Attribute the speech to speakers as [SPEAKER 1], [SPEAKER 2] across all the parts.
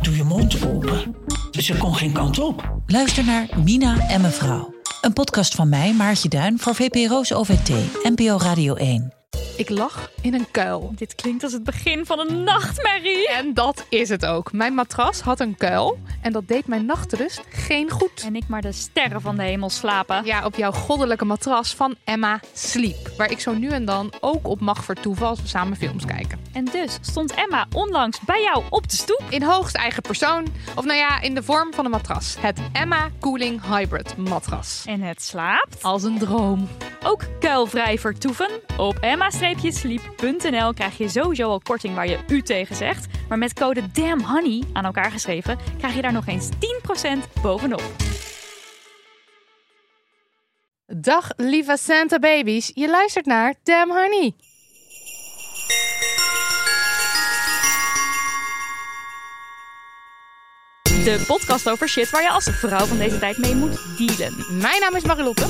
[SPEAKER 1] doe je mond open. Ze kon geen kant op.
[SPEAKER 2] Luister naar Mina en mevrouw. Een podcast van mij, Maartje Duin, voor VPRO's OVT, NPO Radio 1.
[SPEAKER 3] Ik lag in een kuil.
[SPEAKER 4] Dit klinkt als het begin van een nachtmerrie.
[SPEAKER 3] En dat is het ook. Mijn matras had een kuil en dat deed mijn nachtrust geen goed.
[SPEAKER 4] En ik maar de sterren van de hemel slapen.
[SPEAKER 3] Ja, op jouw goddelijke matras van Emma Sleep. Waar ik zo nu en dan ook op mag vertoeven als we samen films kijken.
[SPEAKER 4] En dus stond Emma onlangs bij jou op de stoep.
[SPEAKER 3] In hoogst eigen persoon. Of nou ja, in de vorm van een matras. Het Emma Cooling Hybrid matras.
[SPEAKER 4] En het slaapt.
[SPEAKER 3] Als een droom.
[SPEAKER 4] Ook kuilvrij vertoeven. Op emma-sleep.nl krijg je sowieso al korting waar je u tegen zegt. Maar met code DAMNHONEY aan elkaar geschreven krijg je daar nog eens 10% bovenop.
[SPEAKER 3] Dag lieve Santa Babies. Je luistert naar Damn Honey.
[SPEAKER 4] De podcast over shit waar je als vrouw van deze tijd mee moet dealen.
[SPEAKER 3] Mijn naam is Marilotte.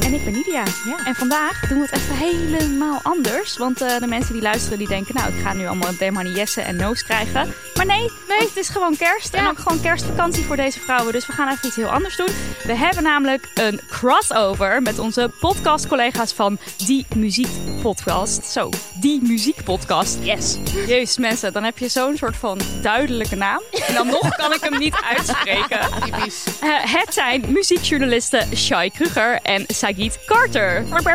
[SPEAKER 4] En ik ben Nidia.
[SPEAKER 3] Ja.
[SPEAKER 4] En vandaag doen we het even helemaal anders. Want eh, de mensen die luisteren, die denken... nou, ik ga nu allemaal Demani Jessen en No's krijgen. Maar nee, nee, het is gewoon kerst. En
[SPEAKER 3] Ja.
[SPEAKER 4] ook gewoon kerstvakantie voor deze vrouwen. Dus we gaan even iets heel anders doen. We hebben namelijk een crossover... met onze podcastcollega's van Die Muziek Podcast. Zo, Die Muziek Podcast. Yes. Jezus mensen, dan heb je zo'n soort van duidelijke naam. En dan nog kan ik hem niet uitspreken.
[SPEAKER 3] Typisch.
[SPEAKER 4] Eh, het zijn muziekjournalisten Shai Kruger en Sagit Carter. Hallo.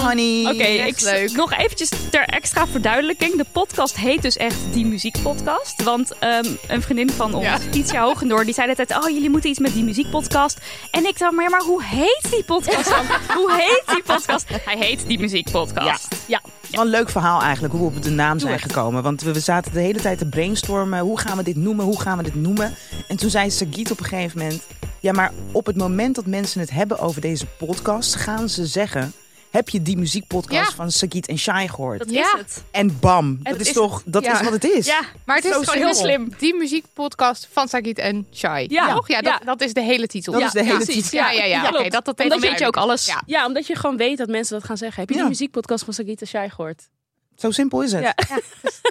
[SPEAKER 5] honey.
[SPEAKER 4] Oké,
[SPEAKER 3] Echt
[SPEAKER 4] ik
[SPEAKER 3] leuk.
[SPEAKER 4] nog eventjes ter extra verduidelijking. De podcast heet dus echt Die Muziek Podcast. Want ehm, een vriendin van ons,
[SPEAKER 3] Ja.
[SPEAKER 4] Ietsja Hoogendoor, die zei de tijd... oh, jullie moeten iets met Die Muziek Podcast. En ik dacht, maar, maar hoe heet die podcast dan? hoe heet die podcast? Hij heet Die Muziek Podcast. Ja.
[SPEAKER 5] Wel een leuk verhaal eigenlijk, hoe we op de naam zijn
[SPEAKER 4] het.
[SPEAKER 5] gekomen. Want we, we zaten de hele tijd te brainstormen. Hoe gaan we dit noemen? Hoe gaan we dit noemen? En toen zei Sagiet op een gegeven moment... Ja, maar op het moment dat mensen het hebben over deze podcast... gaan ze zeggen... Heb je die muziekpodcast
[SPEAKER 3] Ja.
[SPEAKER 5] van Sagiet en Shai gehoord?
[SPEAKER 4] Dat
[SPEAKER 3] Ja.
[SPEAKER 4] is het.
[SPEAKER 5] En bam, dat
[SPEAKER 4] het
[SPEAKER 5] is,
[SPEAKER 4] is-
[SPEAKER 5] toch... Dat
[SPEAKER 3] ja.
[SPEAKER 5] is wat het is.
[SPEAKER 4] Ja,
[SPEAKER 3] Maar het is
[SPEAKER 4] Zo
[SPEAKER 3] gewoon heel slim. Die muziekpodcast van Sagit en Shai.
[SPEAKER 6] Ja.
[SPEAKER 3] toch? Ja, dat,
[SPEAKER 6] Ja.
[SPEAKER 3] dat is de hele titel.
[SPEAKER 5] Dat is de hele
[SPEAKER 3] precies.
[SPEAKER 5] titel.
[SPEAKER 3] Ja, ja, ja.
[SPEAKER 6] Ja,
[SPEAKER 3] Oké,
[SPEAKER 6] klopt.
[SPEAKER 3] dat, dat deed
[SPEAKER 6] Omdat
[SPEAKER 3] mij
[SPEAKER 6] weet je ook
[SPEAKER 3] uit.
[SPEAKER 6] alles.
[SPEAKER 3] Ja.
[SPEAKER 6] Ja, omdat je gewoon weet dat mensen dat gaan zeggen. Heb je
[SPEAKER 5] Ja.
[SPEAKER 6] die muziekpodcast van Sagita Shai gehoord?
[SPEAKER 5] Zo simpel is het. Ja,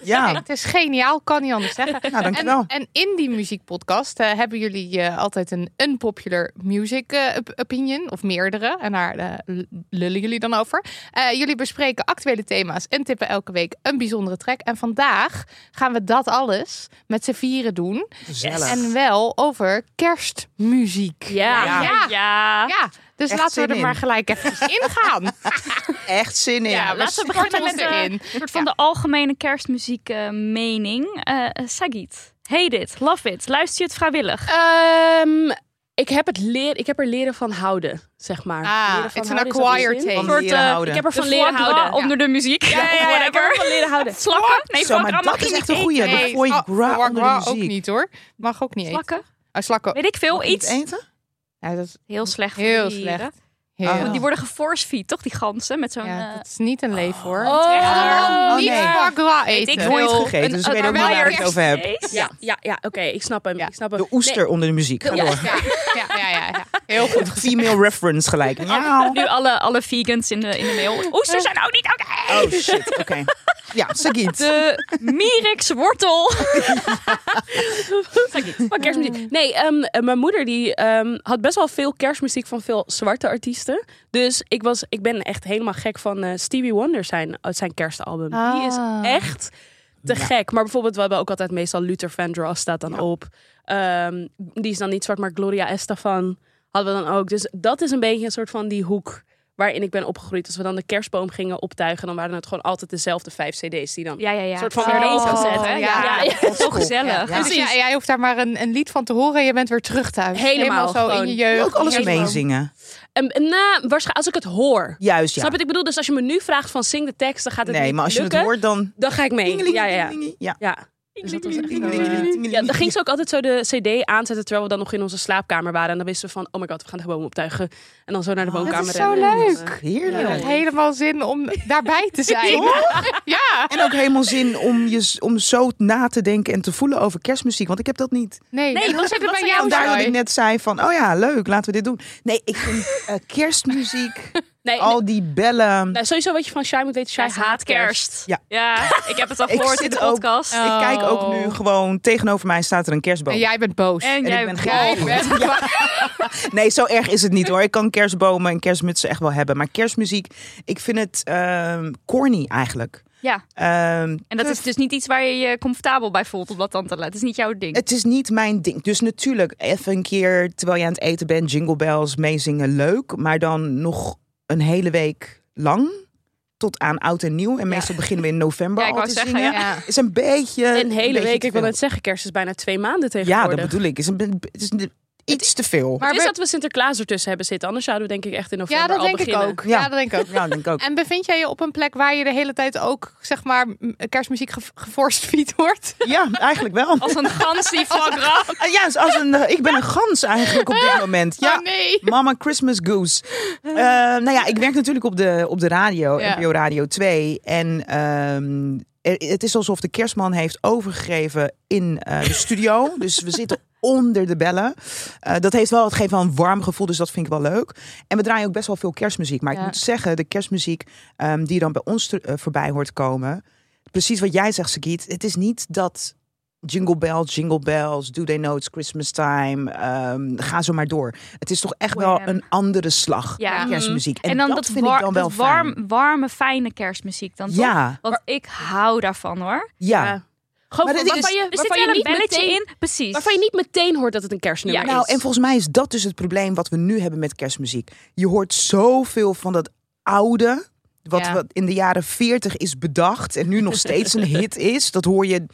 [SPEAKER 6] Ja.
[SPEAKER 3] Nee, het is geniaal, kan niet anders zeggen.
[SPEAKER 5] nou dankjewel.
[SPEAKER 3] En, en in die muziekpodcast eh, hebben jullie eh, altijd een unpopular music eh, op- opinion, of meerdere. En daar eh, l- lullen jullie dan over. Eh, jullie bespreken actuele thema's en tippen elke week een bijzondere track. En vandaag gaan we dat alles met z'n vieren doen.
[SPEAKER 5] Gezellig.
[SPEAKER 3] En wel over kerstmuziek.
[SPEAKER 6] Ja.
[SPEAKER 4] Ja.
[SPEAKER 3] Ja.
[SPEAKER 4] Ja. ja.
[SPEAKER 3] Ja, dus
[SPEAKER 5] Echt
[SPEAKER 3] laten
[SPEAKER 5] zin
[SPEAKER 3] we er
[SPEAKER 5] in.
[SPEAKER 3] maar gelijk even in gaan.
[SPEAKER 5] Echt zin in.
[SPEAKER 3] Ja,
[SPEAKER 4] Laten
[SPEAKER 3] we
[SPEAKER 4] we beginnen
[SPEAKER 3] starten
[SPEAKER 4] met
[SPEAKER 3] ons
[SPEAKER 4] de,
[SPEAKER 3] erin.
[SPEAKER 4] soort van de algemene kerstmuziek eh, mening. Eh, eh, Sagit, hate it, love it, luister je het vrijwillig?
[SPEAKER 6] Ehm, ik, heb het leer, ik heb er leren van houden, zeg maar.
[SPEAKER 3] Ah,
[SPEAKER 6] leren van
[SPEAKER 3] it's an
[SPEAKER 6] houden, is dat
[SPEAKER 3] acquired
[SPEAKER 6] een zin?
[SPEAKER 3] taste.
[SPEAKER 5] Van leren
[SPEAKER 6] eh,
[SPEAKER 5] houden.
[SPEAKER 6] Ik heb er van
[SPEAKER 4] de
[SPEAKER 6] leren
[SPEAKER 4] foie gras
[SPEAKER 6] houden.
[SPEAKER 4] onder de muziek,
[SPEAKER 6] Ja, ja, ja, ik heb er
[SPEAKER 4] whatever.
[SPEAKER 6] van leren houden.
[SPEAKER 4] Slakken? Nee,
[SPEAKER 5] Zo,
[SPEAKER 4] foie gras
[SPEAKER 5] maar
[SPEAKER 4] mag
[SPEAKER 5] dat
[SPEAKER 4] je
[SPEAKER 5] is
[SPEAKER 4] niet
[SPEAKER 5] echt een
[SPEAKER 4] eten.
[SPEAKER 5] goeie.
[SPEAKER 3] Nee,
[SPEAKER 5] De foie
[SPEAKER 3] oh,
[SPEAKER 5] gras
[SPEAKER 3] foie
[SPEAKER 5] onder de
[SPEAKER 3] gras
[SPEAKER 5] muziek.
[SPEAKER 3] ook niet hoor. Mag ook niet eten.
[SPEAKER 4] Slakken?
[SPEAKER 3] Ah, slakken.
[SPEAKER 4] Weet ik veel,
[SPEAKER 5] Niet
[SPEAKER 4] iets.
[SPEAKER 5] eten?
[SPEAKER 3] Ja, dat is
[SPEAKER 4] Heel slecht voor
[SPEAKER 3] heel
[SPEAKER 4] die dieren.
[SPEAKER 3] slecht. Heel.
[SPEAKER 5] Ah.
[SPEAKER 4] Want Die eh, worden geforcefeed, toch? Die ganzen met zo'n...
[SPEAKER 3] Ja,
[SPEAKER 4] Ja,
[SPEAKER 3] dat is niet een leef hoor.
[SPEAKER 5] Oh,
[SPEAKER 3] niet
[SPEAKER 5] nee.
[SPEAKER 3] foie gras eten.
[SPEAKER 4] Ik
[SPEAKER 5] Nooit
[SPEAKER 4] wil
[SPEAKER 5] gegeten, dus ik weet ook niet waar ik het over heb.
[SPEAKER 6] Ja, ja, ja oké, ik snap hem.
[SPEAKER 3] Ja.
[SPEAKER 6] Ik snap hem.
[SPEAKER 5] De oester onder de muziek. Ga door.
[SPEAKER 3] Ja, ja, ja, ja, ja. Heel goed.
[SPEAKER 5] Female reference gelijk. Miauw.
[SPEAKER 4] Nu alle, alle vegans in de, in de mail. Oesters zijn ook niet oké!
[SPEAKER 5] Oh shit, oké. Ja, Sagiet.
[SPEAKER 4] De mierikswortel.
[SPEAKER 6] Nee, maar kerstmuziek. Nee, ehm, eh, mijn moeder die, ehm, had best wel veel kerstmuziek van veel zwarte artiesten. Dus ik, was, ik ben echt helemaal gek van eh, Stevie Wonder zijn, eh, zijn kerstalbum. Die is
[SPEAKER 3] Ah.
[SPEAKER 6] echt te gek. Maar bijvoorbeeld, we hebben ook altijd meestal Luther Vandross staat dan op. Ehm, die is dan niet zwart, maar Gloria Estefan hadden we dan ook. Dus dat is een beetje een soort van die hoek waarin ik ben opgegroeid. Als we dan de kerstboom gingen optuigen, dan waren het gewoon altijd dezelfde vijf cd's die dan...
[SPEAKER 4] Ja, ja, ja. Een
[SPEAKER 6] soort van weer opgezet, hè?
[SPEAKER 4] Ja, ja.
[SPEAKER 6] Ja.
[SPEAKER 4] Zo gezellig.
[SPEAKER 5] Ja, ja.
[SPEAKER 3] Dus jij, jij hoeft daar maar een, een lied van te horen en je bent weer terug thuis.
[SPEAKER 6] Helemaal,
[SPEAKER 3] zo in
[SPEAKER 6] gewoon.
[SPEAKER 3] je jeugd.
[SPEAKER 5] ook alles
[SPEAKER 3] Helemaal.
[SPEAKER 5] meezingen.
[SPEAKER 6] En, en, nou, waarschijnlijk als ik het hoor.
[SPEAKER 5] Juist,
[SPEAKER 6] Snap
[SPEAKER 5] ja.
[SPEAKER 6] je wat ik bedoel? Dus als je me nu vraagt van zing de tekst, dan gaat het
[SPEAKER 5] Nee,
[SPEAKER 6] niet
[SPEAKER 5] maar als je het
[SPEAKER 6] lukken.
[SPEAKER 5] hoort dan...
[SPEAKER 6] Dan ga ik mee.
[SPEAKER 5] Dingeling,
[SPEAKER 6] Ja, ja, ja.
[SPEAKER 5] dingeling, ja.
[SPEAKER 6] ja. Dus dat was echt zo, eh, ja, dan ging ze ook altijd zo de cd aanzetten terwijl we dan nog in onze slaapkamer waren. En dan wisten we van, oh my god, we gaan de boom optuigen. En dan zo naar de
[SPEAKER 5] Oh,
[SPEAKER 6] woonkamer
[SPEAKER 3] dat is zo
[SPEAKER 6] rennen. En, eh,
[SPEAKER 3] leuk.
[SPEAKER 5] Heerlijk.
[SPEAKER 3] Ik heb helemaal zin om daarbij te zijn. ja.
[SPEAKER 5] En ook helemaal zin om, je, s- om zo na te denken en te voelen over kerstmuziek. Want ik heb dat niet.
[SPEAKER 6] Oh,
[SPEAKER 3] Nee,
[SPEAKER 4] Nee,
[SPEAKER 3] dat
[SPEAKER 4] wat-
[SPEAKER 3] zit er
[SPEAKER 4] wat
[SPEAKER 3] bij
[SPEAKER 4] zei
[SPEAKER 3] jou,
[SPEAKER 5] En daar dat
[SPEAKER 3] Joy.
[SPEAKER 5] ik net zei van, oh ja, leuk, laten we dit doen. Nee, ik vind eh, kerstmuziek,
[SPEAKER 6] nee, nee,
[SPEAKER 5] al die bellen.
[SPEAKER 6] nou, sowieso wat je van Shai moet weten, Shai
[SPEAKER 4] Zij haat kerst.
[SPEAKER 5] Ja.
[SPEAKER 4] ik heb het al
[SPEAKER 5] Ik
[SPEAKER 4] gehoord in
[SPEAKER 5] zit
[SPEAKER 4] de
[SPEAKER 5] ook-
[SPEAKER 4] podcast.
[SPEAKER 3] Oh.
[SPEAKER 5] Ik kijk ook nu gewoon, tegenover mij staat er een kerstboom.
[SPEAKER 3] En jij bent boos.
[SPEAKER 4] En jij
[SPEAKER 5] ik ben
[SPEAKER 3] Jij
[SPEAKER 5] geen-
[SPEAKER 4] Oh.
[SPEAKER 3] bent-
[SPEAKER 5] Nee, zo erg is het niet hoor. Ik kan kerstbomen en kerstmutsen echt wel hebben. Maar kerstmuziek, ik vind het ehm, corny eigenlijk.
[SPEAKER 4] Ja,
[SPEAKER 5] Ehm,
[SPEAKER 4] en dat is dus niet iets waar je je comfortabel bij voelt op dat dan te laten. Het is niet jouw ding.
[SPEAKER 5] Het is niet mijn ding. Dus natuurlijk, even een keer terwijl je aan het eten bent, jingle bells, meezingen, leuk. Maar dan nog een hele week lang. Tot aan oud en nieuw. En meestal beginnen we in november
[SPEAKER 4] Ja, ik
[SPEAKER 5] al
[SPEAKER 4] wou
[SPEAKER 5] te
[SPEAKER 4] zeggen,
[SPEAKER 5] zingen.
[SPEAKER 3] ja.
[SPEAKER 5] Is een beetje...
[SPEAKER 6] Een hele
[SPEAKER 5] beetje
[SPEAKER 6] week,
[SPEAKER 5] te
[SPEAKER 6] ik
[SPEAKER 5] veel.
[SPEAKER 6] wil net zeggen, kerst is bijna twee maanden
[SPEAKER 5] Ja,
[SPEAKER 6] tegenwoordig.
[SPEAKER 5] dat bedoel ik. Is een, be- het is een- iets te veel.
[SPEAKER 6] Maar het is
[SPEAKER 3] we-
[SPEAKER 6] dat we Sinterklaas ertussen hebben zitten. Anders zouden we denk ik echt in november
[SPEAKER 3] Ja, dat
[SPEAKER 6] al
[SPEAKER 3] denk ik
[SPEAKER 6] beginnen.
[SPEAKER 3] ook. Ja, dat denk ik ook.
[SPEAKER 5] Ja, denk ik ook.
[SPEAKER 3] En bevind jij je op een plek waar je de hele tijd ook, zeg maar, m- kerstmuziek ge geforst fiet wordt?
[SPEAKER 5] Ja, eigenlijk wel.
[SPEAKER 4] Als een gans die vlak raakt.
[SPEAKER 5] Ah, Ja, als een, eh, ik ben een gans eigenlijk op dit moment. Ja.
[SPEAKER 3] Oh, nee.
[SPEAKER 5] Mama Christmas Goose. Eh, nou ja, ik werk natuurlijk op de, op de radio,
[SPEAKER 3] Ja.
[SPEAKER 5] NPO Radio 2. En ehm, er- het is alsof de kerstman heeft overgegeven in eh, de studio. dus we zitten onder de bellen. Eh, dat heeft wel, het geeft wel een warm gevoel, dus dat vind ik wel leuk. En we draaien ook best wel veel kerstmuziek. Maar
[SPEAKER 3] Ja.
[SPEAKER 5] ik moet zeggen, de kerstmuziek ehm, die dan bij ons ter- eh, voorbij hoort komen... Precies wat jij zegt, Sagiet. Het is niet dat Jingle bells, jingle bells, do they know it's Christmas time. ehm, ga zo maar door. Het is toch echt wel
[SPEAKER 4] Wham.
[SPEAKER 5] een andere slag.
[SPEAKER 4] Ja.
[SPEAKER 5] aan kerstmuziek. En,
[SPEAKER 4] En dan
[SPEAKER 5] dat,
[SPEAKER 4] dat,
[SPEAKER 5] vind
[SPEAKER 4] war-
[SPEAKER 5] ik dan wel
[SPEAKER 4] dat warm,
[SPEAKER 5] fijn.
[SPEAKER 4] warme, fijne kerstmuziek dan toch?
[SPEAKER 5] Ja,
[SPEAKER 4] Want ik hou daarvan hoor.
[SPEAKER 5] ja.
[SPEAKER 6] Ja. Gewoon
[SPEAKER 5] Maar
[SPEAKER 6] van-
[SPEAKER 5] dit is-
[SPEAKER 6] waarvan je,
[SPEAKER 4] Er zit
[SPEAKER 6] waarvan je
[SPEAKER 4] wel een
[SPEAKER 6] niet
[SPEAKER 4] belletje
[SPEAKER 6] meteen-
[SPEAKER 4] in. Precies.
[SPEAKER 6] Waarvan je niet meteen hoort dat het een kerstnummer
[SPEAKER 4] Ja.
[SPEAKER 6] is.
[SPEAKER 5] Nou, en volgens mij is dat dus het probleem wat we nu hebben met kerstmuziek. Je hoort zoveel van dat oude, wat,
[SPEAKER 3] Ja.
[SPEAKER 5] wat in de jaren 40 is bedacht en nu nog steeds een hit is. Dat hoor je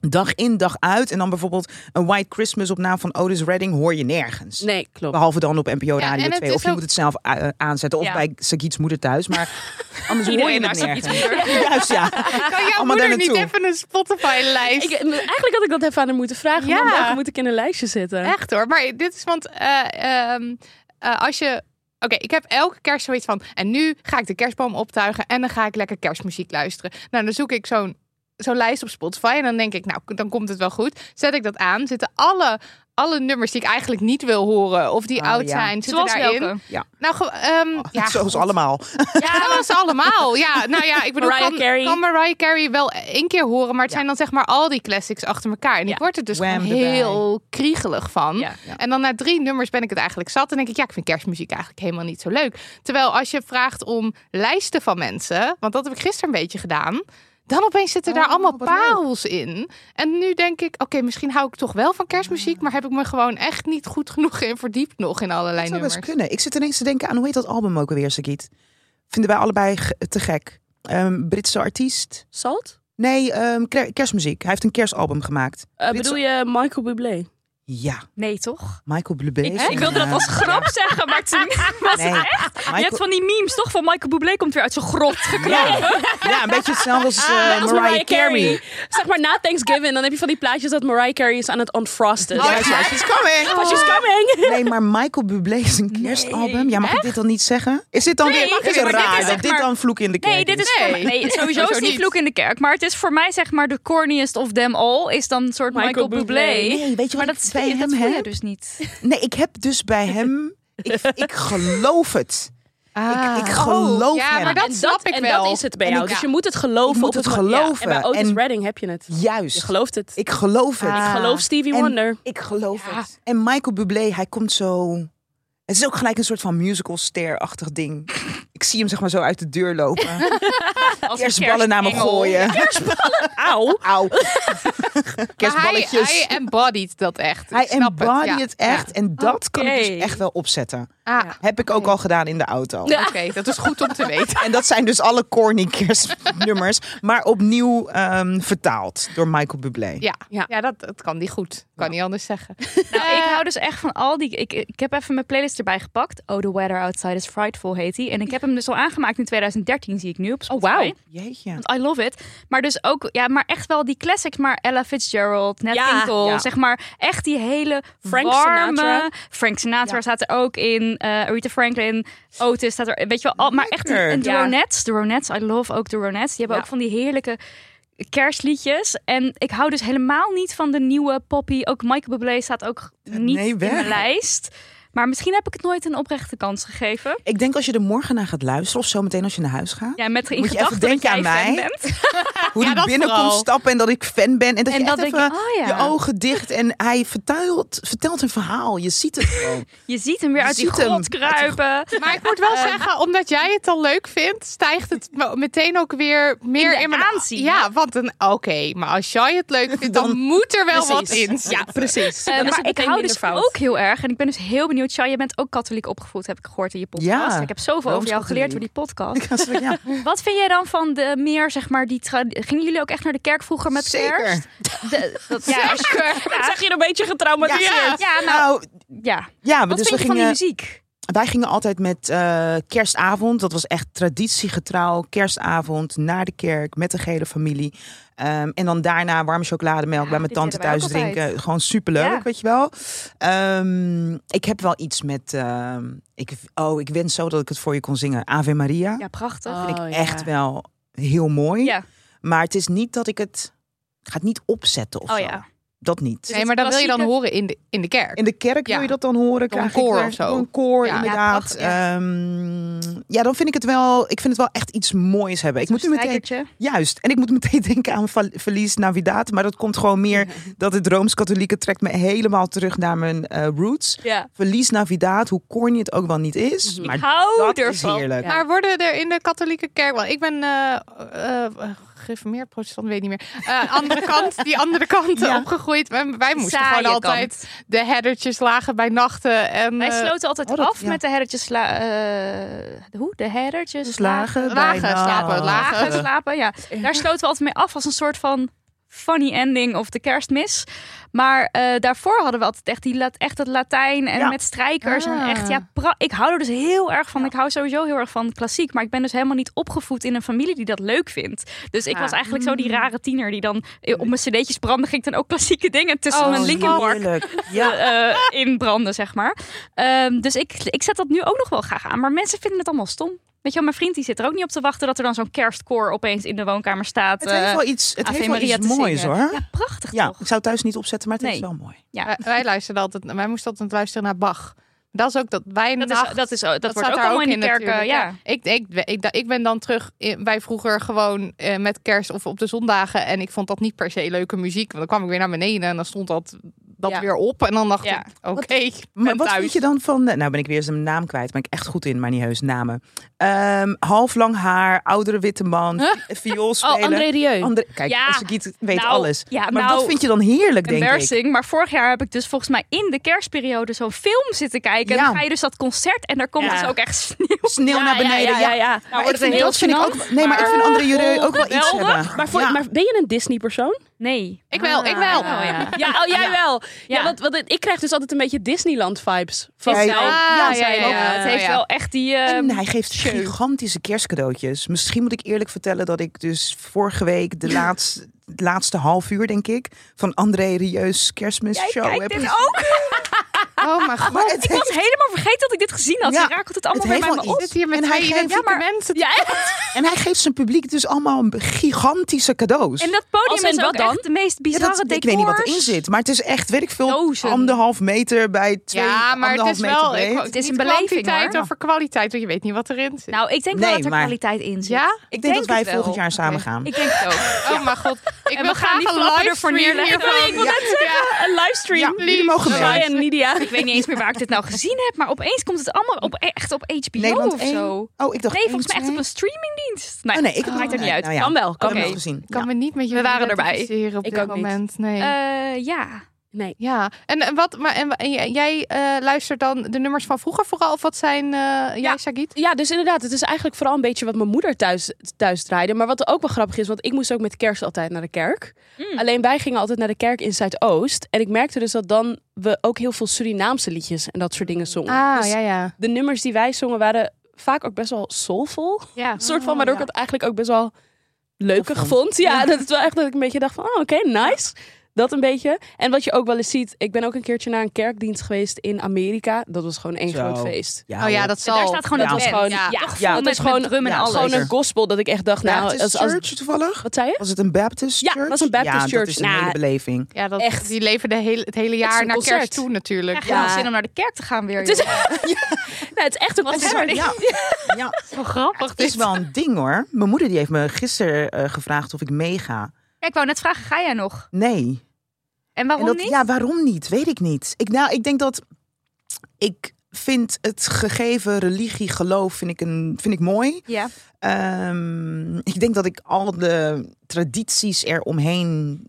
[SPEAKER 5] dag in, dag uit. En dan bijvoorbeeld een White Christmas op naam van Otis Redding hoor je nergens.
[SPEAKER 6] Nee, klopt.
[SPEAKER 5] Behalve dan op NPO
[SPEAKER 3] Ja,
[SPEAKER 5] Radio
[SPEAKER 3] en het
[SPEAKER 5] 2.
[SPEAKER 3] is
[SPEAKER 5] Of je
[SPEAKER 3] ook-
[SPEAKER 5] moet het zelf a- eh, aanzetten. Of
[SPEAKER 4] Ja.
[SPEAKER 5] bij Sagiet's moeder thuis. Maar anders hoor je
[SPEAKER 4] Iedereen
[SPEAKER 5] het
[SPEAKER 4] naar
[SPEAKER 5] nergens.
[SPEAKER 4] Sagiet's moeder.
[SPEAKER 5] Juist, ja.
[SPEAKER 3] Kan jouw
[SPEAKER 5] Allemaal
[SPEAKER 3] moeder
[SPEAKER 5] daar
[SPEAKER 3] niet
[SPEAKER 5] naartoe.
[SPEAKER 3] even een Spotify-lijst?
[SPEAKER 6] Ik, eigenlijk had ik dat even aan haar moeten vragen.
[SPEAKER 3] Ja.
[SPEAKER 6] Mam, welke moet ik in een lijstje zetten?
[SPEAKER 3] Echt hoor. Maar dit is want eh, ehm, eh, als je. Oké, ik heb elke kerst zoiets van. En nu ga ik de kerstboom optuigen en dan ga ik lekker kerstmuziek luisteren. Nou, dan zoek ik zo'n zo'n lijst op Spotify en dan denk ik, nou, dan komt het wel goed. Zet ik dat aan, zitten alle, alle nummers die ik eigenlijk niet wil horen of die
[SPEAKER 5] Oh,
[SPEAKER 3] oud
[SPEAKER 5] ja. Oh,
[SPEAKER 3] zijn, zitten
[SPEAKER 4] Zoals
[SPEAKER 3] daarin.
[SPEAKER 4] welke?
[SPEAKER 3] Nou, ge- ehm, ja,
[SPEAKER 5] Zoals allemaal.
[SPEAKER 3] ja, dat was allemaal. Ja, nou ja, ik bedoel,
[SPEAKER 6] Mariah
[SPEAKER 3] kan,
[SPEAKER 6] Carey.
[SPEAKER 3] kan Mariah Carey wel één keer horen, maar het zijn dan zeg maar al die classics achter elkaar. En
[SPEAKER 6] Ja.
[SPEAKER 3] ik word er dus
[SPEAKER 5] Wham
[SPEAKER 3] gewoon
[SPEAKER 5] erbij.
[SPEAKER 3] heel kriegelig van.
[SPEAKER 6] Ja.
[SPEAKER 3] En dan na drie nummers ben ik het eigenlijk zat. En denk ik, ja, ik vind kerstmuziek eigenlijk helemaal niet zo leuk. Terwijl als je vraagt om lijsten van mensen, want dat heb ik gisteren een beetje gedaan. Dan opeens zitten daar
[SPEAKER 5] Oh,
[SPEAKER 3] allemaal
[SPEAKER 5] wat leuk.
[SPEAKER 3] parels in. En nu denk ik, oké, misschien hou ik toch wel van
[SPEAKER 5] Ah.
[SPEAKER 3] kerstmuziek. Maar heb ik me gewoon echt niet goed genoeg in verdiept nog in allerlei
[SPEAKER 5] Dat zou
[SPEAKER 3] nummers.
[SPEAKER 5] best kunnen. Ik zit ineens te denken aan hoe heet dat album ook alweer, Sagiet? Vinden wij allebei ge- te gek. Ehm, Britse artiest.
[SPEAKER 6] Salt?
[SPEAKER 5] Nee, ehm, kre- kerstmuziek. Hij heeft een kerstalbum gemaakt.
[SPEAKER 6] Eh,
[SPEAKER 5] Dit
[SPEAKER 6] bedoel je Michael Bublé?
[SPEAKER 5] Ja,
[SPEAKER 4] Nee, toch?
[SPEAKER 5] Michael Bublé.
[SPEAKER 4] Ik,
[SPEAKER 5] is
[SPEAKER 4] ik wilde dat
[SPEAKER 5] een,
[SPEAKER 4] als
[SPEAKER 5] eh,
[SPEAKER 4] grap zeggen, maar toen was
[SPEAKER 5] Nee,
[SPEAKER 4] het echt. Je hebt
[SPEAKER 5] Michael,
[SPEAKER 4] van die memes toch van Michael Bublé komt weer uit zijn grot gekropen.
[SPEAKER 5] ja, een beetje hetzelfde als,
[SPEAKER 4] Ah,
[SPEAKER 5] eh,
[SPEAKER 6] Net als
[SPEAKER 5] Mariah, Carey.
[SPEAKER 6] Zeg maar na Thanksgiving, dan heb je van die plaatjes dat Mariah Carey is aan het unfrosten.
[SPEAKER 5] Oh, Ja, ja,
[SPEAKER 4] Ah,
[SPEAKER 5] she's coming.
[SPEAKER 6] But she's coming!
[SPEAKER 5] Nee, maar Michael Bublé is een kerstalbum. ja, mag ik dit dan niet zeggen? Is dit dan
[SPEAKER 4] Nee,
[SPEAKER 5] weer
[SPEAKER 4] mag
[SPEAKER 5] is
[SPEAKER 4] niet,
[SPEAKER 5] het
[SPEAKER 4] maar dit
[SPEAKER 5] raar
[SPEAKER 4] is
[SPEAKER 5] dat
[SPEAKER 4] zeg
[SPEAKER 5] dit
[SPEAKER 4] maar-
[SPEAKER 5] dan vloek in de kerk
[SPEAKER 4] Nee, dit is
[SPEAKER 3] Nee.
[SPEAKER 4] voor mij- nee, sowieso is
[SPEAKER 3] Sowieso
[SPEAKER 4] het niet
[SPEAKER 3] niet.
[SPEAKER 4] vloek in de kerk. Maar het is voor mij zeg maar de corniest of them all is dan een soort Michael,
[SPEAKER 6] Michael
[SPEAKER 4] Bublé.
[SPEAKER 6] Bublé.
[SPEAKER 5] Nee, weet je
[SPEAKER 4] maar
[SPEAKER 5] wat
[SPEAKER 4] dat,
[SPEAKER 5] ik bij
[SPEAKER 4] dat
[SPEAKER 5] hem
[SPEAKER 4] voel je
[SPEAKER 5] heb?
[SPEAKER 4] dus niet.
[SPEAKER 5] Nee, ik heb dus bij hem... Ik, ik geloof het. Ik, ik geloof
[SPEAKER 3] Ah, oh. ja,
[SPEAKER 5] hem.
[SPEAKER 3] maar dat
[SPEAKER 6] en
[SPEAKER 3] snap ik
[SPEAKER 6] en
[SPEAKER 3] wel.
[SPEAKER 6] dat is het bij
[SPEAKER 5] En
[SPEAKER 6] jou.
[SPEAKER 5] ik-
[SPEAKER 6] Dus je moet het geloven.
[SPEAKER 5] Ik moet
[SPEAKER 6] op
[SPEAKER 5] het
[SPEAKER 6] mo- ja,
[SPEAKER 5] geloven.
[SPEAKER 6] En bij Otis
[SPEAKER 5] En-
[SPEAKER 6] Redding heb je het. Je
[SPEAKER 5] Juist.
[SPEAKER 6] gelooft het. Ik
[SPEAKER 5] Ik geloof het.
[SPEAKER 3] Ah.
[SPEAKER 6] geloof Stevie
[SPEAKER 5] En-
[SPEAKER 6] Wonder.
[SPEAKER 5] Ik geloof
[SPEAKER 3] Ja.
[SPEAKER 5] het. En Michael Bublé, hij komt zo... Het is ook gelijk een soort van musical-ster-achtig ding. Ik zie hem zeg maar zo uit de deur lopen.
[SPEAKER 4] Als een
[SPEAKER 5] Kerstballen naar me
[SPEAKER 4] kerstengel.
[SPEAKER 5] gooien. Kerstballen? Auw. Auw.
[SPEAKER 3] Maar hij,
[SPEAKER 5] Kerstballetjes.
[SPEAKER 3] hij embodied dat echt.
[SPEAKER 5] Hij
[SPEAKER 3] Ik snap
[SPEAKER 5] embody
[SPEAKER 3] ja.
[SPEAKER 5] het, echt. En dat kan ik
[SPEAKER 4] Oké.
[SPEAKER 5] dus echt wel opzetten.
[SPEAKER 3] Ah,
[SPEAKER 5] Heb ik ook al gedaan in de auto.
[SPEAKER 3] Oké, dat is goed om te weten.
[SPEAKER 5] En dat zijn dus alle corny kerstnummers. maar opnieuw ehm, vertaald door Michael Bublé.
[SPEAKER 3] Ja,
[SPEAKER 6] Ja.
[SPEAKER 3] ja. dat, dat kan die goed. Kan niet anders zeggen.
[SPEAKER 4] Nou, ik hou dus echt van al die. Ik, ik heb even mijn playlist erbij gepakt. Oh, the weather outside is frightful heet die. En ik heb hem hem dus al aangemaakt in 2013, zie ik nu op
[SPEAKER 6] Oh,
[SPEAKER 4] Spotify.
[SPEAKER 6] wauw.
[SPEAKER 5] Jeetje.
[SPEAKER 4] Want I love it. Maar dus ook, ja, maar echt wel die classics. Maar Ella Fitzgerald, Nat
[SPEAKER 6] Ja,
[SPEAKER 4] King Cole.
[SPEAKER 6] ja.
[SPEAKER 4] Zeg maar echt die hele
[SPEAKER 6] Frank
[SPEAKER 4] warme...
[SPEAKER 6] Sinatra.
[SPEAKER 4] Frank Sinatra staat er ook in. eh Rita Franklin, Otis staat er. Weet je wel, al, maar echt
[SPEAKER 5] Lekker.
[SPEAKER 4] een, een de
[SPEAKER 6] Ja.
[SPEAKER 4] Ronettes. De Ronettes, I love ook de Ronettes. Die hebben
[SPEAKER 6] Ja.
[SPEAKER 4] ook van die heerlijke kerstliedjes. En ik hou dus helemaal niet van de nieuwe poppy. Ook Michael Bublé staat ook niet
[SPEAKER 5] nee,
[SPEAKER 4] in
[SPEAKER 5] weg.
[SPEAKER 4] mijn lijst. Maar misschien heb ik het nooit een oprechte kans gegeven.
[SPEAKER 5] Ik denk als je er morgen naar gaat luisteren of zometeen als je naar huis gaat.
[SPEAKER 4] Ja, met in
[SPEAKER 5] Moet je even
[SPEAKER 4] gedachten dat
[SPEAKER 5] denken aan
[SPEAKER 4] jij fan
[SPEAKER 5] mij?
[SPEAKER 4] bent.
[SPEAKER 5] Hoe die
[SPEAKER 6] dat
[SPEAKER 5] binnenkomt
[SPEAKER 6] vooral.
[SPEAKER 5] stappen en dat ik fan ben. En dat
[SPEAKER 4] En
[SPEAKER 5] je
[SPEAKER 4] dat
[SPEAKER 5] echt
[SPEAKER 4] ik-
[SPEAKER 5] even
[SPEAKER 4] oh ja.
[SPEAKER 5] je ogen dicht. En hij vertelt, vertelt een verhaal. Je ziet het gewoon.
[SPEAKER 4] Je ziet hem weer
[SPEAKER 5] Je
[SPEAKER 4] uit die
[SPEAKER 5] ziet hem.
[SPEAKER 4] grot kruipen. Eh,
[SPEAKER 3] Maar ik moet wel zeggen, omdat jij het al leuk vindt, stijgt het me- meteen ook weer meer
[SPEAKER 4] de
[SPEAKER 3] in, mijn
[SPEAKER 4] aanzien.
[SPEAKER 3] Ja, want een oké, maar als jij het leuk vindt, dan, moet er wel wat in.
[SPEAKER 6] Ja, precies.
[SPEAKER 4] Eh,
[SPEAKER 6] Dan is
[SPEAKER 4] maar
[SPEAKER 6] het
[SPEAKER 4] ik
[SPEAKER 6] meteen
[SPEAKER 4] hou
[SPEAKER 6] minder
[SPEAKER 4] dus
[SPEAKER 6] fout.
[SPEAKER 4] ook heel erg. En ik ben dus heel benieuwd. Shai, je bent ook katholiek opgevoed, heb ik gehoord in je podcast.
[SPEAKER 5] Ja,
[SPEAKER 4] ik heb zoveel over jou geleerd door die podcast.
[SPEAKER 5] Ja, zo- ja.
[SPEAKER 4] Wat vind jij dan van de meer, zeg maar, die... tra- Gingen jullie ook echt naar de kerk vroeger met
[SPEAKER 5] Zeker.
[SPEAKER 4] kerst? Nou, De, dat, ja, als je-
[SPEAKER 6] Ik zag je een beetje getraumatiseerd.
[SPEAKER 4] ja, ja, nou,
[SPEAKER 5] Nou,
[SPEAKER 4] ja.
[SPEAKER 5] ja,
[SPEAKER 4] Wat
[SPEAKER 5] dus
[SPEAKER 4] vind
[SPEAKER 5] we
[SPEAKER 4] je van die
[SPEAKER 5] gingen,
[SPEAKER 4] muziek?
[SPEAKER 5] wij gingen altijd met eh, kerstavond. Dat was echt traditiegetrouw. Kerstavond naar de kerk met de gele familie. Ehm, en dan daarna warme chocolademelk
[SPEAKER 4] Ja,
[SPEAKER 5] bij mijn
[SPEAKER 4] dit
[SPEAKER 5] tante
[SPEAKER 4] deden wij
[SPEAKER 5] thuis
[SPEAKER 4] ook altijd.
[SPEAKER 5] drinken. Gewoon superleuk,
[SPEAKER 4] Ja.
[SPEAKER 5] weet je wel. Ehm, ik heb wel iets met... ehm, ik, oh, ik wens zo dat ik het voor je kon zingen. Ave Maria.
[SPEAKER 4] Ja, prachtig.
[SPEAKER 6] Oh,
[SPEAKER 5] vind ik
[SPEAKER 6] ja.
[SPEAKER 5] echt wel heel mooi.
[SPEAKER 4] Ja.
[SPEAKER 5] Maar het is niet dat ik het... Ik ga het niet opzetten of
[SPEAKER 4] Oh
[SPEAKER 5] zo.
[SPEAKER 4] ja.
[SPEAKER 5] Dat niet.
[SPEAKER 3] Nee, maar dat wil je dan
[SPEAKER 4] klassieke-
[SPEAKER 3] horen in de, in de kerk.
[SPEAKER 5] In de kerk
[SPEAKER 3] Ja.
[SPEAKER 5] wil je dat dan horen.
[SPEAKER 3] Door een
[SPEAKER 5] krijg ik
[SPEAKER 3] koor
[SPEAKER 5] daar-
[SPEAKER 3] of zo.
[SPEAKER 5] door Een koor,
[SPEAKER 3] Ja.
[SPEAKER 5] inderdaad.
[SPEAKER 4] Ja, prachtig,
[SPEAKER 5] Ja, ja, dan vind ik het wel. Ik vind het wel echt iets moois hebben. Ik moet nu meteen.
[SPEAKER 4] Strijkertje.
[SPEAKER 5] Juist. En ik moet meteen denken aan Val- Verlies Navidad. Maar dat komt gewoon meer dat het Rooms-Katholieke trekt me helemaal terug naar mijn eh, roots.
[SPEAKER 4] Ja.
[SPEAKER 5] Verlies Navidad, hoe corny het ook wel niet is.
[SPEAKER 6] Mhm.
[SPEAKER 5] Maar
[SPEAKER 4] Hou
[SPEAKER 5] dat is
[SPEAKER 4] ervan.
[SPEAKER 5] heerlijk.
[SPEAKER 3] Maar worden er in de katholieke kerk, want ik ben eh, eh, eh, gereformeerd protestant, weet niet meer. Eh, andere kant, die andere kant
[SPEAKER 5] Ja.
[SPEAKER 3] opgegroeid. En Wij moesten
[SPEAKER 4] Saaie
[SPEAKER 3] gewoon altijd de headertjes lagen bij nachten. En,
[SPEAKER 4] Wij
[SPEAKER 3] eh,
[SPEAKER 4] sloten altijd
[SPEAKER 5] oh, dat-
[SPEAKER 4] af
[SPEAKER 5] ja.
[SPEAKER 4] met de herretjes... sla- eh, hoe? De herretjes...
[SPEAKER 3] lagen,
[SPEAKER 5] Slagen, Dus bijna.
[SPEAKER 3] slapen, lagen.
[SPEAKER 4] Lagen slapen, ja. Daar sloten we altijd mee af als een soort van funny ending of de kerstmis. Maar eh, daarvoor hadden we altijd echt, die lat, echt dat Latijn en
[SPEAKER 5] Ja.
[SPEAKER 4] met strijkers. En
[SPEAKER 3] Ah.
[SPEAKER 4] echt, ja, pra- ik hou er dus heel erg van. Ik hou sowieso heel erg van klassiek. Maar ik ben dus helemaal niet opgevoed in een familie die dat leuk vindt. Dus ik
[SPEAKER 6] Ah.
[SPEAKER 4] was eigenlijk zo
[SPEAKER 5] Mm.
[SPEAKER 4] die rare tiener die dan eh, op mijn cd'tjes brandde. Ging ik dan ook klassieke dingen tussen
[SPEAKER 5] Oh,
[SPEAKER 4] mijn Linkin Park
[SPEAKER 5] heerlijk. Ja.
[SPEAKER 4] eh, in branden, zeg maar. Ehm, dus ik, ik zet dat nu ook nog wel graag aan. Maar mensen vinden het allemaal stom. Weet je wel, mijn vriend die zit er ook niet op te wachten dat er dan zo'n kerstkoor opeens in de woonkamer staat.
[SPEAKER 5] Het heeft
[SPEAKER 4] Eh,
[SPEAKER 5] wel iets, het
[SPEAKER 4] Ave
[SPEAKER 5] heeft wel
[SPEAKER 4] Maria
[SPEAKER 5] iets
[SPEAKER 4] te
[SPEAKER 5] moois
[SPEAKER 4] zingen.
[SPEAKER 5] hoor.
[SPEAKER 4] ja, prachtig
[SPEAKER 5] Ja,
[SPEAKER 4] toch?
[SPEAKER 5] ik zou het thuis niet opzetten, maar het is
[SPEAKER 4] Nee.
[SPEAKER 5] wel mooi.
[SPEAKER 4] Ja.
[SPEAKER 3] Wij, wij luisterden altijd, wij moesten altijd luisteren naar Bach. Dat is ook dat wij
[SPEAKER 4] Dat,
[SPEAKER 3] nacht-
[SPEAKER 4] is, dat, is, dat, wordt
[SPEAKER 3] staat
[SPEAKER 4] ook
[SPEAKER 3] daar
[SPEAKER 4] allemaal in de kerken.
[SPEAKER 3] natuurlijk,
[SPEAKER 4] Ja.
[SPEAKER 3] Ik, ik, ik, ik ben dan terug in, bij vroeger gewoon eh, met kerst of op de zondagen. En ik vond dat niet per se leuke muziek. Want dan kwam ik weer naar beneden en dan stond dat, dat
[SPEAKER 6] Ja.
[SPEAKER 3] weer op. En dan dacht
[SPEAKER 4] Ja.
[SPEAKER 3] ik, oké, ik ben
[SPEAKER 5] Maar wat
[SPEAKER 3] thuis.
[SPEAKER 5] vind je dan van... de- Nou ben ik weer zijn naam kwijt. Ben ik echt goed in, maar niet heus namen. Ehm, half lang haar, oudere witte man, viool spelen.
[SPEAKER 6] Oh, André Rieu.
[SPEAKER 5] André- kijk,
[SPEAKER 4] Ja.
[SPEAKER 5] als ik iets weet
[SPEAKER 4] Nou,
[SPEAKER 5] alles.
[SPEAKER 4] ja,
[SPEAKER 5] maar
[SPEAKER 4] nou,
[SPEAKER 5] dat vind je dan heerlijk, denk ik.
[SPEAKER 4] Embarrassing, maar vorig jaar heb ik dus volgens mij in de kerstperiode zo'n film zitten kijken. En
[SPEAKER 5] Ja.
[SPEAKER 4] dan ga je dus dat concert en daar komt
[SPEAKER 6] Ja.
[SPEAKER 4] dus ook echt sneeuw.
[SPEAKER 5] Sneeuw naar beneden. Ja, Nou,
[SPEAKER 6] ja, ja.
[SPEAKER 5] Maar
[SPEAKER 4] Nou, wordt
[SPEAKER 5] ik vind,
[SPEAKER 4] het
[SPEAKER 5] dat
[SPEAKER 4] heel
[SPEAKER 5] vind ik ook,
[SPEAKER 4] gênant,
[SPEAKER 5] nee, maar, ik
[SPEAKER 4] maar-
[SPEAKER 5] vind André Rieu ook wel iets
[SPEAKER 4] Geweldig.
[SPEAKER 5] hebben.
[SPEAKER 6] Maar, voor,
[SPEAKER 5] Ja.
[SPEAKER 6] maar ben je een Disney-persoon?
[SPEAKER 4] Nee.
[SPEAKER 3] Ik wel, ik wel.
[SPEAKER 4] Oh, ja.
[SPEAKER 6] Ja, oh, jij wel. Ja,
[SPEAKER 4] Ja.
[SPEAKER 6] want, want ik krijg dus altijd een beetje Disneyland-vibes. Van
[SPEAKER 5] Kijk.
[SPEAKER 6] jou.
[SPEAKER 3] Ja,
[SPEAKER 6] zij
[SPEAKER 3] ja,
[SPEAKER 6] ook.
[SPEAKER 3] ja.
[SPEAKER 4] het heeft
[SPEAKER 3] ja.
[SPEAKER 4] wel echt die... eh,
[SPEAKER 5] En hij geeft gigantische kerstcadeautjes. Misschien moet ik eerlijk vertellen dat ik dus vorige week de laatste, het laatste half uur, denk ik, van André Rieu's
[SPEAKER 4] Jij
[SPEAKER 5] kerstmisshow
[SPEAKER 4] kijkt
[SPEAKER 5] heb
[SPEAKER 4] dit
[SPEAKER 5] ik-
[SPEAKER 4] ook?
[SPEAKER 3] Oh mijn god.
[SPEAKER 5] Maar het
[SPEAKER 4] Ik was helemaal vergeten dat ik dit gezien had.
[SPEAKER 5] Ja.
[SPEAKER 4] Je rakelt het allemaal
[SPEAKER 5] Het
[SPEAKER 4] weer bij
[SPEAKER 5] heeft
[SPEAKER 4] me
[SPEAKER 5] wel
[SPEAKER 4] op.
[SPEAKER 3] Ik zit hier met
[SPEAKER 5] En hij
[SPEAKER 3] twee
[SPEAKER 5] geeft-
[SPEAKER 3] identieke
[SPEAKER 5] Ja, maar-
[SPEAKER 3] mensen.
[SPEAKER 4] Ja,
[SPEAKER 5] En hij geeft zijn publiek dus allemaal gigantische cadeaus.
[SPEAKER 4] En dat podium
[SPEAKER 6] Als in
[SPEAKER 4] is ook
[SPEAKER 6] wat dan?
[SPEAKER 4] echt de meest
[SPEAKER 5] Ja,
[SPEAKER 4] bizarre
[SPEAKER 5] dat- ik weet niet wat erin
[SPEAKER 4] decors.
[SPEAKER 5] zit, maar het is echt, weet ik veel,
[SPEAKER 4] Dozen.
[SPEAKER 5] anderhalf meter bij twee,
[SPEAKER 3] Ja, maar het
[SPEAKER 5] anderhalf
[SPEAKER 3] is wel...
[SPEAKER 5] meter
[SPEAKER 3] ik-
[SPEAKER 5] breed.
[SPEAKER 3] het
[SPEAKER 4] is
[SPEAKER 3] is
[SPEAKER 4] een
[SPEAKER 3] een
[SPEAKER 4] beleving,
[SPEAKER 3] kwantiteit
[SPEAKER 4] hoor.
[SPEAKER 3] over kwaliteit. Want je weet niet wat erin zit.
[SPEAKER 4] Nou, ik denk wel
[SPEAKER 5] Nee,
[SPEAKER 4] dat er
[SPEAKER 5] maar-
[SPEAKER 4] kwaliteit in zit.
[SPEAKER 3] Ja?
[SPEAKER 5] Ik denk dat wij
[SPEAKER 4] het wel.
[SPEAKER 5] volgend jaar samen gaan.
[SPEAKER 4] Ik denk het ook.
[SPEAKER 3] Oh mijn god. Ik
[SPEAKER 4] En
[SPEAKER 3] wil
[SPEAKER 4] we gaan
[SPEAKER 3] graag
[SPEAKER 4] die
[SPEAKER 3] een
[SPEAKER 4] flappen
[SPEAKER 3] live
[SPEAKER 4] ervoor neerleggen. Nee, ik wil net
[SPEAKER 6] Een livestream.
[SPEAKER 5] Ja, jullie mogen
[SPEAKER 6] Shai
[SPEAKER 5] mee.
[SPEAKER 6] en Nidia.
[SPEAKER 4] Ik weet niet eens meer waar ik dit nou gezien heb, maar opeens komt het allemaal op, e- echt op HBO
[SPEAKER 5] Nederland
[SPEAKER 4] of
[SPEAKER 5] één.
[SPEAKER 4] zo.
[SPEAKER 5] Oh, ik dacht
[SPEAKER 4] Nee, volgens mij
[SPEAKER 5] één,
[SPEAKER 4] echt op
[SPEAKER 5] twee.
[SPEAKER 4] een streamingdienst. Nee,
[SPEAKER 5] Oh nee, ik heb
[SPEAKER 4] maakt er niet uit.
[SPEAKER 5] Nou ja,
[SPEAKER 6] Kan wel, kan
[SPEAKER 5] ik heb
[SPEAKER 4] wel.
[SPEAKER 5] het gezien.
[SPEAKER 3] Ik kan me niet met je
[SPEAKER 4] We waren erbij.
[SPEAKER 3] identificeren op
[SPEAKER 6] Ik
[SPEAKER 3] dit
[SPEAKER 6] ook niet.
[SPEAKER 3] moment. Nee.
[SPEAKER 4] Eh, ja.
[SPEAKER 6] Nee.
[SPEAKER 3] Ja, en, en wat, maar en, en jij- jij eh, luistert dan de nummers van vroeger vooral, of wat zijn eh, jij, Sagit?
[SPEAKER 6] Ja, dus inderdaad, het is eigenlijk vooral een beetje wat mijn moeder thuis, thuis draaide. Maar wat ook wel grappig is, want ik moest ook met kerst altijd naar de kerk. Alleen wij gingen altijd naar de kerk in Zuidoost. En ik merkte dus dat dan we ook heel veel Surinaamse liedjes en dat soort dingen zongen.
[SPEAKER 3] Ah,
[SPEAKER 6] Dus
[SPEAKER 3] ja, ja.
[SPEAKER 6] de nummers die wij zongen waren vaak ook best wel soulful.
[SPEAKER 3] Ja.
[SPEAKER 6] Een soort van, waardoor ik
[SPEAKER 3] ja.
[SPEAKER 6] het eigenlijk ook best wel leukig vond. Oh, Ja, dat het wel echt dat ik een beetje dacht van, oh, oké, nice. Dat een beetje. En wat je ook wel eens ziet, ik ben ook een keertje naar een kerkdienst geweest in Amerika. Dat was gewoon één
[SPEAKER 5] Zo.
[SPEAKER 6] groot feest.
[SPEAKER 3] Oh ja,
[SPEAKER 5] hoor.
[SPEAKER 3] dat
[SPEAKER 4] En
[SPEAKER 3] zal.
[SPEAKER 4] Dus daar staat gewoon
[SPEAKER 6] Dat
[SPEAKER 4] het
[SPEAKER 6] was gewoon, ja,
[SPEAKER 4] ja.
[SPEAKER 5] Ja.
[SPEAKER 6] dat is gewoon,
[SPEAKER 4] drum en
[SPEAKER 5] ja,
[SPEAKER 4] alles.
[SPEAKER 6] gewoon
[SPEAKER 5] zeker.
[SPEAKER 6] een gospel dat ik echt dacht,
[SPEAKER 5] Ja,
[SPEAKER 6] nou,
[SPEAKER 5] het is
[SPEAKER 6] als, als,
[SPEAKER 5] church toevallig?
[SPEAKER 6] wat zei je?
[SPEAKER 5] Was het een Baptist
[SPEAKER 6] Ja,
[SPEAKER 5] church?
[SPEAKER 6] het was een Baptist
[SPEAKER 5] Ja, dat
[SPEAKER 6] church.
[SPEAKER 5] is een
[SPEAKER 6] Nou,
[SPEAKER 5] hele beleving.
[SPEAKER 3] Ja, dat,
[SPEAKER 6] Echt.
[SPEAKER 3] Die leven de hele, het hele
[SPEAKER 6] Het is
[SPEAKER 3] jaar
[SPEAKER 6] een
[SPEAKER 3] naar kerst
[SPEAKER 6] concert.
[SPEAKER 3] toe natuurlijk.
[SPEAKER 6] Ja.
[SPEAKER 4] zin om naar de kerk te gaan weer.
[SPEAKER 6] Het is,
[SPEAKER 4] joh.
[SPEAKER 6] nou, het is echt een
[SPEAKER 4] Wat
[SPEAKER 6] concert.
[SPEAKER 4] hebben we
[SPEAKER 5] Ja, ja.
[SPEAKER 4] zo grappig.
[SPEAKER 5] Het is wel een ding hoor. Mijn moeder die heeft me gisteren eh, gevraagd of ik meega.
[SPEAKER 4] Ja, ik wou net vragen, ga jij nog?
[SPEAKER 5] Nee.
[SPEAKER 4] En waarom
[SPEAKER 5] en dat,
[SPEAKER 4] niet?
[SPEAKER 5] Ja, waarom niet? Weet ik niet. Ik, nou, ik denk dat ik vind het gegeven religie, geloof, vind ik, een, vind ik mooi.
[SPEAKER 4] Ja.
[SPEAKER 5] Ehm, ik denk dat ik al de tradities eromheen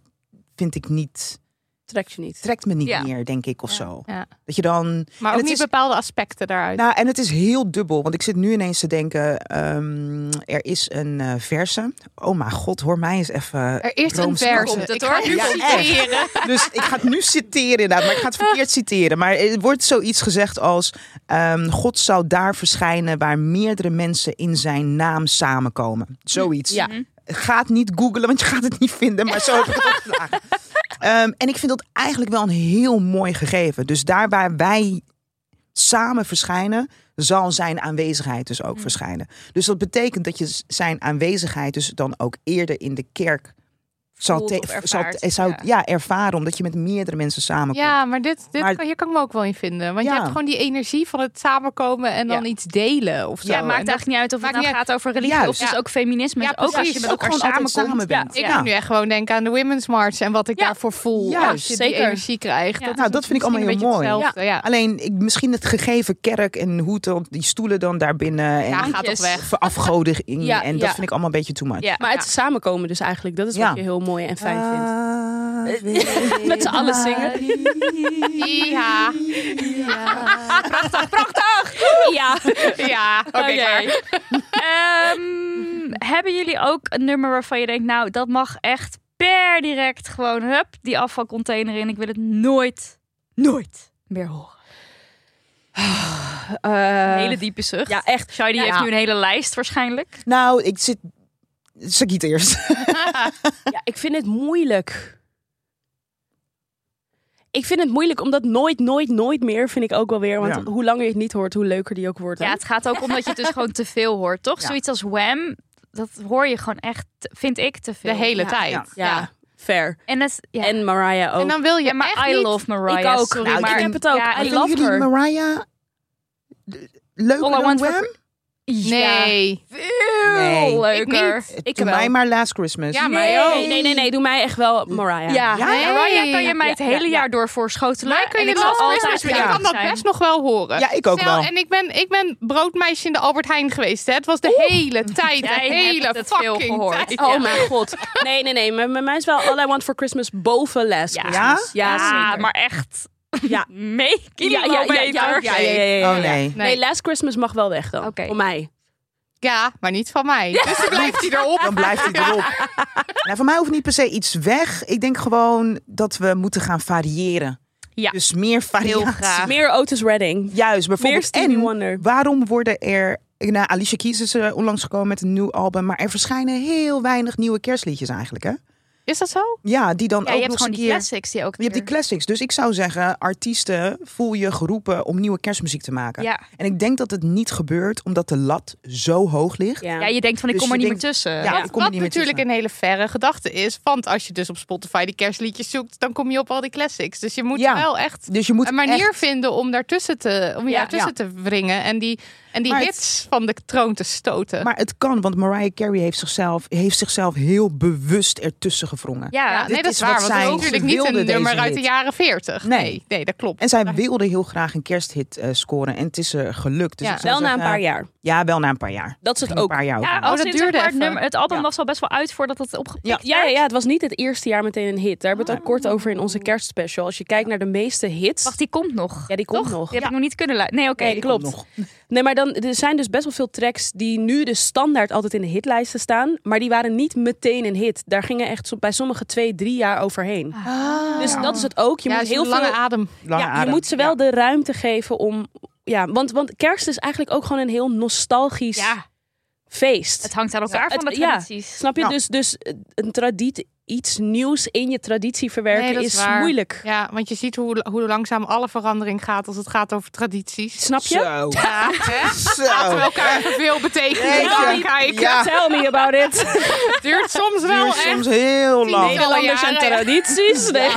[SPEAKER 5] vind ik niet,
[SPEAKER 6] Trek je niet.
[SPEAKER 5] trekt me niet
[SPEAKER 4] Ja.
[SPEAKER 5] meer, denk ik, of zo.
[SPEAKER 3] ja.
[SPEAKER 5] Dat je dan
[SPEAKER 3] Maar
[SPEAKER 5] En
[SPEAKER 3] ook
[SPEAKER 5] het
[SPEAKER 3] niet
[SPEAKER 5] is-
[SPEAKER 3] bepaalde aspecten daaruit.
[SPEAKER 5] Nou, en het is heel dubbel, want ik zit nu ineens te denken: ehm, er is een eh verse. Oh mijn god, hoor mij eens even.
[SPEAKER 3] er is een
[SPEAKER 5] Rooms-
[SPEAKER 3] vers.
[SPEAKER 4] komt het,
[SPEAKER 3] Ik
[SPEAKER 4] hoor.
[SPEAKER 3] ga nu
[SPEAKER 4] Ja,
[SPEAKER 3] citeren.
[SPEAKER 5] Dus ik ga het nu citeren inderdaad, maar ik ga het verkeerd citeren. Maar er wordt zoiets gezegd als: ehm, God zou daar verschijnen waar meerdere mensen in zijn naam samenkomen. Zoiets.
[SPEAKER 6] Ja.
[SPEAKER 5] Ga het niet googlen, want je gaat het niet vinden. Maar zo heb ik het opgeslagen. Ehm, en ik vind dat eigenlijk wel een heel mooi gegeven. Dus daar waar wij samen verschijnen, zal zijn aanwezigheid dus
[SPEAKER 4] Mm.
[SPEAKER 5] ook verschijnen. Dus dat betekent dat je z- zijn aanwezigheid dus dan ook eerder in de kerk zal,
[SPEAKER 4] Voelt
[SPEAKER 5] te-
[SPEAKER 4] of
[SPEAKER 5] zal
[SPEAKER 4] ervaart,
[SPEAKER 5] eh, zou,
[SPEAKER 4] ja.
[SPEAKER 5] ja. ervaren, omdat je met meerdere mensen samenkomt.
[SPEAKER 3] Ja, maar, dit, dit
[SPEAKER 5] Maar-
[SPEAKER 3] kan, hier kan ik me ook wel in vinden. Want
[SPEAKER 5] Ja.
[SPEAKER 3] je hebt gewoon die energie van het samenkomen en dan
[SPEAKER 6] Ja.
[SPEAKER 3] iets delen of zo.
[SPEAKER 4] Ja, het maakt
[SPEAKER 3] En
[SPEAKER 4] eigenlijk niet uit of het
[SPEAKER 3] maakt
[SPEAKER 4] nou
[SPEAKER 3] niet uit.
[SPEAKER 4] gaat over religie of
[SPEAKER 5] Juist.
[SPEAKER 4] dus
[SPEAKER 3] Ja.
[SPEAKER 4] ook feminisme.
[SPEAKER 3] Ja,
[SPEAKER 4] Dus ook als je
[SPEAKER 3] precies.
[SPEAKER 4] met
[SPEAKER 5] Ook
[SPEAKER 4] elkaar
[SPEAKER 5] gewoon altijd
[SPEAKER 4] samenkomt.
[SPEAKER 5] samen bent.
[SPEAKER 4] Ja.
[SPEAKER 3] Ik
[SPEAKER 5] Ja.
[SPEAKER 3] moet nu echt gewoon denken aan de Women's March en wat ik
[SPEAKER 4] Ja.
[SPEAKER 3] daarvoor voel.
[SPEAKER 5] Juist.
[SPEAKER 3] Als je die
[SPEAKER 6] Zeker.
[SPEAKER 3] energie krijgt.
[SPEAKER 4] Ja.
[SPEAKER 3] Dat,
[SPEAKER 5] Nou,
[SPEAKER 3] is
[SPEAKER 5] dat vind ik
[SPEAKER 3] misschien
[SPEAKER 5] allemaal
[SPEAKER 3] een
[SPEAKER 5] heel
[SPEAKER 3] beetje
[SPEAKER 5] mooi.
[SPEAKER 3] hetzelfde, Ja.
[SPEAKER 5] Alleen ik, misschien het gegeven kerk en hoe het dan- die stoelen dan daarbinnen en
[SPEAKER 3] Ja,
[SPEAKER 5] die
[SPEAKER 3] gaat toch weg.
[SPEAKER 5] verafgodiging.
[SPEAKER 6] Ja,
[SPEAKER 5] en dat
[SPEAKER 6] ja.
[SPEAKER 5] vind ik allemaal een beetje too much.
[SPEAKER 4] Ja.
[SPEAKER 6] Maar het samenkomen dus eigenlijk, dat is
[SPEAKER 5] Ja.
[SPEAKER 6] wat je heel mooi en fijn vindt.
[SPEAKER 5] Ah, vindt.
[SPEAKER 6] Met z'n allen zingen.
[SPEAKER 3] Ja,
[SPEAKER 4] Ja.
[SPEAKER 3] ja.
[SPEAKER 5] Oh,
[SPEAKER 3] oké.
[SPEAKER 4] Oké.
[SPEAKER 3] klaar.
[SPEAKER 4] Ehm, hebben jullie ook een nummer waarvan je denkt, nou, dat mag echt per direct gewoon, hup, die afvalcontainer in. Ik wil het nooit, nooit meer horen. Eh, Een hele diepe zucht.
[SPEAKER 6] eh, Ja, echt.
[SPEAKER 4] Shady
[SPEAKER 6] Ja.
[SPEAKER 4] heeft nu een hele lijst waarschijnlijk.
[SPEAKER 5] Nou, ik zit... Sagiet eerst.
[SPEAKER 6] Ja, ik vind het moeilijk. Ik vind het moeilijk, omdat nooit, nooit, nooit meer vind ik ook wel weer. Want
[SPEAKER 5] Ja.
[SPEAKER 6] hoe langer je het niet hoort, hoe leuker die ook wordt. hè?
[SPEAKER 4] Ja, het gaat ook om dat je het dus gewoon te veel hoort, toch?
[SPEAKER 5] Ja.
[SPEAKER 4] Zoiets als Wham, dat hoor je gewoon echt, vind ik, te
[SPEAKER 3] De
[SPEAKER 4] veel.
[SPEAKER 3] hele
[SPEAKER 6] Ja,
[SPEAKER 3] tijd.
[SPEAKER 5] ja.
[SPEAKER 6] Ja, fair.
[SPEAKER 4] En, dat, ja.
[SPEAKER 6] En Mariah ook.
[SPEAKER 3] En dan wil je
[SPEAKER 4] Ja, maar
[SPEAKER 3] echt
[SPEAKER 4] I
[SPEAKER 3] niet-
[SPEAKER 4] love Mariah.
[SPEAKER 6] Ik ook.
[SPEAKER 4] Sorry,
[SPEAKER 5] Nou, ik
[SPEAKER 4] maar
[SPEAKER 6] heb het ook.
[SPEAKER 4] Ja,
[SPEAKER 6] I
[SPEAKER 4] ik-
[SPEAKER 6] love
[SPEAKER 5] Vinden jullie
[SPEAKER 6] her.
[SPEAKER 5] Mariah leuk
[SPEAKER 4] All I
[SPEAKER 5] dan
[SPEAKER 4] want for-
[SPEAKER 5] Wham?
[SPEAKER 3] Nee.
[SPEAKER 4] Veel
[SPEAKER 5] Nee. Ik
[SPEAKER 4] leuker.
[SPEAKER 5] Ik Doe mij maar Last Christmas.
[SPEAKER 3] Ja, maar
[SPEAKER 6] nee,
[SPEAKER 3] ook.
[SPEAKER 6] nee, nee, nee, nee, doe mij echt wel Mariah.
[SPEAKER 4] Ja,
[SPEAKER 5] Ja?
[SPEAKER 4] nee. Mariah kan je
[SPEAKER 3] Ja,
[SPEAKER 4] mij het
[SPEAKER 6] ja,
[SPEAKER 4] hele
[SPEAKER 6] ja.
[SPEAKER 4] jaar door voorschotelen.
[SPEAKER 3] Maar kun
[SPEAKER 4] en
[SPEAKER 3] je
[SPEAKER 4] ik zal
[SPEAKER 3] last
[SPEAKER 4] altijd
[SPEAKER 3] Christmas-
[SPEAKER 4] verjaard
[SPEAKER 3] Ik kan dat
[SPEAKER 4] zijn.
[SPEAKER 3] best nog wel horen.
[SPEAKER 5] Ja, ik ook
[SPEAKER 3] Stel,
[SPEAKER 5] wel.
[SPEAKER 3] En ik ben, ik ben broodmeisje in de Albert Heijn geweest. Hè. Het was de hele tijd, de
[SPEAKER 4] Jij hebt
[SPEAKER 3] hele
[SPEAKER 4] het veel
[SPEAKER 3] fucking
[SPEAKER 4] gehoord.
[SPEAKER 3] tijd.
[SPEAKER 6] Oh mijn god. Nee, nee, nee. Met, met mij is wel All I Want For Christmas boven les.
[SPEAKER 4] Ja.
[SPEAKER 5] Ja?
[SPEAKER 6] Ja,
[SPEAKER 4] Ja,
[SPEAKER 6] zeker.
[SPEAKER 4] maar echt.
[SPEAKER 6] Ja.
[SPEAKER 4] Mee
[SPEAKER 6] Ja, ja, ja, ja, ja, ja, ja, ja.
[SPEAKER 5] Oh nee.
[SPEAKER 6] Nee, Last Christmas mag wel weg dan.
[SPEAKER 4] Oké.
[SPEAKER 6] Voor mij.
[SPEAKER 3] Ja, maar niet van mij. Dus dan blijft hij erop.
[SPEAKER 5] Dan blijft hij erop. Nou, voor mij hoeft niet per se iets weg. Ik denk gewoon dat we moeten gaan variëren.
[SPEAKER 4] Ja.
[SPEAKER 5] Dus meer
[SPEAKER 3] Heel
[SPEAKER 5] variatie.
[SPEAKER 3] graag.
[SPEAKER 6] Meer Otis Redding.
[SPEAKER 5] Juist,
[SPEAKER 6] Meer
[SPEAKER 5] bijvoorbeeld.
[SPEAKER 6] Stevie
[SPEAKER 5] en
[SPEAKER 6] Wonder.
[SPEAKER 5] waarom worden er... Nou, Alicia Keys is eh, onlangs gekomen met een nieuw album. Maar er verschijnen heel weinig nieuwe kerstliedjes eigenlijk, hè?
[SPEAKER 3] Is dat zo?
[SPEAKER 5] Ja, die dan
[SPEAKER 4] Ja,
[SPEAKER 5] ook
[SPEAKER 4] je hebt
[SPEAKER 5] nog
[SPEAKER 4] gewoon
[SPEAKER 5] een
[SPEAKER 4] die
[SPEAKER 5] keer...
[SPEAKER 4] classics die ook
[SPEAKER 5] Je hebt die classics. Dus ik zou zeggen, artiesten voel je geroepen om nieuwe kerstmuziek te maken.
[SPEAKER 4] Ja.
[SPEAKER 5] En ik denk dat het niet gebeurt omdat de lat zo hoog ligt.
[SPEAKER 6] Ja.
[SPEAKER 4] Ja, je denkt van ik
[SPEAKER 5] Dus
[SPEAKER 4] kom er
[SPEAKER 5] je
[SPEAKER 4] niet meer
[SPEAKER 5] denkt-
[SPEAKER 4] tussen.
[SPEAKER 5] Ja,
[SPEAKER 3] Wat,
[SPEAKER 5] ik kom er
[SPEAKER 3] wat
[SPEAKER 5] niet meer
[SPEAKER 3] natuurlijk een
[SPEAKER 5] tussen.
[SPEAKER 3] hele verre gedachte is. Want als je dus op Spotify die kerstliedjes zoekt, dan kom je op al die classics. Dus je moet
[SPEAKER 5] Ja.
[SPEAKER 3] wel echt
[SPEAKER 5] Dus je moet
[SPEAKER 3] een manier
[SPEAKER 5] echt-
[SPEAKER 3] vinden om daartussen te, om je
[SPEAKER 6] Ja,
[SPEAKER 3] daartussen te wringen. En die, en die
[SPEAKER 5] Maar het-
[SPEAKER 3] hits van de troon te stoten.
[SPEAKER 5] Maar het kan, want Mariah Carey heeft zichzelf, heeft zichzelf heel bewust ertussen gevrongen.
[SPEAKER 3] ja,
[SPEAKER 4] Ja,
[SPEAKER 3] nee,
[SPEAKER 5] dit
[SPEAKER 3] dat is,
[SPEAKER 5] is
[SPEAKER 3] waar.
[SPEAKER 5] wat
[SPEAKER 3] Want het
[SPEAKER 5] zij
[SPEAKER 3] is natuurlijk niet
[SPEAKER 5] wilde,
[SPEAKER 3] een
[SPEAKER 5] deze
[SPEAKER 3] nummer uit de
[SPEAKER 5] hit.
[SPEAKER 3] jaren 40. Nee,
[SPEAKER 5] Nee.
[SPEAKER 3] nee, dat klopt.
[SPEAKER 5] En zij wilde heel graag een kersthit eh, scoren en het is er gelukt. Dus
[SPEAKER 3] Ja.
[SPEAKER 5] ik zou
[SPEAKER 6] Wel na een
[SPEAKER 5] zeggen-
[SPEAKER 6] paar jaar.
[SPEAKER 5] Ja, wel na een paar jaar.
[SPEAKER 6] Dat is het
[SPEAKER 5] Ging Een
[SPEAKER 6] ook.
[SPEAKER 5] paar jaar.
[SPEAKER 4] Ja,
[SPEAKER 5] over.
[SPEAKER 4] als
[SPEAKER 3] dat
[SPEAKER 4] in, zeg
[SPEAKER 3] duurde
[SPEAKER 4] maar, het,
[SPEAKER 3] even.
[SPEAKER 4] nummer, het album
[SPEAKER 5] Ja.
[SPEAKER 4] was al best wel uit voordat het opgepikt
[SPEAKER 5] Ja.
[SPEAKER 6] Ja, ja, ja, het was niet het eerste jaar meteen een hit. Daar hebben we het ook kort over in onze kerstspecial. Als je kijkt naar de meeste hits.
[SPEAKER 4] Wacht, die komt nog.
[SPEAKER 6] ja, die komt nog.
[SPEAKER 4] Die heb ik nog niet kunnen luisteren. Nee, oké.
[SPEAKER 6] Nee, klopt. Nee, maar dan, er zijn dus best wel veel tracks die nu de standaard altijd in de hitlijsten staan. Maar die waren niet meteen een hit. Daar gingen echt zo- bij sommige twee, drie jaar overheen. Dus dat is het ook. Je
[SPEAKER 3] Ah. ja,
[SPEAKER 6] moet
[SPEAKER 3] is een
[SPEAKER 6] heel veel.
[SPEAKER 3] lange adem.
[SPEAKER 5] Lange
[SPEAKER 6] ja, je
[SPEAKER 5] adem.
[SPEAKER 6] moet ze wel de ruimte geven om ja, want, want kerst is eigenlijk ook gewoon een heel nostalgisch
[SPEAKER 4] Ja,
[SPEAKER 6] feest.
[SPEAKER 4] het hangt aan elkaar
[SPEAKER 6] Ja,
[SPEAKER 4] van de
[SPEAKER 6] het- ja.
[SPEAKER 4] tradities.
[SPEAKER 6] Snap je?
[SPEAKER 5] Ja.
[SPEAKER 6] Dus, dus een traditie, iets nieuws in je traditie verwerken
[SPEAKER 3] Nee, dat is
[SPEAKER 6] is,
[SPEAKER 3] waar.
[SPEAKER 6] moeilijk.
[SPEAKER 3] Ja, want je ziet hoe, hoe langzaam alle verandering gaat als het gaat over tradities.
[SPEAKER 6] Snap je?
[SPEAKER 5] Zo.
[SPEAKER 3] Ja, hè? Laten we
[SPEAKER 5] Zo.
[SPEAKER 3] elkaar even veel betekenen
[SPEAKER 5] Jeetje.
[SPEAKER 3] aankijken.
[SPEAKER 5] Ja.
[SPEAKER 6] Tell me about it.
[SPEAKER 3] Het duurt soms wel
[SPEAKER 5] Duurt
[SPEAKER 3] echt.
[SPEAKER 5] soms heel lang.
[SPEAKER 6] Nederlanders en
[SPEAKER 3] jaren, ja.
[SPEAKER 6] tradities. Nee.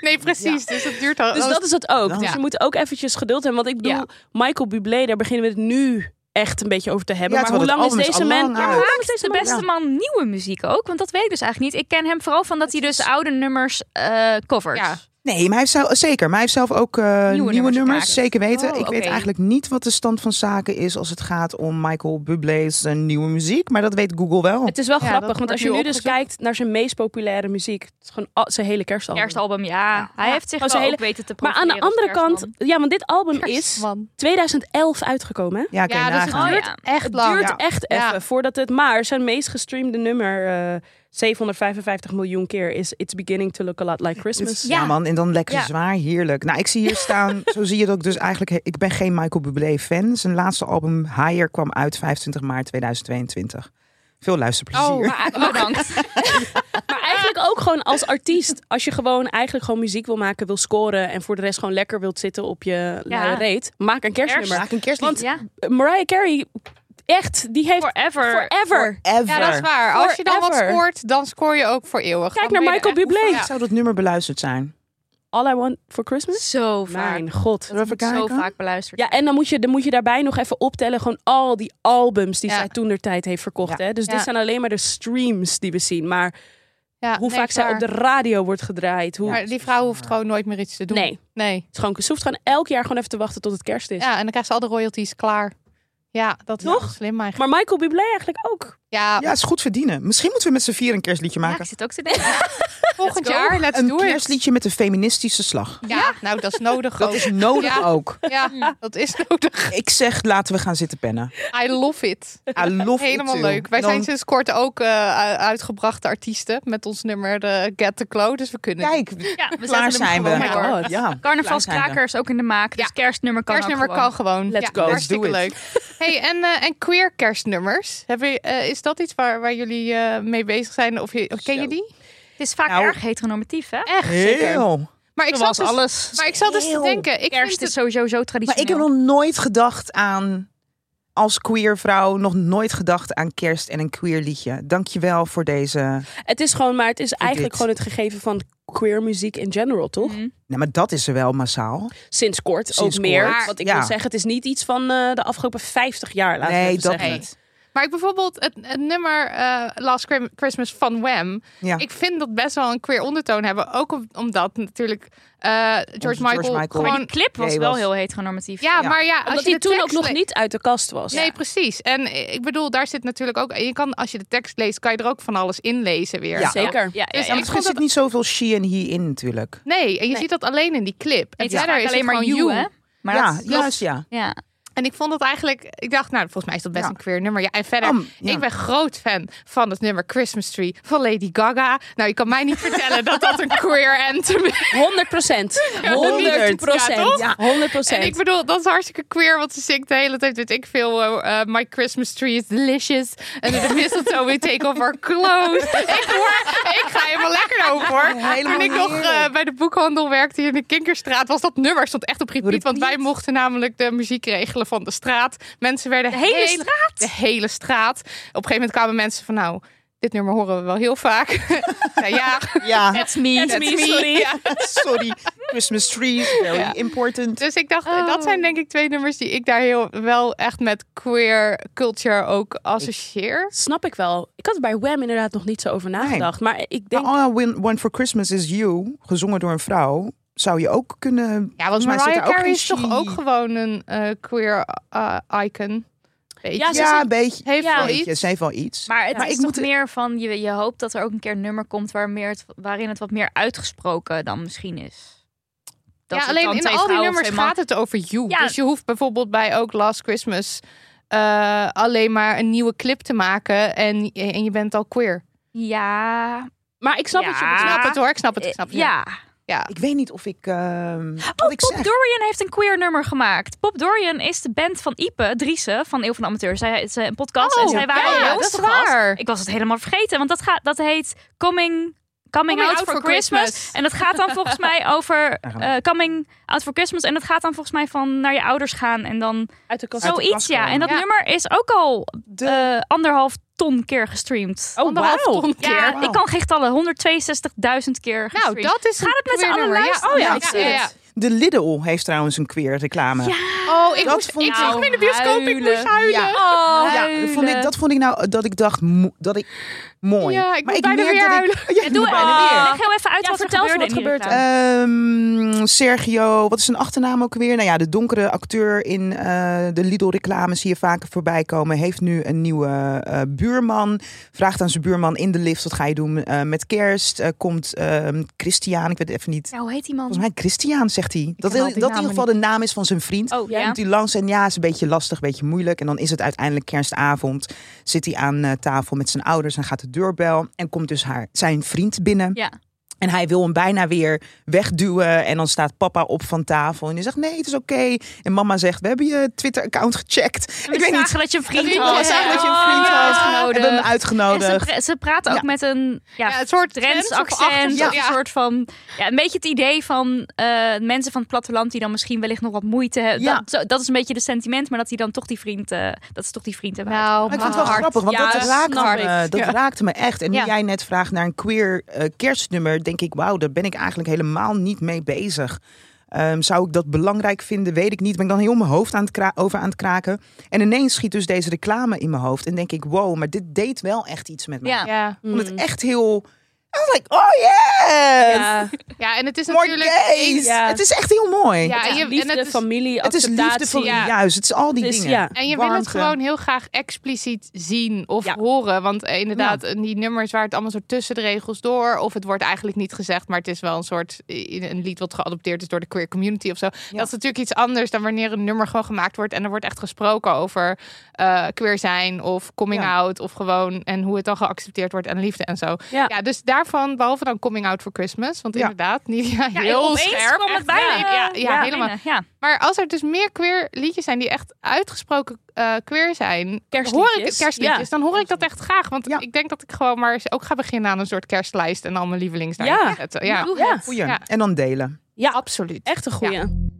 [SPEAKER 3] Nee, precies. Dus het duurt al.
[SPEAKER 6] Dus dat is het ook. Dus
[SPEAKER 3] Ja.
[SPEAKER 6] je moet ook eventjes geduld hebben. Want ik bedoel,
[SPEAKER 3] Ja.
[SPEAKER 6] Michael Bublé, daar beginnen we het nu echt een beetje over te hebben.
[SPEAKER 5] Ja,
[SPEAKER 6] maar hoe
[SPEAKER 5] terwijl
[SPEAKER 6] lang
[SPEAKER 5] het
[SPEAKER 6] is
[SPEAKER 5] album is
[SPEAKER 6] deze
[SPEAKER 5] al
[SPEAKER 6] man...
[SPEAKER 5] lang
[SPEAKER 6] Ja,
[SPEAKER 5] uit.
[SPEAKER 6] hoe lang is
[SPEAKER 4] De
[SPEAKER 6] deze man...
[SPEAKER 4] beste man nieuwe muziek ook, want dat weet ik dus eigenlijk niet. Ik ken hem vooral van dat hij dus oude nummers eh covert.
[SPEAKER 3] Ja.
[SPEAKER 5] Nee, maar hij heeft zelf, zeker. Maar hij heeft zelf ook eh, nieuwe,
[SPEAKER 4] nummers
[SPEAKER 5] nummers,
[SPEAKER 4] gemaakt.
[SPEAKER 5] zeker weten.
[SPEAKER 4] Oh,
[SPEAKER 5] ik weet
[SPEAKER 4] oké.
[SPEAKER 5] eigenlijk niet wat de stand van zaken is als het gaat om Michael Bublé's eh, nieuwe muziek. Maar dat weet Google wel.
[SPEAKER 6] Het is wel
[SPEAKER 3] Ja, dat
[SPEAKER 6] grappig, want
[SPEAKER 3] wordt
[SPEAKER 6] als je
[SPEAKER 3] nu
[SPEAKER 6] nu dus
[SPEAKER 3] opgezocht.
[SPEAKER 6] kijkt naar zijn meest populaire muziek, het is gewoon al- zijn hele kerstalbum.
[SPEAKER 4] Kerstalbum, Oh. ja. Hij heeft zich
[SPEAKER 6] Oh,
[SPEAKER 4] wel
[SPEAKER 6] zijn
[SPEAKER 4] ook
[SPEAKER 6] hele-
[SPEAKER 4] weten te
[SPEAKER 6] Maar aan de
[SPEAKER 4] profileren als
[SPEAKER 6] andere kant,
[SPEAKER 4] kerstman.
[SPEAKER 6] ja, want dit album is
[SPEAKER 3] Kerstman.
[SPEAKER 6] 2011 uitgekomen. hè?
[SPEAKER 5] Ja, oké,
[SPEAKER 3] Ja, dus het
[SPEAKER 5] nagaan.
[SPEAKER 4] Oh,
[SPEAKER 3] duurt
[SPEAKER 4] ja.
[SPEAKER 3] echt
[SPEAKER 6] Het
[SPEAKER 3] lang.
[SPEAKER 6] duurt
[SPEAKER 3] Ja.
[SPEAKER 6] echt even
[SPEAKER 3] Ja.
[SPEAKER 6] voordat het. Maar zijn meest gestreamde nummer, eh, 755 miljoen keer, is It's Beginning to Look a Lot Like
[SPEAKER 5] Dit
[SPEAKER 6] Christmas.
[SPEAKER 5] is- ja.
[SPEAKER 4] Ja.
[SPEAKER 5] man, en dan lekker
[SPEAKER 4] Ja.
[SPEAKER 5] zwaar, heerlijk. Nou, ik zie hier staan, zo zie je dat ik dus eigenlijk... he- Ik ben geen Michael Bublé fan. Zijn laatste album, Higher, kwam uit 25 maart 2022. Veel luisterplezier.
[SPEAKER 3] Oh, maar-
[SPEAKER 4] Maar bedankt.
[SPEAKER 6] Maar eigenlijk ook gewoon als artiest. Als je gewoon eigenlijk gewoon muziek wil maken, wil scoren en voor de rest gewoon lekker wilt zitten op je luie reet, maak een kerstnummer.
[SPEAKER 5] Maak een kerstlied.
[SPEAKER 6] Want
[SPEAKER 4] ja,
[SPEAKER 6] Mariah Carey, echt, die heeft
[SPEAKER 4] forever.
[SPEAKER 6] forever.
[SPEAKER 5] Ever.
[SPEAKER 3] Ja, dat is waar. Als je dan wat
[SPEAKER 6] Forever.
[SPEAKER 3] scoort, dan scoor je ook voor eeuwig.
[SPEAKER 6] Kijk
[SPEAKER 3] Dan
[SPEAKER 6] naar
[SPEAKER 3] ben je
[SPEAKER 6] Michael
[SPEAKER 3] er echt-
[SPEAKER 6] Bublé.
[SPEAKER 5] Ik zou dat nummer beluisterd zijn.
[SPEAKER 6] All I Want for Christmas.
[SPEAKER 4] Zo vaak.
[SPEAKER 6] Mijn god.
[SPEAKER 5] Zullen we even
[SPEAKER 4] Zo
[SPEAKER 5] kijken?
[SPEAKER 4] vaak beluisterd.
[SPEAKER 6] Ja, en dan moet, je, dan moet je daarbij nog even optellen gewoon al die albums die
[SPEAKER 3] Ja.
[SPEAKER 6] zij toen der tijd heeft verkocht.
[SPEAKER 5] Ja.
[SPEAKER 6] Hè? Dus
[SPEAKER 3] Ja.
[SPEAKER 6] dit zijn alleen maar de streams die we zien. Maar
[SPEAKER 3] Ja,
[SPEAKER 6] hoe
[SPEAKER 3] nee,
[SPEAKER 6] vaak zij
[SPEAKER 3] waar.
[SPEAKER 6] op de radio wordt gedraaid. Hoe...
[SPEAKER 3] Maar die vrouw hoeft gewoon nooit meer iets te doen.
[SPEAKER 6] Nee, het
[SPEAKER 3] Nee.
[SPEAKER 6] is gewoon, ze hoeft gewoon elk jaar gewoon even te wachten tot het kerst is.
[SPEAKER 3] Ja, en dan krijgt ze al de royalties klaar. Ja, dat is
[SPEAKER 6] Toch?
[SPEAKER 3] wel slim eigenlijk.
[SPEAKER 6] Maar Michael Bublé eigenlijk ook.
[SPEAKER 3] Ja,
[SPEAKER 5] Ja, is goed verdienen. Misschien moeten we met z'n vier een kerstliedje
[SPEAKER 4] Ja, ik
[SPEAKER 5] maken.
[SPEAKER 4] zit ook te denken.
[SPEAKER 3] volgend jaar, let's
[SPEAKER 5] een
[SPEAKER 3] do it.
[SPEAKER 5] kerstliedje met een feministische slag.
[SPEAKER 3] Ja, nou, dat is nodig
[SPEAKER 5] Dat
[SPEAKER 3] ook.
[SPEAKER 5] is nodig
[SPEAKER 3] Ja.
[SPEAKER 5] ook.
[SPEAKER 3] Ja, dat is nodig.
[SPEAKER 5] Ik zeg, laten we gaan zitten pennen.
[SPEAKER 3] I love it.
[SPEAKER 5] I love it
[SPEAKER 3] Helemaal
[SPEAKER 5] too.
[SPEAKER 3] leuk. Wij
[SPEAKER 5] Dan-
[SPEAKER 3] zijn sinds kort ook eh, u- uitgebrachte artiesten met ons nummer de Get the Glow. Dus we kunnen.
[SPEAKER 5] Kijk,
[SPEAKER 4] Ja, we zetten
[SPEAKER 5] klaar
[SPEAKER 4] hem
[SPEAKER 5] zijn we.
[SPEAKER 4] gewoon
[SPEAKER 3] my
[SPEAKER 4] door.
[SPEAKER 5] god, ja.
[SPEAKER 4] Carnavalskraker is ook in de maak, dus
[SPEAKER 3] Ja.
[SPEAKER 4] kerstnummer kan
[SPEAKER 3] kerstnummer
[SPEAKER 4] ook
[SPEAKER 3] kan
[SPEAKER 4] gewoon.
[SPEAKER 3] gewoon.
[SPEAKER 6] Let's go.
[SPEAKER 3] ja,
[SPEAKER 6] Let's
[SPEAKER 3] Hartstikke
[SPEAKER 5] do it.
[SPEAKER 3] leuk. Hey, en, eh, en queer kerstnummers. Hebben je- eh, is dat iets waar, waar jullie eh, mee bezig zijn? Of je, of ken je die?
[SPEAKER 4] Het is vaak
[SPEAKER 5] Nou.
[SPEAKER 4] erg heteronormatief, hè?
[SPEAKER 3] Echt. zeker.
[SPEAKER 5] Heel.
[SPEAKER 3] Maar ik zat
[SPEAKER 5] Zoals
[SPEAKER 3] dus,
[SPEAKER 5] alles.
[SPEAKER 3] maar ik zat dus te
[SPEAKER 5] Heel.
[SPEAKER 3] denken. Ik
[SPEAKER 4] Kerst
[SPEAKER 3] vind
[SPEAKER 4] is
[SPEAKER 3] het,
[SPEAKER 4] sowieso zo
[SPEAKER 5] Maar ik heb
[SPEAKER 4] traditioneel.
[SPEAKER 5] nog nooit gedacht aan, als queer vrouw, nog nooit gedacht aan kerst en een queer liedje. Dankjewel voor deze.
[SPEAKER 6] Het is gewoon, maar het is eigenlijk
[SPEAKER 5] dit.
[SPEAKER 6] gewoon het gegeven van queer muziek in general, toch?
[SPEAKER 3] Mhm.
[SPEAKER 5] Nou, maar dat is er wel massaal.
[SPEAKER 6] Sinds kort
[SPEAKER 5] Sinds
[SPEAKER 6] ook meer.
[SPEAKER 5] kort,
[SPEAKER 6] Want ik
[SPEAKER 5] ja.
[SPEAKER 6] wil zeggen, het is niet iets van eh, de afgelopen 50 jaar, laten we
[SPEAKER 5] nee,
[SPEAKER 6] even
[SPEAKER 5] dat
[SPEAKER 6] zeggen.
[SPEAKER 5] niet.
[SPEAKER 3] maar ik bijvoorbeeld het, het nummer eh, Last Crim- Christmas van Wham.
[SPEAKER 5] Ja.
[SPEAKER 3] Ik vind dat best wel een queer ondertoon hebben. Ook om- omdat natuurlijk eh, George,
[SPEAKER 5] George
[SPEAKER 3] Michael
[SPEAKER 5] Michael.
[SPEAKER 3] gewoon...
[SPEAKER 4] Die clip was
[SPEAKER 5] Nee,
[SPEAKER 4] wel
[SPEAKER 5] was-
[SPEAKER 4] heel heteronormatief.
[SPEAKER 3] Ja,
[SPEAKER 5] Ja.
[SPEAKER 3] maar ja, als
[SPEAKER 6] Omdat
[SPEAKER 3] je
[SPEAKER 6] hij
[SPEAKER 3] de
[SPEAKER 6] toen ook
[SPEAKER 3] tekst
[SPEAKER 6] nog
[SPEAKER 3] le-
[SPEAKER 6] niet uit de kast was.
[SPEAKER 3] Nee, precies. En eh, ik bedoel, daar zit natuurlijk ook. Je kan, als je de tekst leest, kan je er ook van alles inlezen weer.
[SPEAKER 5] Ja.
[SPEAKER 6] Zeker.
[SPEAKER 4] Ja, ja,
[SPEAKER 3] Dus
[SPEAKER 4] ja.
[SPEAKER 3] ik
[SPEAKER 5] Want er
[SPEAKER 3] vond
[SPEAKER 5] zit
[SPEAKER 3] dat-
[SPEAKER 5] niet zoveel she en he in natuurlijk.
[SPEAKER 3] Nee, en je ziet dat alleen in die clip. En
[SPEAKER 4] Het is
[SPEAKER 3] verder
[SPEAKER 4] vaak
[SPEAKER 3] is
[SPEAKER 4] alleen
[SPEAKER 3] het
[SPEAKER 4] maar
[SPEAKER 3] gewoon
[SPEAKER 4] you, hè? Maar
[SPEAKER 5] ja,
[SPEAKER 4] dat is-
[SPEAKER 5] juist ja.
[SPEAKER 4] Ja.
[SPEAKER 3] En ik vond dat eigenlijk. Ik dacht, nou, volgens mij is dat best
[SPEAKER 5] Ja.
[SPEAKER 3] een queer nummer. Ja, en verder,
[SPEAKER 5] Am, ja.
[SPEAKER 3] ik ben groot fan van het nummer Christmas Tree van Lady Gaga. Nou, je kan mij niet vertellen dat dat een queer anthem is.
[SPEAKER 6] 100 procent. 100
[SPEAKER 3] Ja, toch?
[SPEAKER 6] procent. 100
[SPEAKER 3] En ik bedoel, dat is hartstikke queer, want ze zingt de hele tijd, weet ik veel, eh, eh, My Christmas Tree is delicious. En de mistletoe, we take off our clothes. ik, hoor, ik ga helemaal lekker over, hoor.
[SPEAKER 5] Helemaal
[SPEAKER 3] Toen ik nog eh,
[SPEAKER 5] heerlijk.
[SPEAKER 3] bij de boekhandel werkte hier in de Kinkerstraat, was dat nummer stond echt op repeat. Want wij mochten namelijk de muziek regelen van de straat. Mensen werden
[SPEAKER 4] De hele
[SPEAKER 3] straat? De hele straat. Op een gegeven moment kwamen mensen van, nou, dit nummer horen we wel heel vaak. Ik zei, ja,
[SPEAKER 5] Ja,
[SPEAKER 4] me.
[SPEAKER 3] that's me. Ja.
[SPEAKER 5] sorry. Christmas trees, very
[SPEAKER 3] Ja.
[SPEAKER 5] important.
[SPEAKER 3] Dus ik dacht, dat zijn denk ik twee nummers die ik daar heel wel echt met queer culture ook associeer.
[SPEAKER 6] Snap ik wel. Ik had er bij Wham inderdaad nog niet zo over nagedacht. Maar ik denk...
[SPEAKER 5] Maar All I oh, Win- Want for Christmas is You, gezongen door een vrouw, zou je ook kunnen.
[SPEAKER 3] Ja, want
[SPEAKER 5] volgens mij zit
[SPEAKER 3] Mariah
[SPEAKER 5] daar ook
[SPEAKER 3] Carey
[SPEAKER 5] geen
[SPEAKER 3] is toch
[SPEAKER 5] she-
[SPEAKER 3] ook gewoon een eh, queer eh, icon. Beetje.
[SPEAKER 6] Ja, ze
[SPEAKER 5] Ja,
[SPEAKER 6] is-
[SPEAKER 5] een beetje.
[SPEAKER 3] heeft
[SPEAKER 4] ja,
[SPEAKER 3] wel
[SPEAKER 5] Weet je,
[SPEAKER 3] iets.
[SPEAKER 5] Ze heeft wel iets.
[SPEAKER 4] Maar het
[SPEAKER 5] Maar
[SPEAKER 4] is
[SPEAKER 5] ik
[SPEAKER 4] toch
[SPEAKER 5] moet-
[SPEAKER 4] meer van, je, je hoopt dat er ook een keer een nummer komt waar meer het, waarin het wat meer uitgesproken dan misschien is.
[SPEAKER 3] ja,
[SPEAKER 4] Dat het
[SPEAKER 3] alleen
[SPEAKER 4] dan
[SPEAKER 3] in
[SPEAKER 4] twee
[SPEAKER 3] al die
[SPEAKER 4] vrouwen of
[SPEAKER 3] nummers
[SPEAKER 4] twee mannen-
[SPEAKER 3] gaat het over you.
[SPEAKER 4] Ja.
[SPEAKER 3] Dus je hoeft bijvoorbeeld bij ook Last Christmas eh, alleen maar een nieuwe clip te maken en, en je bent al queer.
[SPEAKER 4] Ja,
[SPEAKER 6] Maar ik snap het je
[SPEAKER 4] Ja.
[SPEAKER 3] Ik
[SPEAKER 6] bedoelt. Ah.
[SPEAKER 3] snap het hoor, ik snap het, ik
[SPEAKER 4] eh,
[SPEAKER 3] snap het.
[SPEAKER 4] ja.
[SPEAKER 3] Ja.
[SPEAKER 5] Ik weet niet of ik. ehm,
[SPEAKER 4] Oh,
[SPEAKER 5] wat ik
[SPEAKER 4] Pop
[SPEAKER 5] zeg.
[SPEAKER 4] Dorian heeft een queer nummer gemaakt. Pop Dorian is de band van Ipe Driessen van Eeuw van de Amateur. Zij is eh, een podcast en
[SPEAKER 3] Oh,
[SPEAKER 4] zij waren
[SPEAKER 3] ja,
[SPEAKER 4] bij ons
[SPEAKER 3] dat is
[SPEAKER 4] te gast.
[SPEAKER 3] waar.
[SPEAKER 4] Ik was het helemaal vergeten, want dat, gaat, dat heet Coming... Coming, out, for, Christmas. En dat gaat dan volgens mij over eh, Coming Out for Christmas. En dat gaat dan volgens mij van naar je ouders gaan en dan
[SPEAKER 6] Uit de kast.
[SPEAKER 4] zoiets.
[SPEAKER 5] kast
[SPEAKER 4] Ja. En dat
[SPEAKER 3] Ja.
[SPEAKER 4] nummer is ook al eh, anderhalf ton keer gestreamd.
[SPEAKER 6] Oh,
[SPEAKER 3] Anderhalf
[SPEAKER 6] wauw.
[SPEAKER 3] ton keer.
[SPEAKER 4] Ja,
[SPEAKER 5] Wauw.
[SPEAKER 4] ik kan geen getallen. 162.000 keer
[SPEAKER 3] Nou,
[SPEAKER 4] gestreamd.
[SPEAKER 3] dat is
[SPEAKER 4] Gaat het met z'n
[SPEAKER 3] een
[SPEAKER 4] allen
[SPEAKER 3] queer nummer.
[SPEAKER 4] luisteren?
[SPEAKER 3] Ja,
[SPEAKER 4] Ja,
[SPEAKER 3] oh,
[SPEAKER 4] ik
[SPEAKER 3] ja,
[SPEAKER 4] zie
[SPEAKER 3] ja,
[SPEAKER 4] het.
[SPEAKER 3] ja.
[SPEAKER 5] De Lidl heeft trouwens een queer reclame. Ja,
[SPEAKER 3] Oh, ik
[SPEAKER 5] Dat
[SPEAKER 3] moest,
[SPEAKER 5] vond
[SPEAKER 3] ik
[SPEAKER 5] ik
[SPEAKER 3] zag hem in de bioscoop, ik moest
[SPEAKER 4] huilen.
[SPEAKER 3] huilen.
[SPEAKER 4] Oh,
[SPEAKER 3] Ja.
[SPEAKER 5] dat, vond ik, dat vond ik nou dat ik dacht mo- dat ik mooi.
[SPEAKER 3] Ja, ik
[SPEAKER 5] maar
[SPEAKER 3] moet bijna
[SPEAKER 5] merk
[SPEAKER 3] weer
[SPEAKER 5] dat
[SPEAKER 3] huilen.
[SPEAKER 5] Ik, ja, ik
[SPEAKER 4] Doe
[SPEAKER 5] moet bijna
[SPEAKER 4] oh.
[SPEAKER 5] weer.
[SPEAKER 4] Leg heel even uit
[SPEAKER 6] Ja,
[SPEAKER 4] wat er
[SPEAKER 6] vertel eens
[SPEAKER 4] gebeurde. in
[SPEAKER 6] wat
[SPEAKER 4] die
[SPEAKER 6] gebeurt
[SPEAKER 4] reclame.
[SPEAKER 5] Ehm, Sergio, wat is zijn achternaam ook weer? Nou ja, de donkere acteur in eh, de Lidl-reclames zie je vaker voorbij komen. Heeft nu een nieuwe eh, buurman. Vraagt aan zijn buurman in de lift: wat ga je doen eh, met kerst? Eh, komt ehm, Christian, ik weet even niet.
[SPEAKER 4] Ja, hoe heet die man?
[SPEAKER 5] Volgens mij Christian, zegt hij. Dat,
[SPEAKER 3] ken al die
[SPEAKER 5] dat in ieder
[SPEAKER 3] namen
[SPEAKER 5] geval de naam is van zijn vriend.
[SPEAKER 4] Oh, ja.
[SPEAKER 5] Komt hij langs en ja, is een beetje lastig, een beetje moeilijk. En dan is het uiteindelijk kerstavond. Zit hij aan eh, tafel met zijn ouders en gaat de deurbel. En komt dus haar, zijn vriend binnen.
[SPEAKER 4] Ja.
[SPEAKER 5] En hij wil hem bijna weer wegduwen. En dan staat papa op van tafel. En hij zegt: Nee, het is oké. En mama zegt: We hebben je Twitter-account gecheckt.
[SPEAKER 4] We
[SPEAKER 5] ik weet niet.
[SPEAKER 4] zagen dat je een vriend
[SPEAKER 3] Vriend
[SPEAKER 4] had.
[SPEAKER 3] had.
[SPEAKER 5] We zagen dat je een
[SPEAKER 4] Oh,
[SPEAKER 5] vriend
[SPEAKER 4] ja.
[SPEAKER 5] had. We
[SPEAKER 4] Uitgenodigd.
[SPEAKER 5] hebben hem
[SPEAKER 4] En ze,
[SPEAKER 5] uitgenodigd.
[SPEAKER 4] pra- ze praten ook
[SPEAKER 5] Ja.
[SPEAKER 4] met een ja,
[SPEAKER 3] Ja, het soort
[SPEAKER 4] Drents
[SPEAKER 3] Drents of
[SPEAKER 4] accent.
[SPEAKER 3] Achters,
[SPEAKER 4] of
[SPEAKER 3] ja.
[SPEAKER 4] Een soort van. Ja, een beetje het idee van eh, mensen van het platteland die dan misschien wellicht nog wat moeite hebben.
[SPEAKER 5] Ja.
[SPEAKER 4] Dat, zo- dat is een beetje de sentiment, maar dat die dan toch die vriend. eh, dat ze toch die vriend hebben.
[SPEAKER 3] Nou,
[SPEAKER 5] Maar ik vond het wel
[SPEAKER 3] hard.
[SPEAKER 5] grappig, want
[SPEAKER 4] Ja,
[SPEAKER 5] dat,
[SPEAKER 4] dat
[SPEAKER 5] raakte
[SPEAKER 4] snap
[SPEAKER 5] me,
[SPEAKER 4] ik.
[SPEAKER 5] dat
[SPEAKER 4] Ja.
[SPEAKER 5] raakte me echt. En nu
[SPEAKER 4] Ja.
[SPEAKER 5] jij net vraagt naar een queer eh, kerstnummer, denk ik, wauw, daar ben ik eigenlijk helemaal niet mee bezig. Ehm, zou ik dat belangrijk vinden? Weet ik niet. Ben ik dan heel mijn hoofd aan het kra- over aan het kraken. En ineens schiet dus deze reclame in mijn hoofd. En denk ik, wow, maar dit deed wel echt iets met mij.
[SPEAKER 4] Ja.
[SPEAKER 3] Ja.
[SPEAKER 5] Ik
[SPEAKER 4] Mm.
[SPEAKER 5] vond het echt heel... I was like, oh yes!
[SPEAKER 6] Ja,
[SPEAKER 3] ja, en het is
[SPEAKER 5] More
[SPEAKER 3] natuurlijk...
[SPEAKER 5] gays!
[SPEAKER 6] Ja.
[SPEAKER 5] Het is echt heel mooi.
[SPEAKER 3] Ja, en je, en
[SPEAKER 6] liefde,
[SPEAKER 3] het is,
[SPEAKER 6] familie,
[SPEAKER 5] het is liefde voor
[SPEAKER 6] acceptatie.
[SPEAKER 3] ja.
[SPEAKER 5] juist. Het is al die
[SPEAKER 6] Het is-
[SPEAKER 5] dingen.
[SPEAKER 6] ja.
[SPEAKER 3] en je wil het
[SPEAKER 5] Warmte.
[SPEAKER 3] gewoon heel graag expliciet zien of
[SPEAKER 6] Ja.
[SPEAKER 3] horen. Want eh, inderdaad, in die nummers waar het allemaal zo tussen de regels door... of het wordt eigenlijk niet gezegd, maar het is wel een soort... eh, een lied wat geadopteerd is door de queer community of zo. Dat is natuurlijk iets anders dan wanneer een nummer gewoon gemaakt wordt... en er wordt echt gesproken over eh, queer zijn of coming
[SPEAKER 5] Ja.
[SPEAKER 3] out... of gewoon en hoe het dan geaccepteerd wordt en liefde en zo.
[SPEAKER 6] Ja.
[SPEAKER 3] Ja, dus daarvan, behalve dan Coming Out for Christmas. Want
[SPEAKER 5] Ja.
[SPEAKER 3] inderdaad, Nidia,
[SPEAKER 4] Ja,
[SPEAKER 3] heel
[SPEAKER 4] opeens
[SPEAKER 3] scherp.
[SPEAKER 4] kwam het
[SPEAKER 3] echt.
[SPEAKER 4] bijna.
[SPEAKER 3] Ja, ja, ja, helemaal.
[SPEAKER 4] binnen, Ja.
[SPEAKER 3] Maar als er dus meer queer liedjes zijn die echt uitgesproken eh, queer zijn.
[SPEAKER 6] Kerstliedjes.
[SPEAKER 3] Hoor ik het, kerstliedjes.
[SPEAKER 6] Ja.
[SPEAKER 3] Dan hoor ik dat echt graag. Want
[SPEAKER 5] Ja.
[SPEAKER 3] ik denk dat ik gewoon maar eens ook ga beginnen aan een soort kerstlijst. En al mijn lievelings daarin
[SPEAKER 6] Ja.
[SPEAKER 3] te zetten. Ja.
[SPEAKER 4] Doe
[SPEAKER 6] Ja.
[SPEAKER 4] het.
[SPEAKER 5] Goeie.
[SPEAKER 3] Ja.
[SPEAKER 5] En dan delen.
[SPEAKER 6] Ja,
[SPEAKER 3] absoluut.
[SPEAKER 6] Echt een goeie.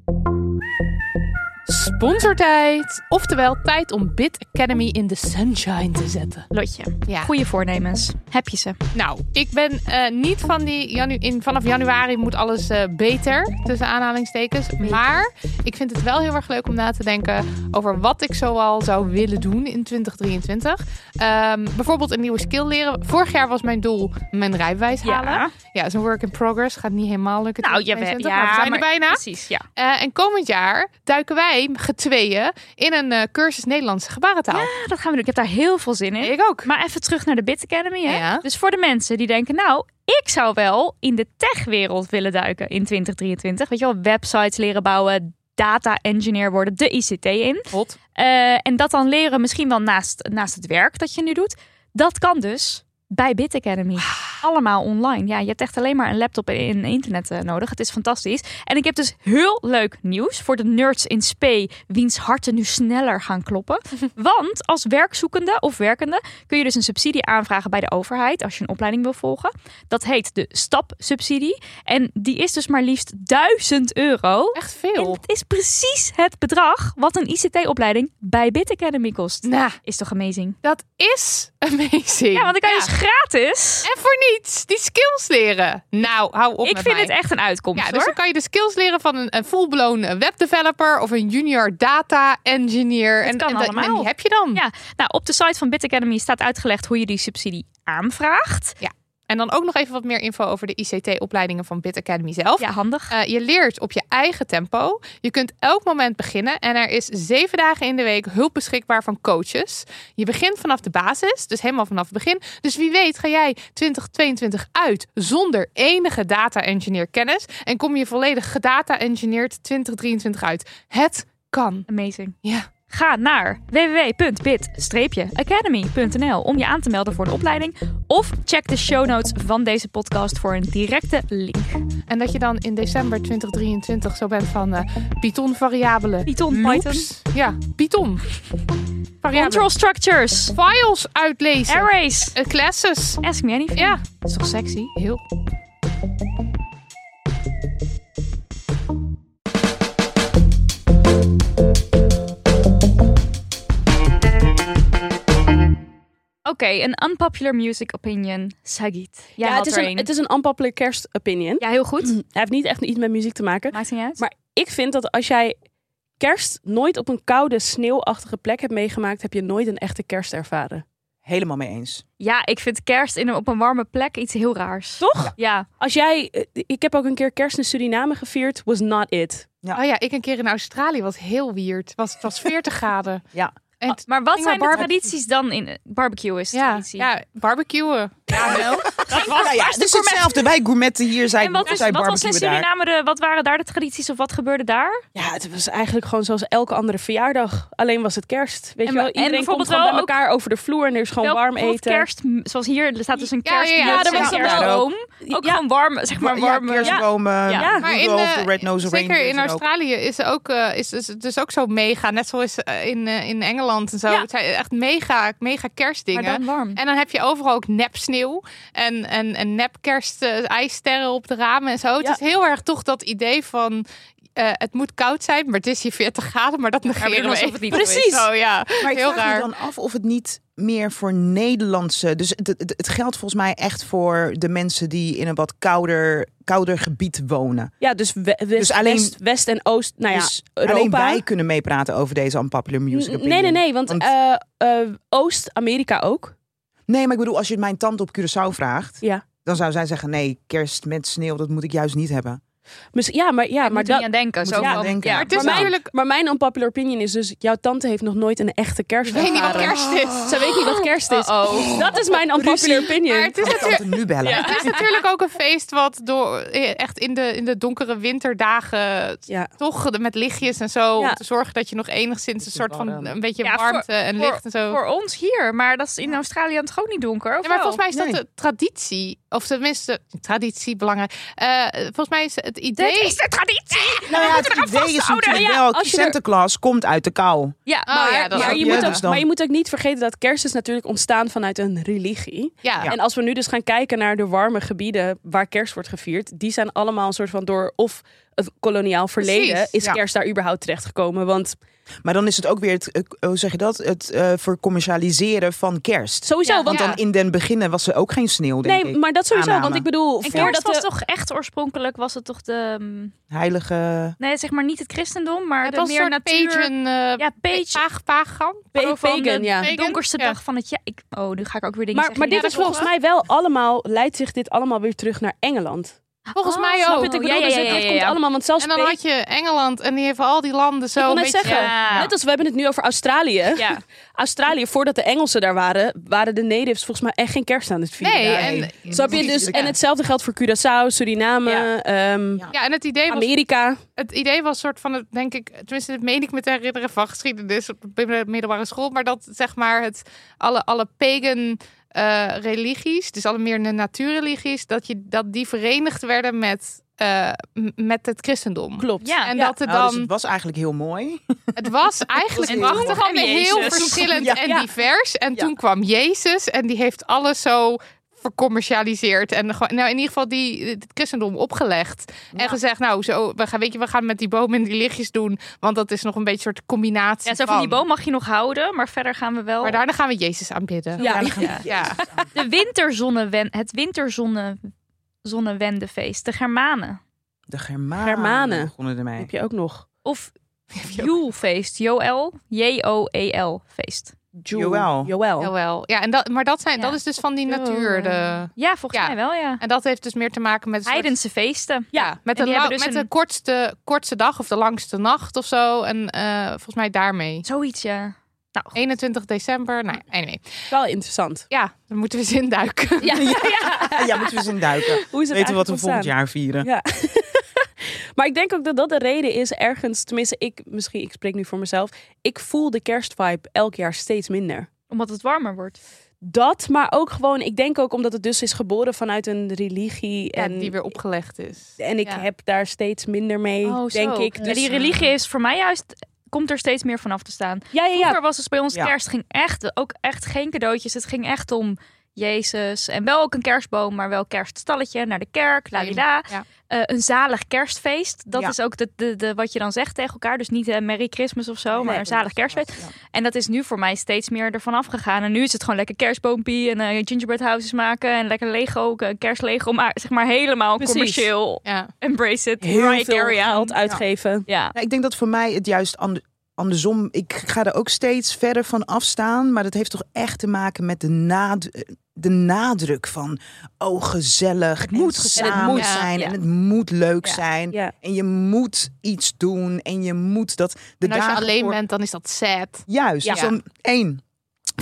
[SPEAKER 3] Sponsortijd. Oftewel tijd om Bit Academy in the sunshine te zetten.
[SPEAKER 4] Lotje.
[SPEAKER 3] Ja.
[SPEAKER 4] Goede voornemens. Heb je ze?
[SPEAKER 3] Nou, ik ben eh, niet van die. Janu in, vanaf januari moet alles eh, beter. Tussen aanhalingstekens. Maar ik vind het wel heel erg leuk om na te denken over wat ik zoal zou willen doen in 2023. Ehm, bijvoorbeeld een nieuwe skill leren. Vorig jaar was mijn doel mijn rijbewijs
[SPEAKER 4] Ja.
[SPEAKER 3] halen. Ja, is een work in progress. Gaat niet helemaal lukken.
[SPEAKER 4] Nou, je bent
[SPEAKER 3] 2022, maar we zijn er bijna.
[SPEAKER 4] Precies, ja.
[SPEAKER 3] Eh, en komend jaar duiken wij getweeën in een eh, cursus Nederlandse gebarentaal.
[SPEAKER 4] Ah, dat gaan we doen. Ik heb daar heel veel zin in.
[SPEAKER 3] Ik ook.
[SPEAKER 4] Maar even terug naar de Bit Academy. Hè?
[SPEAKER 3] Ja.
[SPEAKER 4] Dus voor de mensen die denken, nou, ik zou wel in de techwereld willen duiken in 2023. Weet je wel, websites leren bouwen, data engineer worden, de ICT in.
[SPEAKER 3] Hot.
[SPEAKER 4] Eh, en dat dan leren misschien wel naast, naast het werk dat je nu doet. Dat kan dus bij Bit Academy. Allemaal online. Ja, je hebt echt alleen maar een laptop en en internet eh, nodig. Het is fantastisch. En ik heb dus heel leuk nieuws voor de nerds in spe... wiens harten nu sneller gaan kloppen. Want als werkzoekende of werkende... kun je dus een subsidie aanvragen bij de overheid... als je een opleiding wil volgen. Dat heet de stapsubsidie. En die is dus maar liefst 1000 euro.
[SPEAKER 3] Echt
[SPEAKER 4] En
[SPEAKER 3] veel.
[SPEAKER 4] het is precies het bedrag wat een ICT-opleiding bij Bit Academy kost.
[SPEAKER 3] Nou,
[SPEAKER 4] Is toch amazing?
[SPEAKER 3] dat is amazing.
[SPEAKER 4] Ja, want dan kan je dus gratis.
[SPEAKER 3] En voor niets. Die skills leren. Nou, hou op
[SPEAKER 4] Ik
[SPEAKER 3] met
[SPEAKER 4] vind
[SPEAKER 3] mij.
[SPEAKER 4] het echt een uitkomst
[SPEAKER 3] Ja, dus
[SPEAKER 4] hoor.
[SPEAKER 3] dan kan je de skills leren van een, een full-blown eh, webdeveloper of een junior data engineer. en,
[SPEAKER 4] kan
[SPEAKER 3] en, dat- en
[SPEAKER 4] allemaal.
[SPEAKER 3] die heb je dan.
[SPEAKER 4] Ja, nou, op de site van Bit Academy staat uitgelegd hoe je die subsidie aanvraagt.
[SPEAKER 3] En dan ook nog even wat meer info over de ICT-opleidingen van Bit Academy zelf.
[SPEAKER 4] Ja, handig.
[SPEAKER 3] Eh, je leert op je eigen tempo. Je kunt elk moment beginnen. En er is zeven dagen in de week hulp beschikbaar van coaches. Je begint vanaf de basis, dus helemaal vanaf het begin. Dus wie weet ga jij 2022 uit zonder enige data engineer kennis. En kom je volledig gedata engineerd 2023 uit. Het kan.
[SPEAKER 4] Amazing.
[SPEAKER 3] Ja.
[SPEAKER 4] Ga naar www.bit-academy.nl om je aan te melden voor de opleiding. Of check de show notes van deze podcast voor een directe link.
[SPEAKER 3] En dat je dan in december 2023 zo bent van eh Python variabelen.
[SPEAKER 4] Python, Python.
[SPEAKER 3] Loops. Ja, Python.
[SPEAKER 4] Control
[SPEAKER 3] Variabelen.
[SPEAKER 4] structures.
[SPEAKER 3] Files uitlezen.
[SPEAKER 4] Arrays.
[SPEAKER 3] Eh, classes.
[SPEAKER 4] Ask me anything.
[SPEAKER 3] Ja, is toch sexy? Heel.
[SPEAKER 4] Oké, een unpopular music opinion. Sagit. Jij
[SPEAKER 6] Ja,
[SPEAKER 4] had
[SPEAKER 6] het is,
[SPEAKER 4] er
[SPEAKER 6] een,
[SPEAKER 4] één.
[SPEAKER 6] het is een unpopular kerstopinion.
[SPEAKER 4] Ja, heel goed.
[SPEAKER 6] Hij heeft niet echt iets met muziek te maken.
[SPEAKER 4] Maakt niet uit.
[SPEAKER 6] Maar ik vind dat als jij kerst nooit op een koude, sneeuwachtige plek hebt meegemaakt, heb je nooit een echte kerst ervaren.
[SPEAKER 5] Helemaal mee eens.
[SPEAKER 4] Ja, ik vind kerst in een, op een warme plek iets heel raars.
[SPEAKER 6] Toch?
[SPEAKER 4] Ja.
[SPEAKER 6] Als jij, eh, ik heb ook een keer kerst in Suriname gevierd, was not it.
[SPEAKER 3] Oh ja, ik een keer in Australië was heel weird. Het was, het was 40 graden.
[SPEAKER 5] Ja.
[SPEAKER 3] En het-
[SPEAKER 4] Maar wat
[SPEAKER 3] Ging
[SPEAKER 4] zijn
[SPEAKER 3] maar
[SPEAKER 4] de
[SPEAKER 3] barbecue.
[SPEAKER 4] tradities dan in barbecue is de
[SPEAKER 3] ja,
[SPEAKER 4] traditie?
[SPEAKER 3] ja, barbecuen. Ja, wel.
[SPEAKER 5] Nou ja, het is hetzelfde. Wij gourmetten hier zijn,
[SPEAKER 4] En wat, is,
[SPEAKER 5] zijn
[SPEAKER 4] wat was in
[SPEAKER 5] barbecuen daar.
[SPEAKER 4] Suriname de, wat waren daar de tradities of wat gebeurde daar?
[SPEAKER 6] Ja, het was eigenlijk gewoon zoals elke andere verjaardag. Alleen was het kerst. Weet
[SPEAKER 4] En
[SPEAKER 6] je wel,
[SPEAKER 4] wa- en
[SPEAKER 6] iedereen komt
[SPEAKER 4] bijvoorbeeld
[SPEAKER 6] gewoon bij
[SPEAKER 4] wel ook-
[SPEAKER 6] elkaar over de vloer en er is gewoon
[SPEAKER 4] Wel
[SPEAKER 6] warm
[SPEAKER 4] bijvoorbeeld
[SPEAKER 6] eten.
[SPEAKER 4] Kerst, m, zoals hier, er staat dus een
[SPEAKER 3] Ja, ja,
[SPEAKER 4] kerst.
[SPEAKER 3] ja, dat
[SPEAKER 6] was er wel.
[SPEAKER 4] Ook
[SPEAKER 6] Ja.
[SPEAKER 4] gewoon warm, zeg maar warm.
[SPEAKER 5] ja, kerstbomen,
[SPEAKER 4] Ja.
[SPEAKER 3] Maar in,
[SPEAKER 5] Rudolph,
[SPEAKER 3] eh,
[SPEAKER 5] de Red-Nosed
[SPEAKER 3] zeker
[SPEAKER 5] Oh, Reindeer
[SPEAKER 3] in
[SPEAKER 5] en ook.
[SPEAKER 3] Australië is, er ook, eh, is, is het dus ook zo mega. Net zoals eh, in, eh, in Engeland en zo.
[SPEAKER 4] Ja.
[SPEAKER 3] Het zijn echt mega, mega kerstdingen.
[SPEAKER 4] maar dan warm.
[SPEAKER 3] En dan heb je overal ook nep sneeuw en, en, en nep kerst, eh, ijssterren op de ramen en zo. Het
[SPEAKER 6] Ja.
[SPEAKER 3] is heel erg toch dat idee van eh, het moet koud zijn, maar het is hier 40 graden, maar dat
[SPEAKER 4] we doen
[SPEAKER 3] negeren we
[SPEAKER 4] alsof
[SPEAKER 3] even.
[SPEAKER 4] het niet zo is.
[SPEAKER 3] Precies. Oh ja,
[SPEAKER 5] Maar ik
[SPEAKER 3] heel
[SPEAKER 5] vraag
[SPEAKER 3] raar.
[SPEAKER 5] me dan af of het niet meer voor Nederlandse... Dus het, het, het geldt volgens mij echt voor de mensen die in een wat kouder, kouder gebied wonen.
[SPEAKER 6] Ja, dus, we- west,
[SPEAKER 5] alleen-
[SPEAKER 6] west, west en oost, nou ja,
[SPEAKER 5] dus
[SPEAKER 6] Europa.
[SPEAKER 5] alleen wij kunnen meepraten over deze unpopular music
[SPEAKER 6] N-
[SPEAKER 5] opinion.
[SPEAKER 6] Nee, nee, nee, want, eh, eh, Oost-Amerika ook.
[SPEAKER 5] Nee, maar ik bedoel, als je het mijn tante op Curaçao vraagt...
[SPEAKER 6] Ja.
[SPEAKER 5] dan zou zij zeggen, nee, kerst met sneeuw, dat moet ik juist niet hebben.
[SPEAKER 6] Miss- ja, maar, ja,
[SPEAKER 4] maar
[SPEAKER 6] maar,
[SPEAKER 4] moet er
[SPEAKER 6] dat,
[SPEAKER 4] niet aan denken.
[SPEAKER 5] Moet
[SPEAKER 4] Zo
[SPEAKER 5] je niet
[SPEAKER 4] van-
[SPEAKER 5] aan denken.
[SPEAKER 4] ja.
[SPEAKER 3] Maar het is
[SPEAKER 5] Maar-
[SPEAKER 3] natuurlijk...
[SPEAKER 6] maar mijn unpopular opinion is dus... jouw tante heeft nog nooit een echte kerst
[SPEAKER 3] Ik weet niet wat
[SPEAKER 6] ervaren. Oh.
[SPEAKER 3] kerst is.
[SPEAKER 6] Ze weet niet wat kerst is.
[SPEAKER 4] Uh-oh.
[SPEAKER 6] Dat is mijn unpopular opinion.
[SPEAKER 3] Maar het is
[SPEAKER 5] Kan ik
[SPEAKER 3] natuurlijk...
[SPEAKER 5] tante nu bellen?
[SPEAKER 3] Het is natuurlijk ook een feest wat door eh, echt in de, in de donkere winterdagen
[SPEAKER 6] Ja.
[SPEAKER 3] toch met lichtjes en zo
[SPEAKER 6] Ja.
[SPEAKER 3] om te zorgen dat je nog enigszins een soort van
[SPEAKER 5] warm.
[SPEAKER 3] een beetje
[SPEAKER 4] Ja, voor-
[SPEAKER 3] warmte en
[SPEAKER 4] voor-
[SPEAKER 3] licht en zo.
[SPEAKER 4] Voor ons hier, maar dat is in Australië het gewoon niet donker. Of
[SPEAKER 3] Ja, maar
[SPEAKER 4] wel?
[SPEAKER 3] volgens mij is dat
[SPEAKER 5] Nee.
[SPEAKER 3] de traditie, of tenminste traditie belangrijk. Eh, volgens mij is het idee.
[SPEAKER 4] Dit is de traditie!
[SPEAKER 5] Nou ja, het idee is natuurlijk
[SPEAKER 6] Ja,
[SPEAKER 5] wel,
[SPEAKER 6] als je er-
[SPEAKER 5] Santa Claus komt uit de kou.
[SPEAKER 4] Ja,
[SPEAKER 3] Oh,
[SPEAKER 4] maar,
[SPEAKER 3] ja, dat
[SPEAKER 6] maar,
[SPEAKER 3] ook,
[SPEAKER 6] je
[SPEAKER 5] ja.
[SPEAKER 6] moet
[SPEAKER 5] Dus
[SPEAKER 6] ook,
[SPEAKER 5] dan-
[SPEAKER 6] maar je moet ook niet vergeten dat kerst is natuurlijk ontstaan vanuit een religie.
[SPEAKER 3] ja.
[SPEAKER 6] En als we nu dus gaan kijken naar de warme gebieden waar kerst wordt gevierd, die zijn allemaal een soort van door of het koloniaal verleden
[SPEAKER 3] Precies,
[SPEAKER 6] is
[SPEAKER 5] ja.
[SPEAKER 6] kerst daar überhaupt terechtgekomen. Want
[SPEAKER 5] Maar dan is het ook weer het, eh, hoe zeg je dat? Het eh vercommercialiseren van kerst.
[SPEAKER 6] sowieso,
[SPEAKER 3] Ja,
[SPEAKER 6] want
[SPEAKER 3] ja.
[SPEAKER 5] Dan in den beginnen was er ook geen sneeuw, denk
[SPEAKER 6] nee,
[SPEAKER 5] ik.
[SPEAKER 6] maar dat sowieso.
[SPEAKER 5] Aanname.
[SPEAKER 6] Want ik bedoel,
[SPEAKER 4] En kerst
[SPEAKER 6] voordat
[SPEAKER 4] was
[SPEAKER 6] we-
[SPEAKER 4] toch echt oorspronkelijk, was het toch de... mm,
[SPEAKER 5] Heilige...
[SPEAKER 4] Nee, zeg maar niet het christendom, maar
[SPEAKER 3] het
[SPEAKER 4] de
[SPEAKER 3] was
[SPEAKER 4] meer
[SPEAKER 3] een soort
[SPEAKER 4] natuur...
[SPEAKER 3] pagan, eh,
[SPEAKER 4] ja, page,
[SPEAKER 3] paag- pagan.
[SPEAKER 6] Pa-
[SPEAKER 4] van
[SPEAKER 6] pagan,
[SPEAKER 4] de
[SPEAKER 6] ja.
[SPEAKER 4] donkerste
[SPEAKER 3] Ja.
[SPEAKER 4] dag van het jaar. Ik, oh, nu ga ik ook weer dingen
[SPEAKER 6] Maar, maar
[SPEAKER 4] zeggen.
[SPEAKER 6] dit
[SPEAKER 3] Ja,
[SPEAKER 6] is
[SPEAKER 3] dat
[SPEAKER 6] volgens mij wel allemaal, leidt zich dit allemaal weer terug naar Engeland.
[SPEAKER 3] Volgens mij
[SPEAKER 4] Oh, snap
[SPEAKER 3] ook.
[SPEAKER 4] het, ik
[SPEAKER 6] bedoel,
[SPEAKER 4] ja, ja,
[SPEAKER 6] dus
[SPEAKER 4] ja,
[SPEAKER 6] dit-
[SPEAKER 4] ja,
[SPEAKER 6] dit
[SPEAKER 4] ja,
[SPEAKER 6] komt
[SPEAKER 4] ja.
[SPEAKER 6] allemaal, want zelfs
[SPEAKER 3] En dan
[SPEAKER 6] Pe-
[SPEAKER 3] had je Engeland en die hebben al die landen zo.
[SPEAKER 6] ik wil
[SPEAKER 3] een
[SPEAKER 6] net
[SPEAKER 3] beetje-
[SPEAKER 6] zeggen,
[SPEAKER 4] Ja.
[SPEAKER 6] net als we hebben het nu over Australië.
[SPEAKER 4] Ja.
[SPEAKER 6] Australië, voordat de Engelsen daar waren, waren de natives volgens mij echt geen kerst aan het vieren.
[SPEAKER 3] Nee,
[SPEAKER 6] daar.
[SPEAKER 3] en,
[SPEAKER 6] Snap je? Dus, en hetzelfde geldt voor Curaçao, Suriname,
[SPEAKER 4] Ja.
[SPEAKER 6] ehm,
[SPEAKER 5] Ja.
[SPEAKER 3] ja, en het idee was
[SPEAKER 6] Amerika.
[SPEAKER 3] het idee was soort van, het, denk ik, tenminste, dat meen ik me te herinneren van geschiedenis op de middelbare school, maar dat zeg maar het alle, alle pagan eh, religies, dus alle meer de natuurreligies, dat, je, dat die verenigd werden met, eh, m- met het christendom.
[SPEAKER 6] Klopt.
[SPEAKER 4] Ja.
[SPEAKER 3] En dat het
[SPEAKER 5] Nou,
[SPEAKER 3] dan,
[SPEAKER 5] dus het was eigenlijk heel mooi.
[SPEAKER 3] het was eigenlijk
[SPEAKER 4] En toen
[SPEAKER 3] prachtig
[SPEAKER 4] kwam
[SPEAKER 3] en heel
[SPEAKER 4] Jezus.
[SPEAKER 3] verschillend
[SPEAKER 5] Ja.
[SPEAKER 3] en
[SPEAKER 6] Ja.
[SPEAKER 3] divers. En
[SPEAKER 5] Ja.
[SPEAKER 3] toen kwam Jezus en die heeft alles zo vercommercialiseerd en gewoon, nou in ieder geval die het christendom opgelegd en gezegd nou zo we gaan weet je we gaan met die bomen en die lichtjes doen want dat is nog een beetje een soort combinatie
[SPEAKER 4] Ja, zo van die boom mag je nog houden, maar verder gaan we wel...
[SPEAKER 3] maar daarna gaan we Jezus aanbidden
[SPEAKER 6] Ja.
[SPEAKER 3] ja, ja.
[SPEAKER 4] De winterzonnewen, het winterzonnewendefeest, de Germanen.
[SPEAKER 5] De Germanen,
[SPEAKER 6] Germanen.
[SPEAKER 5] begonnen ermee.
[SPEAKER 6] Heb je ook nog?
[SPEAKER 4] Of Joelfeest, Joel, J-O-E-L, feest.
[SPEAKER 6] Jewel.
[SPEAKER 5] Joël.
[SPEAKER 6] Joël.
[SPEAKER 3] Jawel. ja en dat maar dat zijn
[SPEAKER 4] Ja.
[SPEAKER 3] dat is dus van die
[SPEAKER 6] Zo,
[SPEAKER 3] natuur de,
[SPEAKER 4] Ja, volgens
[SPEAKER 3] Ja.
[SPEAKER 4] mij wel, ja.
[SPEAKER 3] en dat heeft dus meer te maken met een soort-
[SPEAKER 4] Heidense feesten.
[SPEAKER 3] ja met,
[SPEAKER 4] En
[SPEAKER 3] de,
[SPEAKER 4] die hebben
[SPEAKER 3] lang-
[SPEAKER 4] dus
[SPEAKER 3] met
[SPEAKER 4] een-
[SPEAKER 3] de kortste kortste dag of de langste nacht of zo en eh, volgens mij daarmee
[SPEAKER 4] Zoiets, ja. Nou, goed.
[SPEAKER 3] 21 december. Nou, ja, anyway.
[SPEAKER 6] Wel interessant.
[SPEAKER 3] Ja, dan moeten we eens induiken.
[SPEAKER 5] Ah, Ja, moeten we eens induiken.
[SPEAKER 6] Hoe is het
[SPEAKER 5] Weten we wat we volgend
[SPEAKER 6] eigenlijk ontstaan?
[SPEAKER 5] jaar vieren.
[SPEAKER 6] Ja. Maar ik denk ook dat dat de reden is ergens, tenminste ik, misschien ik spreek nu voor mezelf, ik voel de kerstvibe elk jaar steeds minder.
[SPEAKER 4] Omdat het warmer wordt.
[SPEAKER 6] Dat, maar ook gewoon, ik denk ook omdat het dus is geboren vanuit een religie.
[SPEAKER 3] Ja,
[SPEAKER 6] En,
[SPEAKER 3] die weer opgelegd is.
[SPEAKER 6] en ik
[SPEAKER 3] ja.
[SPEAKER 6] heb daar steeds minder mee,
[SPEAKER 4] Oh, zo.
[SPEAKER 6] denk ik.
[SPEAKER 4] Ja,
[SPEAKER 6] Dus,
[SPEAKER 4] die religie is voor mij juist komt er steeds meer vanaf te staan.
[SPEAKER 6] ja, ja, ja.
[SPEAKER 4] Vroeger was het bij ons
[SPEAKER 5] Ja.
[SPEAKER 4] kerst ging echt ook echt geen cadeautjes. Het ging echt om Jezus en wel ook een kerstboom, maar wel kerststalletje naar de kerk, la la, la.
[SPEAKER 3] Ja.
[SPEAKER 4] Eh, een zalig kerstfeest. Dat
[SPEAKER 5] Ja.
[SPEAKER 4] is ook de, de, de, wat je dan zegt tegen elkaar. Dus niet eh, Merry Christmas of zo, maar een zalig kerstfeest. En dat is nu voor mij steeds meer ervan afgegaan. En nu is het gewoon lekker kerstboompie en eh, gingerbread houses maken en lekker Lego, eh, kerslego, maar zeg maar helemaal
[SPEAKER 6] Precies.
[SPEAKER 4] commercieel.
[SPEAKER 3] Ja.
[SPEAKER 4] Embrace it,
[SPEAKER 5] Heel
[SPEAKER 4] right
[SPEAKER 6] veel
[SPEAKER 4] area.
[SPEAKER 6] geld uitgeven.
[SPEAKER 4] Ja.
[SPEAKER 5] Nou, ik denk dat voor mij het juist ander- andersom. Ik ga er ook steeds verder van afstaan. Maar dat heeft toch echt te maken met de, nad- de nadruk van. Oh, gezellig. Het
[SPEAKER 4] moet
[SPEAKER 5] en
[SPEAKER 4] gezellig
[SPEAKER 5] samen
[SPEAKER 3] moet, ja,
[SPEAKER 5] zijn.
[SPEAKER 4] ja.
[SPEAKER 5] En het moet leuk
[SPEAKER 4] Ja,
[SPEAKER 5] zijn.
[SPEAKER 6] ja.
[SPEAKER 5] En je moet iets doen. En je moet dat. De
[SPEAKER 3] En als je
[SPEAKER 5] dagen
[SPEAKER 3] alleen
[SPEAKER 5] voor-
[SPEAKER 3] bent, dan is dat sad.
[SPEAKER 5] Juist.
[SPEAKER 3] Ja.
[SPEAKER 5] Dus dan één.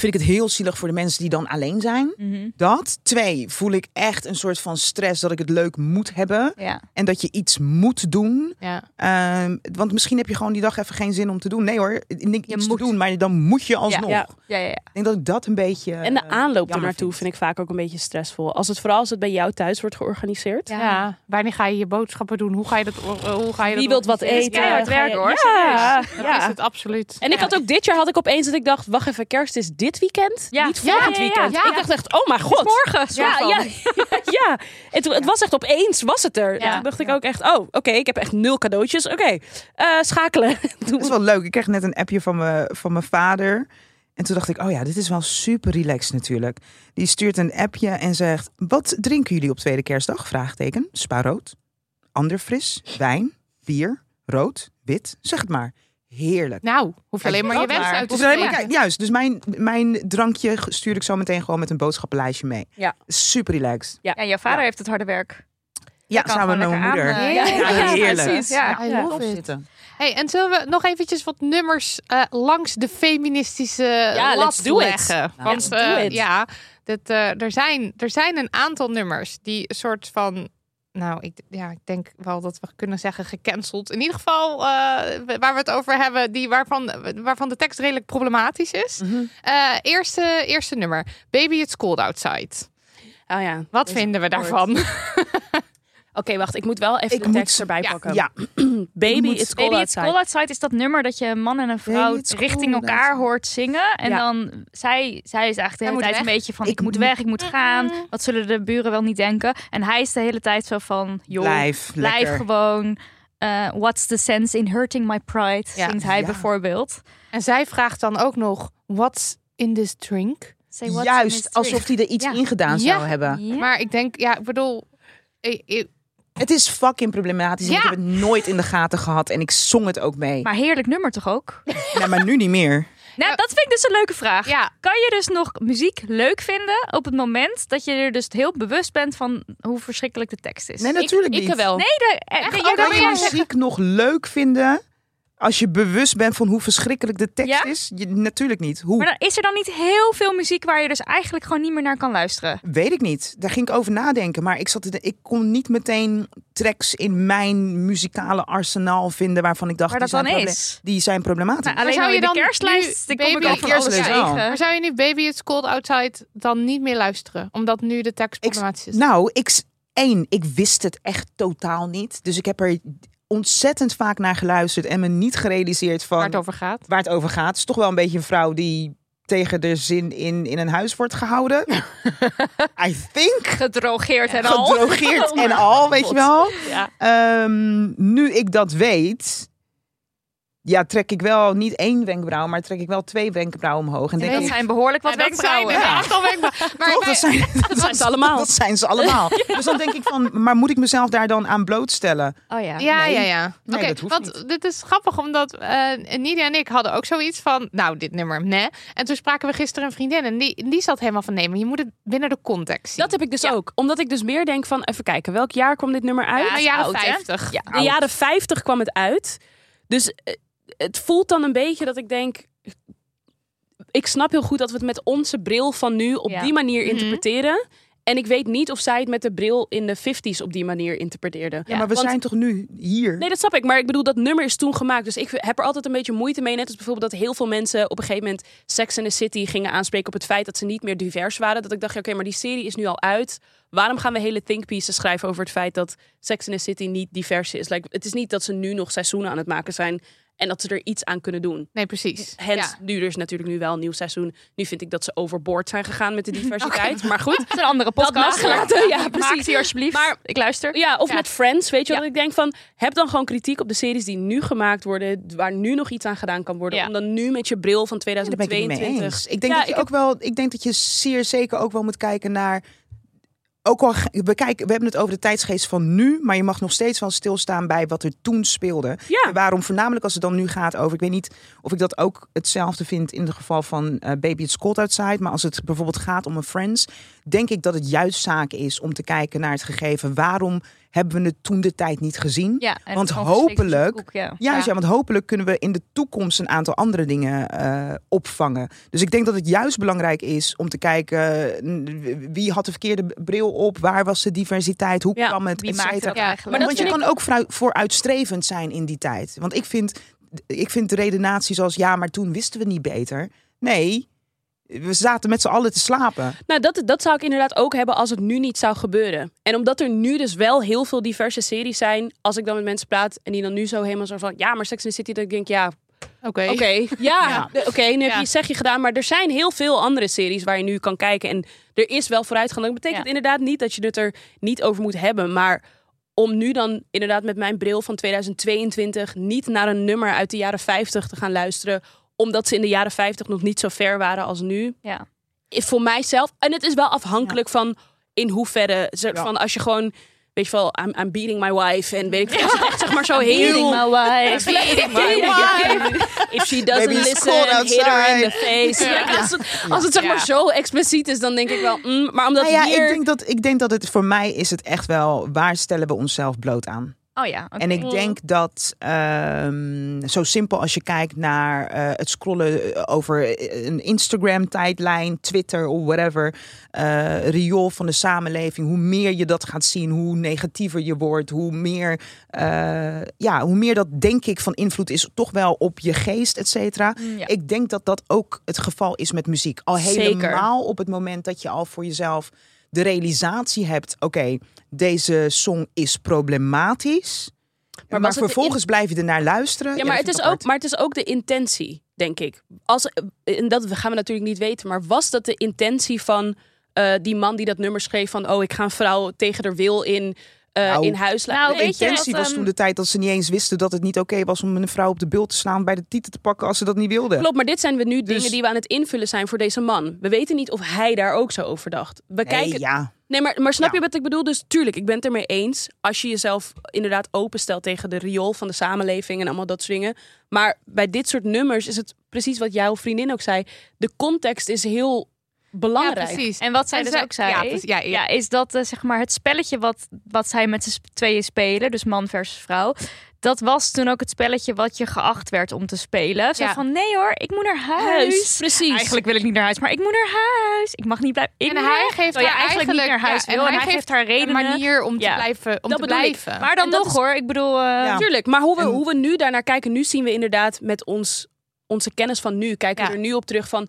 [SPEAKER 5] Vind ik het heel zielig voor de mensen die dan alleen zijn.
[SPEAKER 4] Mhm.
[SPEAKER 5] Dat. Twee. Voel ik echt een soort van stress dat ik het leuk moet hebben.
[SPEAKER 4] ja.
[SPEAKER 5] En dat je iets moet doen.
[SPEAKER 3] Ja.
[SPEAKER 5] Ehm, want misschien heb je gewoon die dag even geen zin om te doen. Nee hoor, ik denk iets
[SPEAKER 4] moet.
[SPEAKER 5] te doen, maar dan moet je alsnog.
[SPEAKER 6] ja.
[SPEAKER 4] Ja, ja, ja.
[SPEAKER 5] Ik denk dat ik dat een beetje... eh,
[SPEAKER 6] En
[SPEAKER 4] Eh,
[SPEAKER 6] de aanloop
[SPEAKER 5] er
[SPEAKER 6] ernaartoe vind ik vaak ook een beetje stressvol. Als het vooral als het bij jou thuis wordt georganiseerd.
[SPEAKER 3] Ja. wanneer ga je je boodschappen doen? Hoe ga je dat? Hoe ga je
[SPEAKER 6] Wie
[SPEAKER 3] dat
[SPEAKER 6] wilt wat
[SPEAKER 3] organiseren?
[SPEAKER 6] eten?
[SPEAKER 4] keihard
[SPEAKER 6] Ga je-
[SPEAKER 4] werken, hoor.
[SPEAKER 6] Ja,
[SPEAKER 3] Dat
[SPEAKER 6] ja.
[SPEAKER 3] is het absoluut.
[SPEAKER 6] En ik had ook dit jaar had ik opeens dat ik dacht, wacht even, kerst is dit weekend,
[SPEAKER 4] Ja.
[SPEAKER 6] niet
[SPEAKER 4] Ja,
[SPEAKER 6] volgend
[SPEAKER 4] ja, ja,
[SPEAKER 6] weekend.
[SPEAKER 3] ja.
[SPEAKER 6] Ik dacht echt, oh mijn god.
[SPEAKER 4] Morgen, soort
[SPEAKER 6] Ja,
[SPEAKER 4] van.
[SPEAKER 6] ja, ja, ja. Het, het was echt opeens, was het er.
[SPEAKER 4] Ja.
[SPEAKER 6] Toen dacht ik ook echt, oh, oké, ik heb echt nul cadeautjes. Oké, eh, schakelen. Doe-
[SPEAKER 5] Dat is wel leuk. Ik kreeg net een appje van, me, van mijn vader. En toen dacht ik, oh ja, dit is wel super relaxed natuurlijk. Die stuurt een appje en zegt... Wat drinken jullie op tweede kerstdag? Vraagteken. Spa rood. Ander fris. Wijn. Bier. Rood. Wit. Zeg het maar. Heerlijk.
[SPEAKER 3] Nou, hoef je alleen maar je
[SPEAKER 5] dat
[SPEAKER 3] wens
[SPEAKER 5] maar.
[SPEAKER 3] uit te
[SPEAKER 5] Dus alleen maar-
[SPEAKER 3] spreken.
[SPEAKER 5] kijk, Juist, dus mijn, mijn drankje stuur ik zo meteen gewoon met een boodschappenlijstje mee.
[SPEAKER 6] Ja.
[SPEAKER 5] Super relaxed.
[SPEAKER 4] Ja, jouw vader heeft het harde werk.
[SPEAKER 5] Ja,
[SPEAKER 4] Kan
[SPEAKER 5] samen met
[SPEAKER 4] gewoon
[SPEAKER 5] mijn
[SPEAKER 4] lekker
[SPEAKER 5] moeder.
[SPEAKER 4] aan, eh,
[SPEAKER 3] Ja,
[SPEAKER 5] ja, heerlijk.
[SPEAKER 4] precies. Ja.
[SPEAKER 3] I
[SPEAKER 6] Ja.
[SPEAKER 3] love it.
[SPEAKER 5] Zitten.
[SPEAKER 3] Hey, en zullen we nog eventjes wat nummers eh, langs de feministische ja, lat
[SPEAKER 6] let's do it.
[SPEAKER 3] leggen? Want
[SPEAKER 6] let's do
[SPEAKER 3] eh,
[SPEAKER 6] it.
[SPEAKER 3] ja, dat, eh, er, zijn, er zijn een aantal nummers die een soort van... Nou, ik, ja, ik denk wel dat we kunnen zeggen gecanceld. In ieder geval eh, waar we het over hebben, die waarvan, waarvan de tekst redelijk problematisch is.
[SPEAKER 6] Mhm.
[SPEAKER 3] Eh, eerste, eerste nummer, Baby It's Cold Outside.
[SPEAKER 6] Oh ja.
[SPEAKER 3] Wat
[SPEAKER 6] Deze-
[SPEAKER 3] vinden we
[SPEAKER 6] woord.
[SPEAKER 3] daarvan?
[SPEAKER 6] Oké, wacht, ik moet wel even
[SPEAKER 5] Ik
[SPEAKER 6] de tekst
[SPEAKER 5] moet-
[SPEAKER 6] erbij
[SPEAKER 3] ja.
[SPEAKER 6] pakken.
[SPEAKER 5] Ja,
[SPEAKER 6] Baby,
[SPEAKER 5] moet-
[SPEAKER 6] it's cold
[SPEAKER 4] Baby It's
[SPEAKER 6] outside.
[SPEAKER 4] Cold Outside is dat nummer dat je een man en een vrouw
[SPEAKER 5] Baby, it's
[SPEAKER 4] richting
[SPEAKER 5] cold
[SPEAKER 4] elkaar
[SPEAKER 5] outside.
[SPEAKER 4] hoort zingen. En
[SPEAKER 6] Ja.
[SPEAKER 4] dan, zij, zij is eigenlijk de hele
[SPEAKER 3] moet
[SPEAKER 4] tijd
[SPEAKER 3] weg.
[SPEAKER 4] een beetje van, ik,
[SPEAKER 5] Ik
[SPEAKER 4] moet
[SPEAKER 5] moet-
[SPEAKER 4] weg, ik moet gaan. Wat zullen de buren wel niet denken? En hij is de hele tijd zo van, joh, blijf,
[SPEAKER 5] blijf, lekker.
[SPEAKER 4] gewoon. Eh, what's the sense in hurting my pride,
[SPEAKER 3] Ja.
[SPEAKER 4] zingt hij
[SPEAKER 5] Ja.
[SPEAKER 4] bijvoorbeeld.
[SPEAKER 3] En zij vraagt dan ook nog, what's in this drink?
[SPEAKER 4] Say what's in this
[SPEAKER 5] Juist,
[SPEAKER 4] drink.
[SPEAKER 5] alsof hij er iets
[SPEAKER 4] Ja.
[SPEAKER 5] in gedaan
[SPEAKER 3] Ja.
[SPEAKER 5] zou hebben.
[SPEAKER 4] Ja.
[SPEAKER 3] Maar ik denk, ja, ik bedoel... eh, eh,
[SPEAKER 5] Het is fucking problematisch. en
[SPEAKER 3] Ja.
[SPEAKER 5] Ik heb het nooit in de gaten gehad en ik zong het ook mee.
[SPEAKER 4] Maar heerlijk nummer toch ook?
[SPEAKER 5] Ja, maar nu niet meer.
[SPEAKER 4] Nou, dat vind ik dus een leuke vraag.
[SPEAKER 3] Ja,
[SPEAKER 4] Kan je dus nog muziek leuk vinden op het moment dat je er dus heel bewust bent van hoe verschrikkelijk de tekst is?
[SPEAKER 5] Nee, natuurlijk
[SPEAKER 6] ik,
[SPEAKER 5] niet.
[SPEAKER 6] Ik wel.
[SPEAKER 4] Nee, de, eh,
[SPEAKER 3] Echt?
[SPEAKER 4] nee,
[SPEAKER 3] Oh,
[SPEAKER 4] jij-
[SPEAKER 3] dat
[SPEAKER 5] Kan
[SPEAKER 3] wil
[SPEAKER 5] je
[SPEAKER 3] jij
[SPEAKER 5] muziek nog leuk vinden als je bewust bent van hoe verschrikkelijk de tekst
[SPEAKER 4] Ja?
[SPEAKER 5] is? Je- natuurlijk niet. Hoe?
[SPEAKER 4] maar dan is er dan niet heel veel muziek waar je dus eigenlijk gewoon niet meer naar kan luisteren?
[SPEAKER 5] Weet ik niet. Daar ging ik over nadenken. Maar ik, zat te de- ik kon niet meteen tracks in mijn muzikale arsenaal vinden waarvan ik dacht...
[SPEAKER 4] Waar dat
[SPEAKER 5] die
[SPEAKER 4] dan
[SPEAKER 5] zijn proble-
[SPEAKER 4] is?
[SPEAKER 5] Die zijn problematisch.
[SPEAKER 4] Nou, alleen
[SPEAKER 3] zou
[SPEAKER 4] al
[SPEAKER 3] je
[SPEAKER 4] in de
[SPEAKER 3] dan
[SPEAKER 4] kerstlijst
[SPEAKER 3] nu
[SPEAKER 4] dan kom ik
[SPEAKER 3] Baby dus
[SPEAKER 4] ook
[SPEAKER 3] in
[SPEAKER 4] van
[SPEAKER 3] de
[SPEAKER 4] alles
[SPEAKER 5] kerstlijst
[SPEAKER 4] tegen.
[SPEAKER 3] Maar zou je nu Baby It's Cold Outside dan niet meer luisteren? Omdat nu de tekst
[SPEAKER 5] Ik-
[SPEAKER 3] problematisch is.
[SPEAKER 5] Nou, ik, s- één, ik wist het echt totaal niet. Dus ik heb er ontzettend vaak naar geluisterd en me niet gerealiseerd van
[SPEAKER 3] waar het over gaat.
[SPEAKER 5] waar het over gaat. Het is toch wel een beetje een vrouw die tegen de zin in, in een huis wordt gehouden. I think.
[SPEAKER 4] Gedrogeerd en al.
[SPEAKER 5] Gedrogeerd
[SPEAKER 4] Oh
[SPEAKER 5] en
[SPEAKER 4] mijn
[SPEAKER 5] al, weet je
[SPEAKER 4] God.
[SPEAKER 5] wel.
[SPEAKER 4] Ja.
[SPEAKER 5] Ehm, nu ik dat weet, ja, trek ik wel niet één wenkbrauw, maar trek ik wel twee wenkbrauwen omhoog. En denk
[SPEAKER 4] Dat
[SPEAKER 5] ik,
[SPEAKER 4] zijn behoorlijk wat
[SPEAKER 3] Ja, dat zijn
[SPEAKER 4] wenkbrauwen.
[SPEAKER 3] er een aantal wenkbrauwen. Maar
[SPEAKER 5] Toch,
[SPEAKER 3] wij-
[SPEAKER 5] dat zijn, dat
[SPEAKER 6] zijn ze allemaal.
[SPEAKER 5] Dat zijn ze allemaal. Dus dan denk ik van, maar moet ik mezelf daar dan aan blootstellen?
[SPEAKER 4] Oh ja.
[SPEAKER 3] Ja,
[SPEAKER 5] Nee.
[SPEAKER 3] ja, ja.
[SPEAKER 5] Nee,
[SPEAKER 3] Oké,
[SPEAKER 5] dat hoeft
[SPEAKER 3] want dit is grappig, omdat eh Nidia en ik hadden ook zoiets van... Nou, dit nummer, nee. En toen spraken we gisteren een vriendin en die, die zat helemaal van... Nee, maar je moet het binnen de context zien.
[SPEAKER 6] Dat heb ik dus ook. Omdat ik dus meer denk van, even kijken, welk jaar kwam dit nummer uit? Oh,
[SPEAKER 3] ja, jaren
[SPEAKER 6] Oud, hè?
[SPEAKER 3] 50.
[SPEAKER 6] Ja, de jaren 50 kwam het uit. Dus eh, het voelt dan een beetje dat ik denk. Ik snap heel goed dat we het met onze bril van nu op
[SPEAKER 4] Ja.
[SPEAKER 6] die manier interpreteren. En ik weet niet of zij het met de bril in de 50s op die manier interpreteerde.
[SPEAKER 5] maar we
[SPEAKER 6] Want-
[SPEAKER 5] zijn toch nu hier?
[SPEAKER 6] Nee, dat snap ik. Maar ik bedoel, dat nummer is toen gemaakt. Dus ik heb er altijd een beetje moeite mee. Net als bijvoorbeeld dat heel veel mensen op een gegeven moment Sex in the City gingen aanspreken op het feit dat ze niet meer divers waren. Dat ik dacht, ja, oké, maar die serie is nu al uit. Waarom gaan we hele think pieces schrijven over het feit dat Sex in the City niet divers is? Like, het is niet dat ze nu nog seizoenen aan het maken zijn en dat ze er iets aan kunnen doen.
[SPEAKER 3] Nee, precies.
[SPEAKER 6] Hence,
[SPEAKER 3] Ja.
[SPEAKER 6] nu er is natuurlijk nu wel een nieuw seizoen. Nu vind ik dat ze overboord zijn gegaan met de diversiteit. Maar goed,
[SPEAKER 4] Het is een andere
[SPEAKER 6] Dat
[SPEAKER 4] podcast.
[SPEAKER 6] losgelaten, ja,
[SPEAKER 4] Maak
[SPEAKER 6] precies.
[SPEAKER 4] die alsjeblieft.
[SPEAKER 6] Maar-
[SPEAKER 4] ik luister.
[SPEAKER 6] Ja, of
[SPEAKER 4] Ja.
[SPEAKER 6] met Friends, weet je
[SPEAKER 4] Ja.
[SPEAKER 6] wat ik denk van... heb dan gewoon kritiek op de series die nu gemaakt worden... waar nu nog iets aan gedaan kan worden.
[SPEAKER 4] Ja.
[SPEAKER 6] Om dan nu met je bril van
[SPEAKER 5] Ja, daar ben ik het niet
[SPEAKER 6] 2022...
[SPEAKER 5] mee eens. Ik denk,
[SPEAKER 6] Ja,
[SPEAKER 5] dat je
[SPEAKER 6] ik
[SPEAKER 5] ook wel, ik denk dat je zeer zeker ook wel moet kijken naar... Ook al, ge- we, kijken, we hebben het over de tijdsgeest van nu... maar je mag nog steeds wel stilstaan bij wat er toen speelde.
[SPEAKER 6] Ja.
[SPEAKER 5] En waarom voornamelijk als het dan nu gaat over... ik weet niet of ik dat ook hetzelfde vind in het geval van eh, Baby It's Cold Outside... maar als het bijvoorbeeld gaat om een Friends... denk ik dat het juist zaak is om te kijken naar het gegeven... waarom hebben we het toen de tijd niet gezien?
[SPEAKER 4] Ja, en
[SPEAKER 5] Want
[SPEAKER 4] gewoon geschikt voor
[SPEAKER 5] hopelijk-
[SPEAKER 4] zo'n koek, ja.
[SPEAKER 5] Ja, dus ja, want hopelijk kunnen we in de toekomst een aantal andere dingen eh, opvangen. Dus ik denk dat het juist belangrijk is om te kijken eh, wie had de verkeerde b- bril op, waar was de diversiteit, hoe
[SPEAKER 6] Ja,
[SPEAKER 5] kwam het,
[SPEAKER 4] Wie
[SPEAKER 5] et
[SPEAKER 4] maakt
[SPEAKER 5] cetera.
[SPEAKER 4] dat eigenlijk?
[SPEAKER 6] Maar dat
[SPEAKER 5] Want je
[SPEAKER 6] vind
[SPEAKER 5] kan ook vooru- vooruitstrevend zijn in die tijd. Want ik vind, ik vind de redenatie zoals ja, maar toen wisten we niet beter. Nee, we zaten met z'n allen te slapen.
[SPEAKER 6] Nou, dat, dat zou ik inderdaad ook hebben als het nu niet zou gebeuren. En omdat er nu dus wel heel veel diverse series zijn... als ik dan met mensen praat en die dan nu zo helemaal zo van... ja, maar Sex in the City, dat ik denk, ja,
[SPEAKER 3] Oké.
[SPEAKER 6] Oké, ja. de- Oké, nu heb
[SPEAKER 3] Ja.
[SPEAKER 6] je zeg je gedaan. Maar er zijn heel veel andere series waar je nu kan kijken. En er is wel vooruitgang. Dat betekent
[SPEAKER 4] Ja.
[SPEAKER 6] inderdaad niet dat je het er niet over moet hebben. Maar om nu dan inderdaad met mijn bril van 2022... niet naar een nummer uit de jaren 50 te gaan luisteren... omdat ze in de jaren 50 nog niet zo ver waren als nu.
[SPEAKER 4] Ja.
[SPEAKER 6] Is voor mijzelf... En het is wel afhankelijk van in hoeverre... ze-
[SPEAKER 5] Ja.
[SPEAKER 6] Van als je gewoon... Weet je wel, I'm, I'm beating my wife. En weet ik veel. Als het echt zeg maar zo heel...
[SPEAKER 4] Beating my wife.
[SPEAKER 6] If she doesn't
[SPEAKER 5] Maybe it's
[SPEAKER 6] listen,
[SPEAKER 5] cold
[SPEAKER 6] hit her
[SPEAKER 5] outside.
[SPEAKER 6] in the face. Ja, Als, het, als het zeg maar zo expliciet is, dan denk ik wel... mm, maar omdat
[SPEAKER 5] Nou ja,
[SPEAKER 6] hier...
[SPEAKER 5] ik, denk dat, ik denk dat het voor mij is het echt wel, waar stellen we onszelf bloot aan?
[SPEAKER 4] Oh ja, oké.
[SPEAKER 5] En ik denk dat ehm, zo simpel als je kijkt naar eh, het scrollen eh, over een Instagram-tijdlijn, Twitter of whatever, eh riool van de samenleving, hoe meer je dat gaat zien, hoe negatiever je wordt, hoe meer, eh, ja, hoe meer dat denk ik van invloed is, toch wel op je geest, et cetera.
[SPEAKER 4] Mm, ja.
[SPEAKER 5] Ik denk dat dat ook het geval is met muziek. Al
[SPEAKER 6] Zeker.
[SPEAKER 5] helemaal op het moment dat je al voor jezelf de realisatie hebt: oké, deze song is problematisch. Maar,
[SPEAKER 6] was het de
[SPEAKER 5] vervolgens blijf je ernaar luisteren.
[SPEAKER 6] Ja, maar,
[SPEAKER 5] dat
[SPEAKER 6] het
[SPEAKER 5] vind
[SPEAKER 6] is
[SPEAKER 5] ik
[SPEAKER 6] ook,
[SPEAKER 5] apart.
[SPEAKER 6] maar het is ook de intentie, denk ik. Als, en dat gaan we natuurlijk niet weten. Maar was dat de intentie van eh, die man die dat nummer schreef... van, oh, ik ga een vrouw tegen haar wil in, eh,
[SPEAKER 5] Nou,
[SPEAKER 6] in huis laten...
[SPEAKER 4] nou,
[SPEAKER 6] Nee,
[SPEAKER 5] De
[SPEAKER 4] weet je,
[SPEAKER 5] intentie
[SPEAKER 4] dat,
[SPEAKER 5] was
[SPEAKER 4] ehm,
[SPEAKER 5] toen de tijd dat ze niet eens wisten dat het niet oké was om een vrouw op de beeld te slaan bij de titel te pakken als ze dat niet wilden.
[SPEAKER 6] Klopt, maar dit zijn we nu dingen
[SPEAKER 5] Dus-
[SPEAKER 6] die we aan het invullen zijn voor deze man. We weten niet of hij daar ook zo over dacht. We
[SPEAKER 5] Nee,
[SPEAKER 6] kijken,
[SPEAKER 5] ja.
[SPEAKER 6] Nee, maar, maar snap
[SPEAKER 5] Ja.
[SPEAKER 6] je wat ik bedoel? Dus tuurlijk, ik ben het ermee eens. Als je jezelf inderdaad openstelt tegen de riool van de samenleving en allemaal dat soort dingen. Maar bij dit soort nummers is het precies wat jouw vriendin ook zei. De context is heel belangrijk.
[SPEAKER 3] Ja, precies.
[SPEAKER 4] En wat zij
[SPEAKER 3] En
[SPEAKER 4] dus
[SPEAKER 3] zij-
[SPEAKER 4] ook zei,
[SPEAKER 3] ja, precies. Ja, ja.
[SPEAKER 4] is dat eh, zeg maar het spelletje wat, wat zij met z'n tweeën spelen, dus man versus vrouw, dat was toen ook het spelletje wat je geacht werd om te spelen. Zo
[SPEAKER 3] Ja.
[SPEAKER 4] van, nee hoor, ik moet naar huis.
[SPEAKER 6] Huis, precies.
[SPEAKER 4] Eigenlijk wil ik niet naar huis, maar ik moet naar huis. Ik mag niet blijven. Ik
[SPEAKER 3] En
[SPEAKER 4] moet
[SPEAKER 3] hij
[SPEAKER 4] naar-
[SPEAKER 3] geeft haar
[SPEAKER 4] Terwijl je eigenlijk niet
[SPEAKER 3] eigenlijk-
[SPEAKER 4] naar huis
[SPEAKER 3] ja,
[SPEAKER 4] wil. En, hij geeft, haar
[SPEAKER 3] Een
[SPEAKER 4] redenen.
[SPEAKER 3] manier om
[SPEAKER 4] Ja.
[SPEAKER 3] te blijven. Om
[SPEAKER 6] Dat
[SPEAKER 3] te
[SPEAKER 6] bedoel ik.
[SPEAKER 3] blijven.
[SPEAKER 4] Maar dan
[SPEAKER 6] En dat
[SPEAKER 4] nog
[SPEAKER 6] is-
[SPEAKER 4] hoor, ik bedoel... eh,
[SPEAKER 5] Ja.
[SPEAKER 6] Tuurlijk, maar hoe we,
[SPEAKER 5] En-
[SPEAKER 6] hoe we nu daarnaar kijken, nu zien we inderdaad met ons, onze kennis van nu, kijken we
[SPEAKER 3] Ja.
[SPEAKER 6] er nu op terug van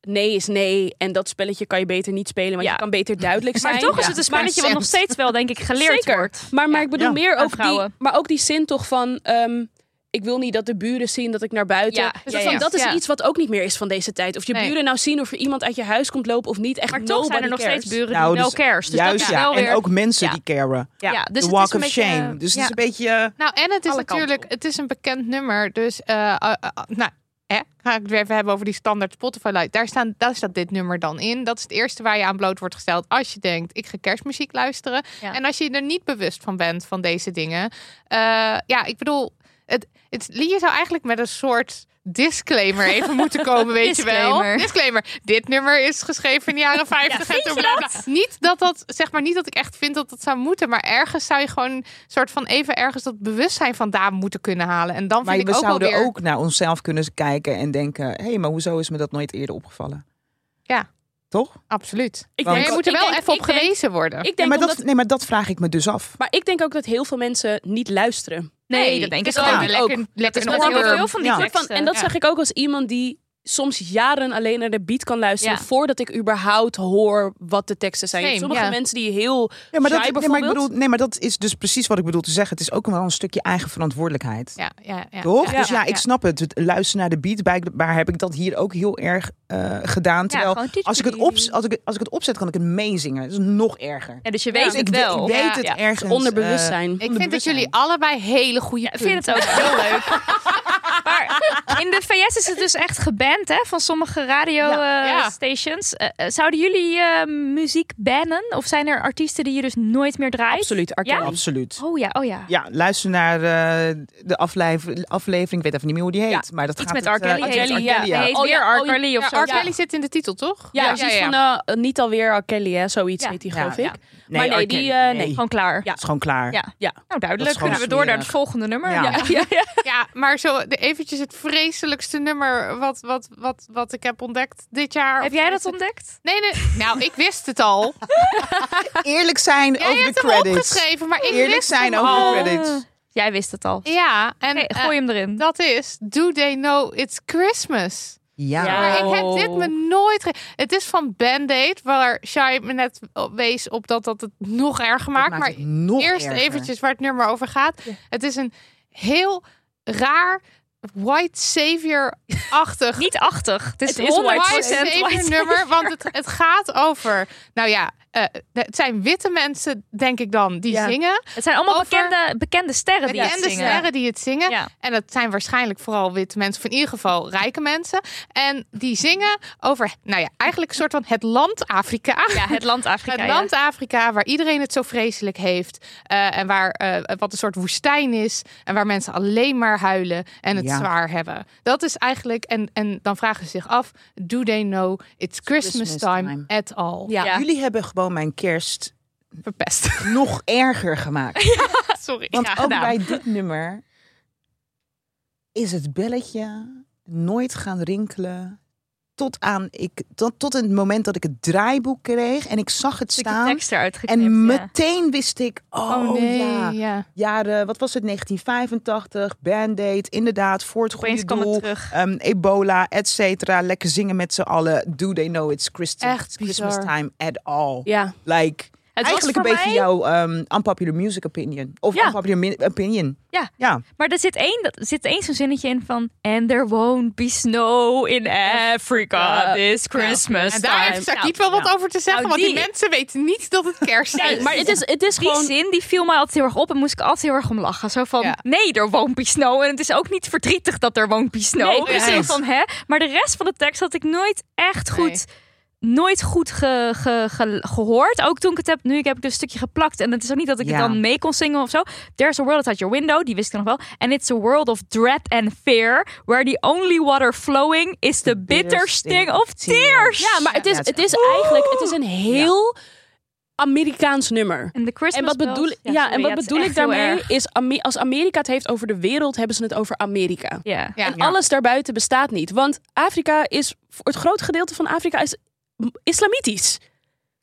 [SPEAKER 6] nee is nee en dat spelletje kan je beter niet spelen, want
[SPEAKER 4] Ja.
[SPEAKER 6] je kan beter duidelijk zijn.
[SPEAKER 4] Maar toch is
[SPEAKER 6] Ja.
[SPEAKER 4] het een spelletje wat nog steeds wel, denk ik, geleerd
[SPEAKER 6] Zeker.
[SPEAKER 4] wordt.
[SPEAKER 6] Maar, maar
[SPEAKER 4] Ja.
[SPEAKER 6] ik bedoel
[SPEAKER 5] Ja.
[SPEAKER 6] meer
[SPEAKER 4] Aan
[SPEAKER 6] ook die,
[SPEAKER 4] vrouwen.
[SPEAKER 6] maar ook die zin toch van... ehm, ik wil niet dat de buren zien dat ik naar buiten...
[SPEAKER 4] Ja,
[SPEAKER 6] Dus
[SPEAKER 4] ja,
[SPEAKER 6] van,
[SPEAKER 4] ja.
[SPEAKER 6] Dat is
[SPEAKER 4] Ja.
[SPEAKER 6] iets wat ook niet meer is van deze tijd. Of je
[SPEAKER 3] Nee.
[SPEAKER 6] buren nou zien of er iemand uit je huis komt lopen of niet. Echt
[SPEAKER 4] Maar toch zijn er
[SPEAKER 6] nobody
[SPEAKER 4] nog
[SPEAKER 6] cares.
[SPEAKER 4] steeds buren die
[SPEAKER 5] Nou,
[SPEAKER 4] wel
[SPEAKER 5] dus
[SPEAKER 4] cares. Dus
[SPEAKER 5] Juist
[SPEAKER 4] dat is
[SPEAKER 5] ja.
[SPEAKER 4] wel weer...
[SPEAKER 5] En ook mensen
[SPEAKER 4] Ja.
[SPEAKER 5] die caren.
[SPEAKER 4] ja. dus
[SPEAKER 5] de
[SPEAKER 4] het
[SPEAKER 5] walk
[SPEAKER 4] is een
[SPEAKER 5] of
[SPEAKER 4] beetje,
[SPEAKER 5] shame.
[SPEAKER 4] eh,
[SPEAKER 5] dus het
[SPEAKER 3] ja.
[SPEAKER 5] is een beetje. eh,
[SPEAKER 3] Nou, en het is
[SPEAKER 4] Alle kanten
[SPEAKER 3] natuurlijk, het is een bekend nummer. Dus, eh, eh, eh, nou, hè, ga ik het weer even hebben over die standaard Spotify Lite. Daar, staan, daar staat dit nummer dan in. Dat is het eerste waar je aan bloot wordt gesteld als je denkt, ik ga kerstmuziek luisteren.
[SPEAKER 4] Ja.
[SPEAKER 3] En als je er niet bewust van bent, van deze dingen. eh, ja, ik bedoel, het, het liedje zou eigenlijk met een soort disclaimer even moeten komen, weet je wel.
[SPEAKER 4] Disclaimer.
[SPEAKER 3] Disclaimer. Dit nummer is geschreven in de jaren 50. en
[SPEAKER 4] vind
[SPEAKER 3] toen
[SPEAKER 4] je
[SPEAKER 3] bla,
[SPEAKER 4] dat?
[SPEAKER 3] bla. Niet dat dat, zeg maar, niet dat ik echt vind dat dat zou moeten, maar ergens zou je gewoon soort van even ergens dat bewustzijn vandaan moeten kunnen halen. En dan
[SPEAKER 5] Maar
[SPEAKER 3] vind
[SPEAKER 5] we
[SPEAKER 3] ik ook wel
[SPEAKER 5] zouden
[SPEAKER 3] weer.
[SPEAKER 5] ook naar onszelf kunnen kijken en denken: hé, hey, maar hoezo is me dat nooit eerder opgevallen?
[SPEAKER 3] Ja.
[SPEAKER 5] Toch?
[SPEAKER 3] Absoluut.
[SPEAKER 6] Ik
[SPEAKER 3] Maar je moet er
[SPEAKER 6] ik
[SPEAKER 3] wel
[SPEAKER 6] denk-
[SPEAKER 3] even op
[SPEAKER 6] ik denk-
[SPEAKER 3] gewezen worden.
[SPEAKER 6] Ik
[SPEAKER 5] Ja,
[SPEAKER 6] denk
[SPEAKER 5] maar,
[SPEAKER 6] omdat,
[SPEAKER 5] dat, nee, maar dat vraag ik me dus af.
[SPEAKER 6] maar ik denk ook dat heel veel mensen niet luisteren.
[SPEAKER 4] Nee, dat denk
[SPEAKER 3] het
[SPEAKER 4] ik
[SPEAKER 3] is gewoon
[SPEAKER 4] ook.
[SPEAKER 3] lekker-
[SPEAKER 6] Ook.
[SPEAKER 3] Lekker
[SPEAKER 6] is
[SPEAKER 3] een
[SPEAKER 6] met
[SPEAKER 4] Want
[SPEAKER 6] heel
[SPEAKER 3] oordeel.
[SPEAKER 4] veel van die
[SPEAKER 5] Ja.
[SPEAKER 6] Soort van-
[SPEAKER 4] teksten.
[SPEAKER 6] en dat
[SPEAKER 4] ja.
[SPEAKER 6] zeg ik ook als iemand die soms jaren alleen naar de beat kan luisteren
[SPEAKER 4] Ja.
[SPEAKER 6] voordat ik überhaupt hoor wat de teksten zijn.
[SPEAKER 3] Same,
[SPEAKER 6] Sommige
[SPEAKER 3] ja.
[SPEAKER 6] mensen die heel
[SPEAKER 5] Ja, maar
[SPEAKER 6] shy
[SPEAKER 5] dat, nee, maar ik
[SPEAKER 6] bijvoorbeeld.
[SPEAKER 5] bedoel, nee, maar dat is dus precies wat ik bedoel te zeggen. Het is ook wel een stukje eigen verantwoordelijkheid.
[SPEAKER 3] Ja, ja, ja.
[SPEAKER 5] Toch? dus ja,
[SPEAKER 3] ja.
[SPEAKER 5] ik snap het. Het luisteren naar de beat. Blijkbaar heb ik dat hier ook heel erg eh, gedaan. Terwijl
[SPEAKER 4] gewoon
[SPEAKER 5] als, ik het op, als, ik, het- als ik het opzet, kan ik het meezingen. Dat is nog erger.
[SPEAKER 4] Ja, dus je
[SPEAKER 6] Ja,
[SPEAKER 4] weet
[SPEAKER 5] Dus ik,
[SPEAKER 4] het
[SPEAKER 5] we-
[SPEAKER 4] wel.
[SPEAKER 5] ik weet
[SPEAKER 3] Ja,
[SPEAKER 5] het
[SPEAKER 4] ja.
[SPEAKER 5] ergens. eh,
[SPEAKER 6] onderbewustzijn.
[SPEAKER 3] Ik vind dat jullie allebei hele goede
[SPEAKER 4] Ik vind het ook heel leuk. Maar in de VS is het dus echt geband hè, van sommige
[SPEAKER 3] Ja.
[SPEAKER 4] radiostations. zouden jullie eh, muziek bannen? Of zijn er artiesten die je dus nooit meer draait?
[SPEAKER 6] Absoluut, R.
[SPEAKER 4] Ja?
[SPEAKER 6] Kelly.
[SPEAKER 5] Absoluut.
[SPEAKER 4] Oh ja, oh ja.
[SPEAKER 5] Ja, luister naar eh, de aflever- aflevering. Ik weet even niet meer hoe die heet. Maar dat
[SPEAKER 4] Iets
[SPEAKER 5] gaat
[SPEAKER 4] met
[SPEAKER 5] het,
[SPEAKER 4] R. Kelly
[SPEAKER 5] eh,
[SPEAKER 4] heet
[SPEAKER 5] iets
[SPEAKER 4] het.
[SPEAKER 5] met R.
[SPEAKER 6] ja.
[SPEAKER 5] Kelly, ja.
[SPEAKER 4] Heet
[SPEAKER 6] Oh,
[SPEAKER 4] weer
[SPEAKER 6] ja,
[SPEAKER 4] R.
[SPEAKER 6] oh, ja.
[SPEAKER 4] Kelly of
[SPEAKER 3] Ja,
[SPEAKER 4] zo.
[SPEAKER 3] R. Kelly zit in de titel, toch?
[SPEAKER 6] Ja, precies van eh, niet alweer R. Kelly, hè? zoiets
[SPEAKER 4] Ja.
[SPEAKER 6] heet die,
[SPEAKER 5] Ja,
[SPEAKER 6] geloof
[SPEAKER 5] ja.
[SPEAKER 6] ik. Maar nee,
[SPEAKER 5] R. Kelly,
[SPEAKER 6] die, eh, nee.
[SPEAKER 4] Gewoon klaar.
[SPEAKER 6] Ja.
[SPEAKER 5] Het is gewoon klaar.
[SPEAKER 4] Ja. Nou,
[SPEAKER 5] Dat is
[SPEAKER 4] duidelijk.
[SPEAKER 5] gewoon
[SPEAKER 4] Kunnen we door naar het
[SPEAKER 5] smerig.
[SPEAKER 4] volgende nummer?
[SPEAKER 5] Ja.
[SPEAKER 4] ja, ja.
[SPEAKER 3] Ja, maar zo de, eventjes het vreselijkste nummer wat, wat, wat, wat ik heb ontdekt dit jaar.
[SPEAKER 4] Heb
[SPEAKER 3] Of-
[SPEAKER 4] jij dat ontdekt?
[SPEAKER 3] Nee, nee. Nou, ik wist het al.
[SPEAKER 5] Eerlijk zijn
[SPEAKER 3] Jij
[SPEAKER 5] over de
[SPEAKER 3] hebt hem
[SPEAKER 5] credits.
[SPEAKER 3] opgeschreven, maar ik
[SPEAKER 5] Eerlijk
[SPEAKER 3] wist
[SPEAKER 5] zijn
[SPEAKER 3] hem
[SPEAKER 5] over
[SPEAKER 3] al.
[SPEAKER 5] de credits.
[SPEAKER 4] Jij wist het al.
[SPEAKER 3] Ja, en
[SPEAKER 4] Oké, gooi
[SPEAKER 3] eh,
[SPEAKER 4] hem erin.
[SPEAKER 3] dat is Do They Know It's Christmas?
[SPEAKER 5] Ja.
[SPEAKER 6] Ja.
[SPEAKER 3] Maar ik heb dit
[SPEAKER 6] Oh.
[SPEAKER 3] me nooit... ge- Het is van Band-Aid, waar Shai me net op wees op dat dat het nog erger maakt.
[SPEAKER 5] maakt
[SPEAKER 3] maar
[SPEAKER 5] het nog
[SPEAKER 3] eerst
[SPEAKER 5] erger.
[SPEAKER 3] eventjes waar het nummer over gaat. Het is een heel raar white savior-achtig...
[SPEAKER 4] Niet 80. Dit is
[SPEAKER 6] Het is
[SPEAKER 4] 100%
[SPEAKER 6] white
[SPEAKER 3] White
[SPEAKER 4] white
[SPEAKER 3] savior nummer, want het, het gaat over... Nou ja, eh, het zijn witte mensen, denk ik dan, die
[SPEAKER 6] Ja.
[SPEAKER 3] zingen.
[SPEAKER 4] Het zijn allemaal
[SPEAKER 3] Over-
[SPEAKER 4] bekende, bekende sterren die
[SPEAKER 3] En
[SPEAKER 4] het
[SPEAKER 3] de
[SPEAKER 4] zingen.
[SPEAKER 3] sterren die het zingen.
[SPEAKER 4] Ja.
[SPEAKER 3] En dat zijn waarschijnlijk vooral witte mensen, of in ieder geval rijke mensen. En die zingen over, nou ja, eigenlijk een soort van het land Afrika.
[SPEAKER 4] Ja, het land Afrika.
[SPEAKER 3] Het
[SPEAKER 4] ja.
[SPEAKER 3] land Afrika, waar iedereen het zo vreselijk heeft. eh, en waar eh, wat een soort woestijn is. En waar mensen alleen maar huilen en het
[SPEAKER 5] Ja.
[SPEAKER 3] zwaar hebben. Dat is eigenlijk. En, en dan vragen ze zich af: do they know it's Christmas,
[SPEAKER 5] Christmas
[SPEAKER 3] time,
[SPEAKER 5] time.
[SPEAKER 3] at all?
[SPEAKER 6] Ja.
[SPEAKER 4] Ja.
[SPEAKER 5] Jullie hebben gewoon mijn kerst
[SPEAKER 3] Verpest.
[SPEAKER 5] nog erger gemaakt.
[SPEAKER 3] Sorry.
[SPEAKER 5] Want
[SPEAKER 3] ja,
[SPEAKER 5] ook
[SPEAKER 3] gedaan.
[SPEAKER 5] bij dit nummer is het belletje nooit gaan rinkelen. Tot aan ik, tot, tot het moment dat ik het draaiboek kreeg en ik zag het
[SPEAKER 4] Stukje
[SPEAKER 5] staan.
[SPEAKER 4] tekst eruit geknipt,
[SPEAKER 5] En
[SPEAKER 4] ja.
[SPEAKER 5] meteen wist ik, oh,
[SPEAKER 3] Oh nee.
[SPEAKER 5] ja,
[SPEAKER 3] ja.
[SPEAKER 5] jaren, wat was het, 1985, Band-Aid, inderdaad, voor het goede
[SPEAKER 4] Opeens kwam het
[SPEAKER 5] doel,
[SPEAKER 4] terug.
[SPEAKER 5] ehm, ebola, et cetera, lekker zingen met z'n allen, do they know it's Christmas,
[SPEAKER 3] Echt bizar.
[SPEAKER 5] Christmas time at all.
[SPEAKER 6] Ja.
[SPEAKER 5] Like,
[SPEAKER 4] was
[SPEAKER 5] eigenlijk een
[SPEAKER 4] voor
[SPEAKER 5] beetje
[SPEAKER 4] mij-
[SPEAKER 5] jouw ehm, unpopular music opinion. Of
[SPEAKER 4] Ja.
[SPEAKER 5] unpopular mi- opinion.
[SPEAKER 4] Ja.
[SPEAKER 5] Ja.
[SPEAKER 4] Maar er zit één, dat- er zit één zo'n zinnetje in van... And there won't be snow in Africa this Christmas
[SPEAKER 3] En daar
[SPEAKER 4] time."
[SPEAKER 3] heeft Sakiet wel wat over te zeggen,
[SPEAKER 4] Nou,
[SPEAKER 3] want die
[SPEAKER 4] die-
[SPEAKER 3] mensen weten niet dat het kerst is.
[SPEAKER 6] Nee, maar het is, het is
[SPEAKER 4] Die
[SPEAKER 6] gewoon...
[SPEAKER 4] zin die viel mij altijd heel erg op en moest ik altijd heel erg om lachen. Zo van,
[SPEAKER 3] Ja.
[SPEAKER 4] nee, er won't be snow. En het is ook niet verdrietig dat er won't be snow.
[SPEAKER 6] Nee,
[SPEAKER 4] Dus
[SPEAKER 3] precies.
[SPEAKER 4] zo van, hè? Maar de rest van de tekst had ik nooit echt goed, nooit goed ge- ge- ge- gehoord. Ook toen ik het heb, nu ik heb ik dus een stukje geplakt. En het is ook niet dat ik
[SPEAKER 5] Ja.
[SPEAKER 4] het dan mee kon zingen of zo. There's a world outside your window, die wist ik nog wel. And it's a world of dread and fear, where the only water flowing is the bitter sting of tears.
[SPEAKER 6] Ja, maar het is,
[SPEAKER 5] Ja, het
[SPEAKER 6] het is eigenlijk het is een heel Amerikaans nummer.
[SPEAKER 4] En de
[SPEAKER 6] En
[SPEAKER 4] Christmas
[SPEAKER 6] wat bedoel,
[SPEAKER 4] bells.
[SPEAKER 6] ja,
[SPEAKER 4] sorry,
[SPEAKER 6] en wat
[SPEAKER 4] het is
[SPEAKER 6] bedoel ik
[SPEAKER 4] echt heel
[SPEAKER 6] daarmee
[SPEAKER 4] erg.
[SPEAKER 6] is, Ame- als Amerika het heeft over de wereld, hebben ze het over Amerika.
[SPEAKER 4] Ja.
[SPEAKER 3] Ja.
[SPEAKER 6] En alles daarbuiten bestaat niet. Want Afrika is, voor het groot gedeelte van Afrika is m- islamitisch.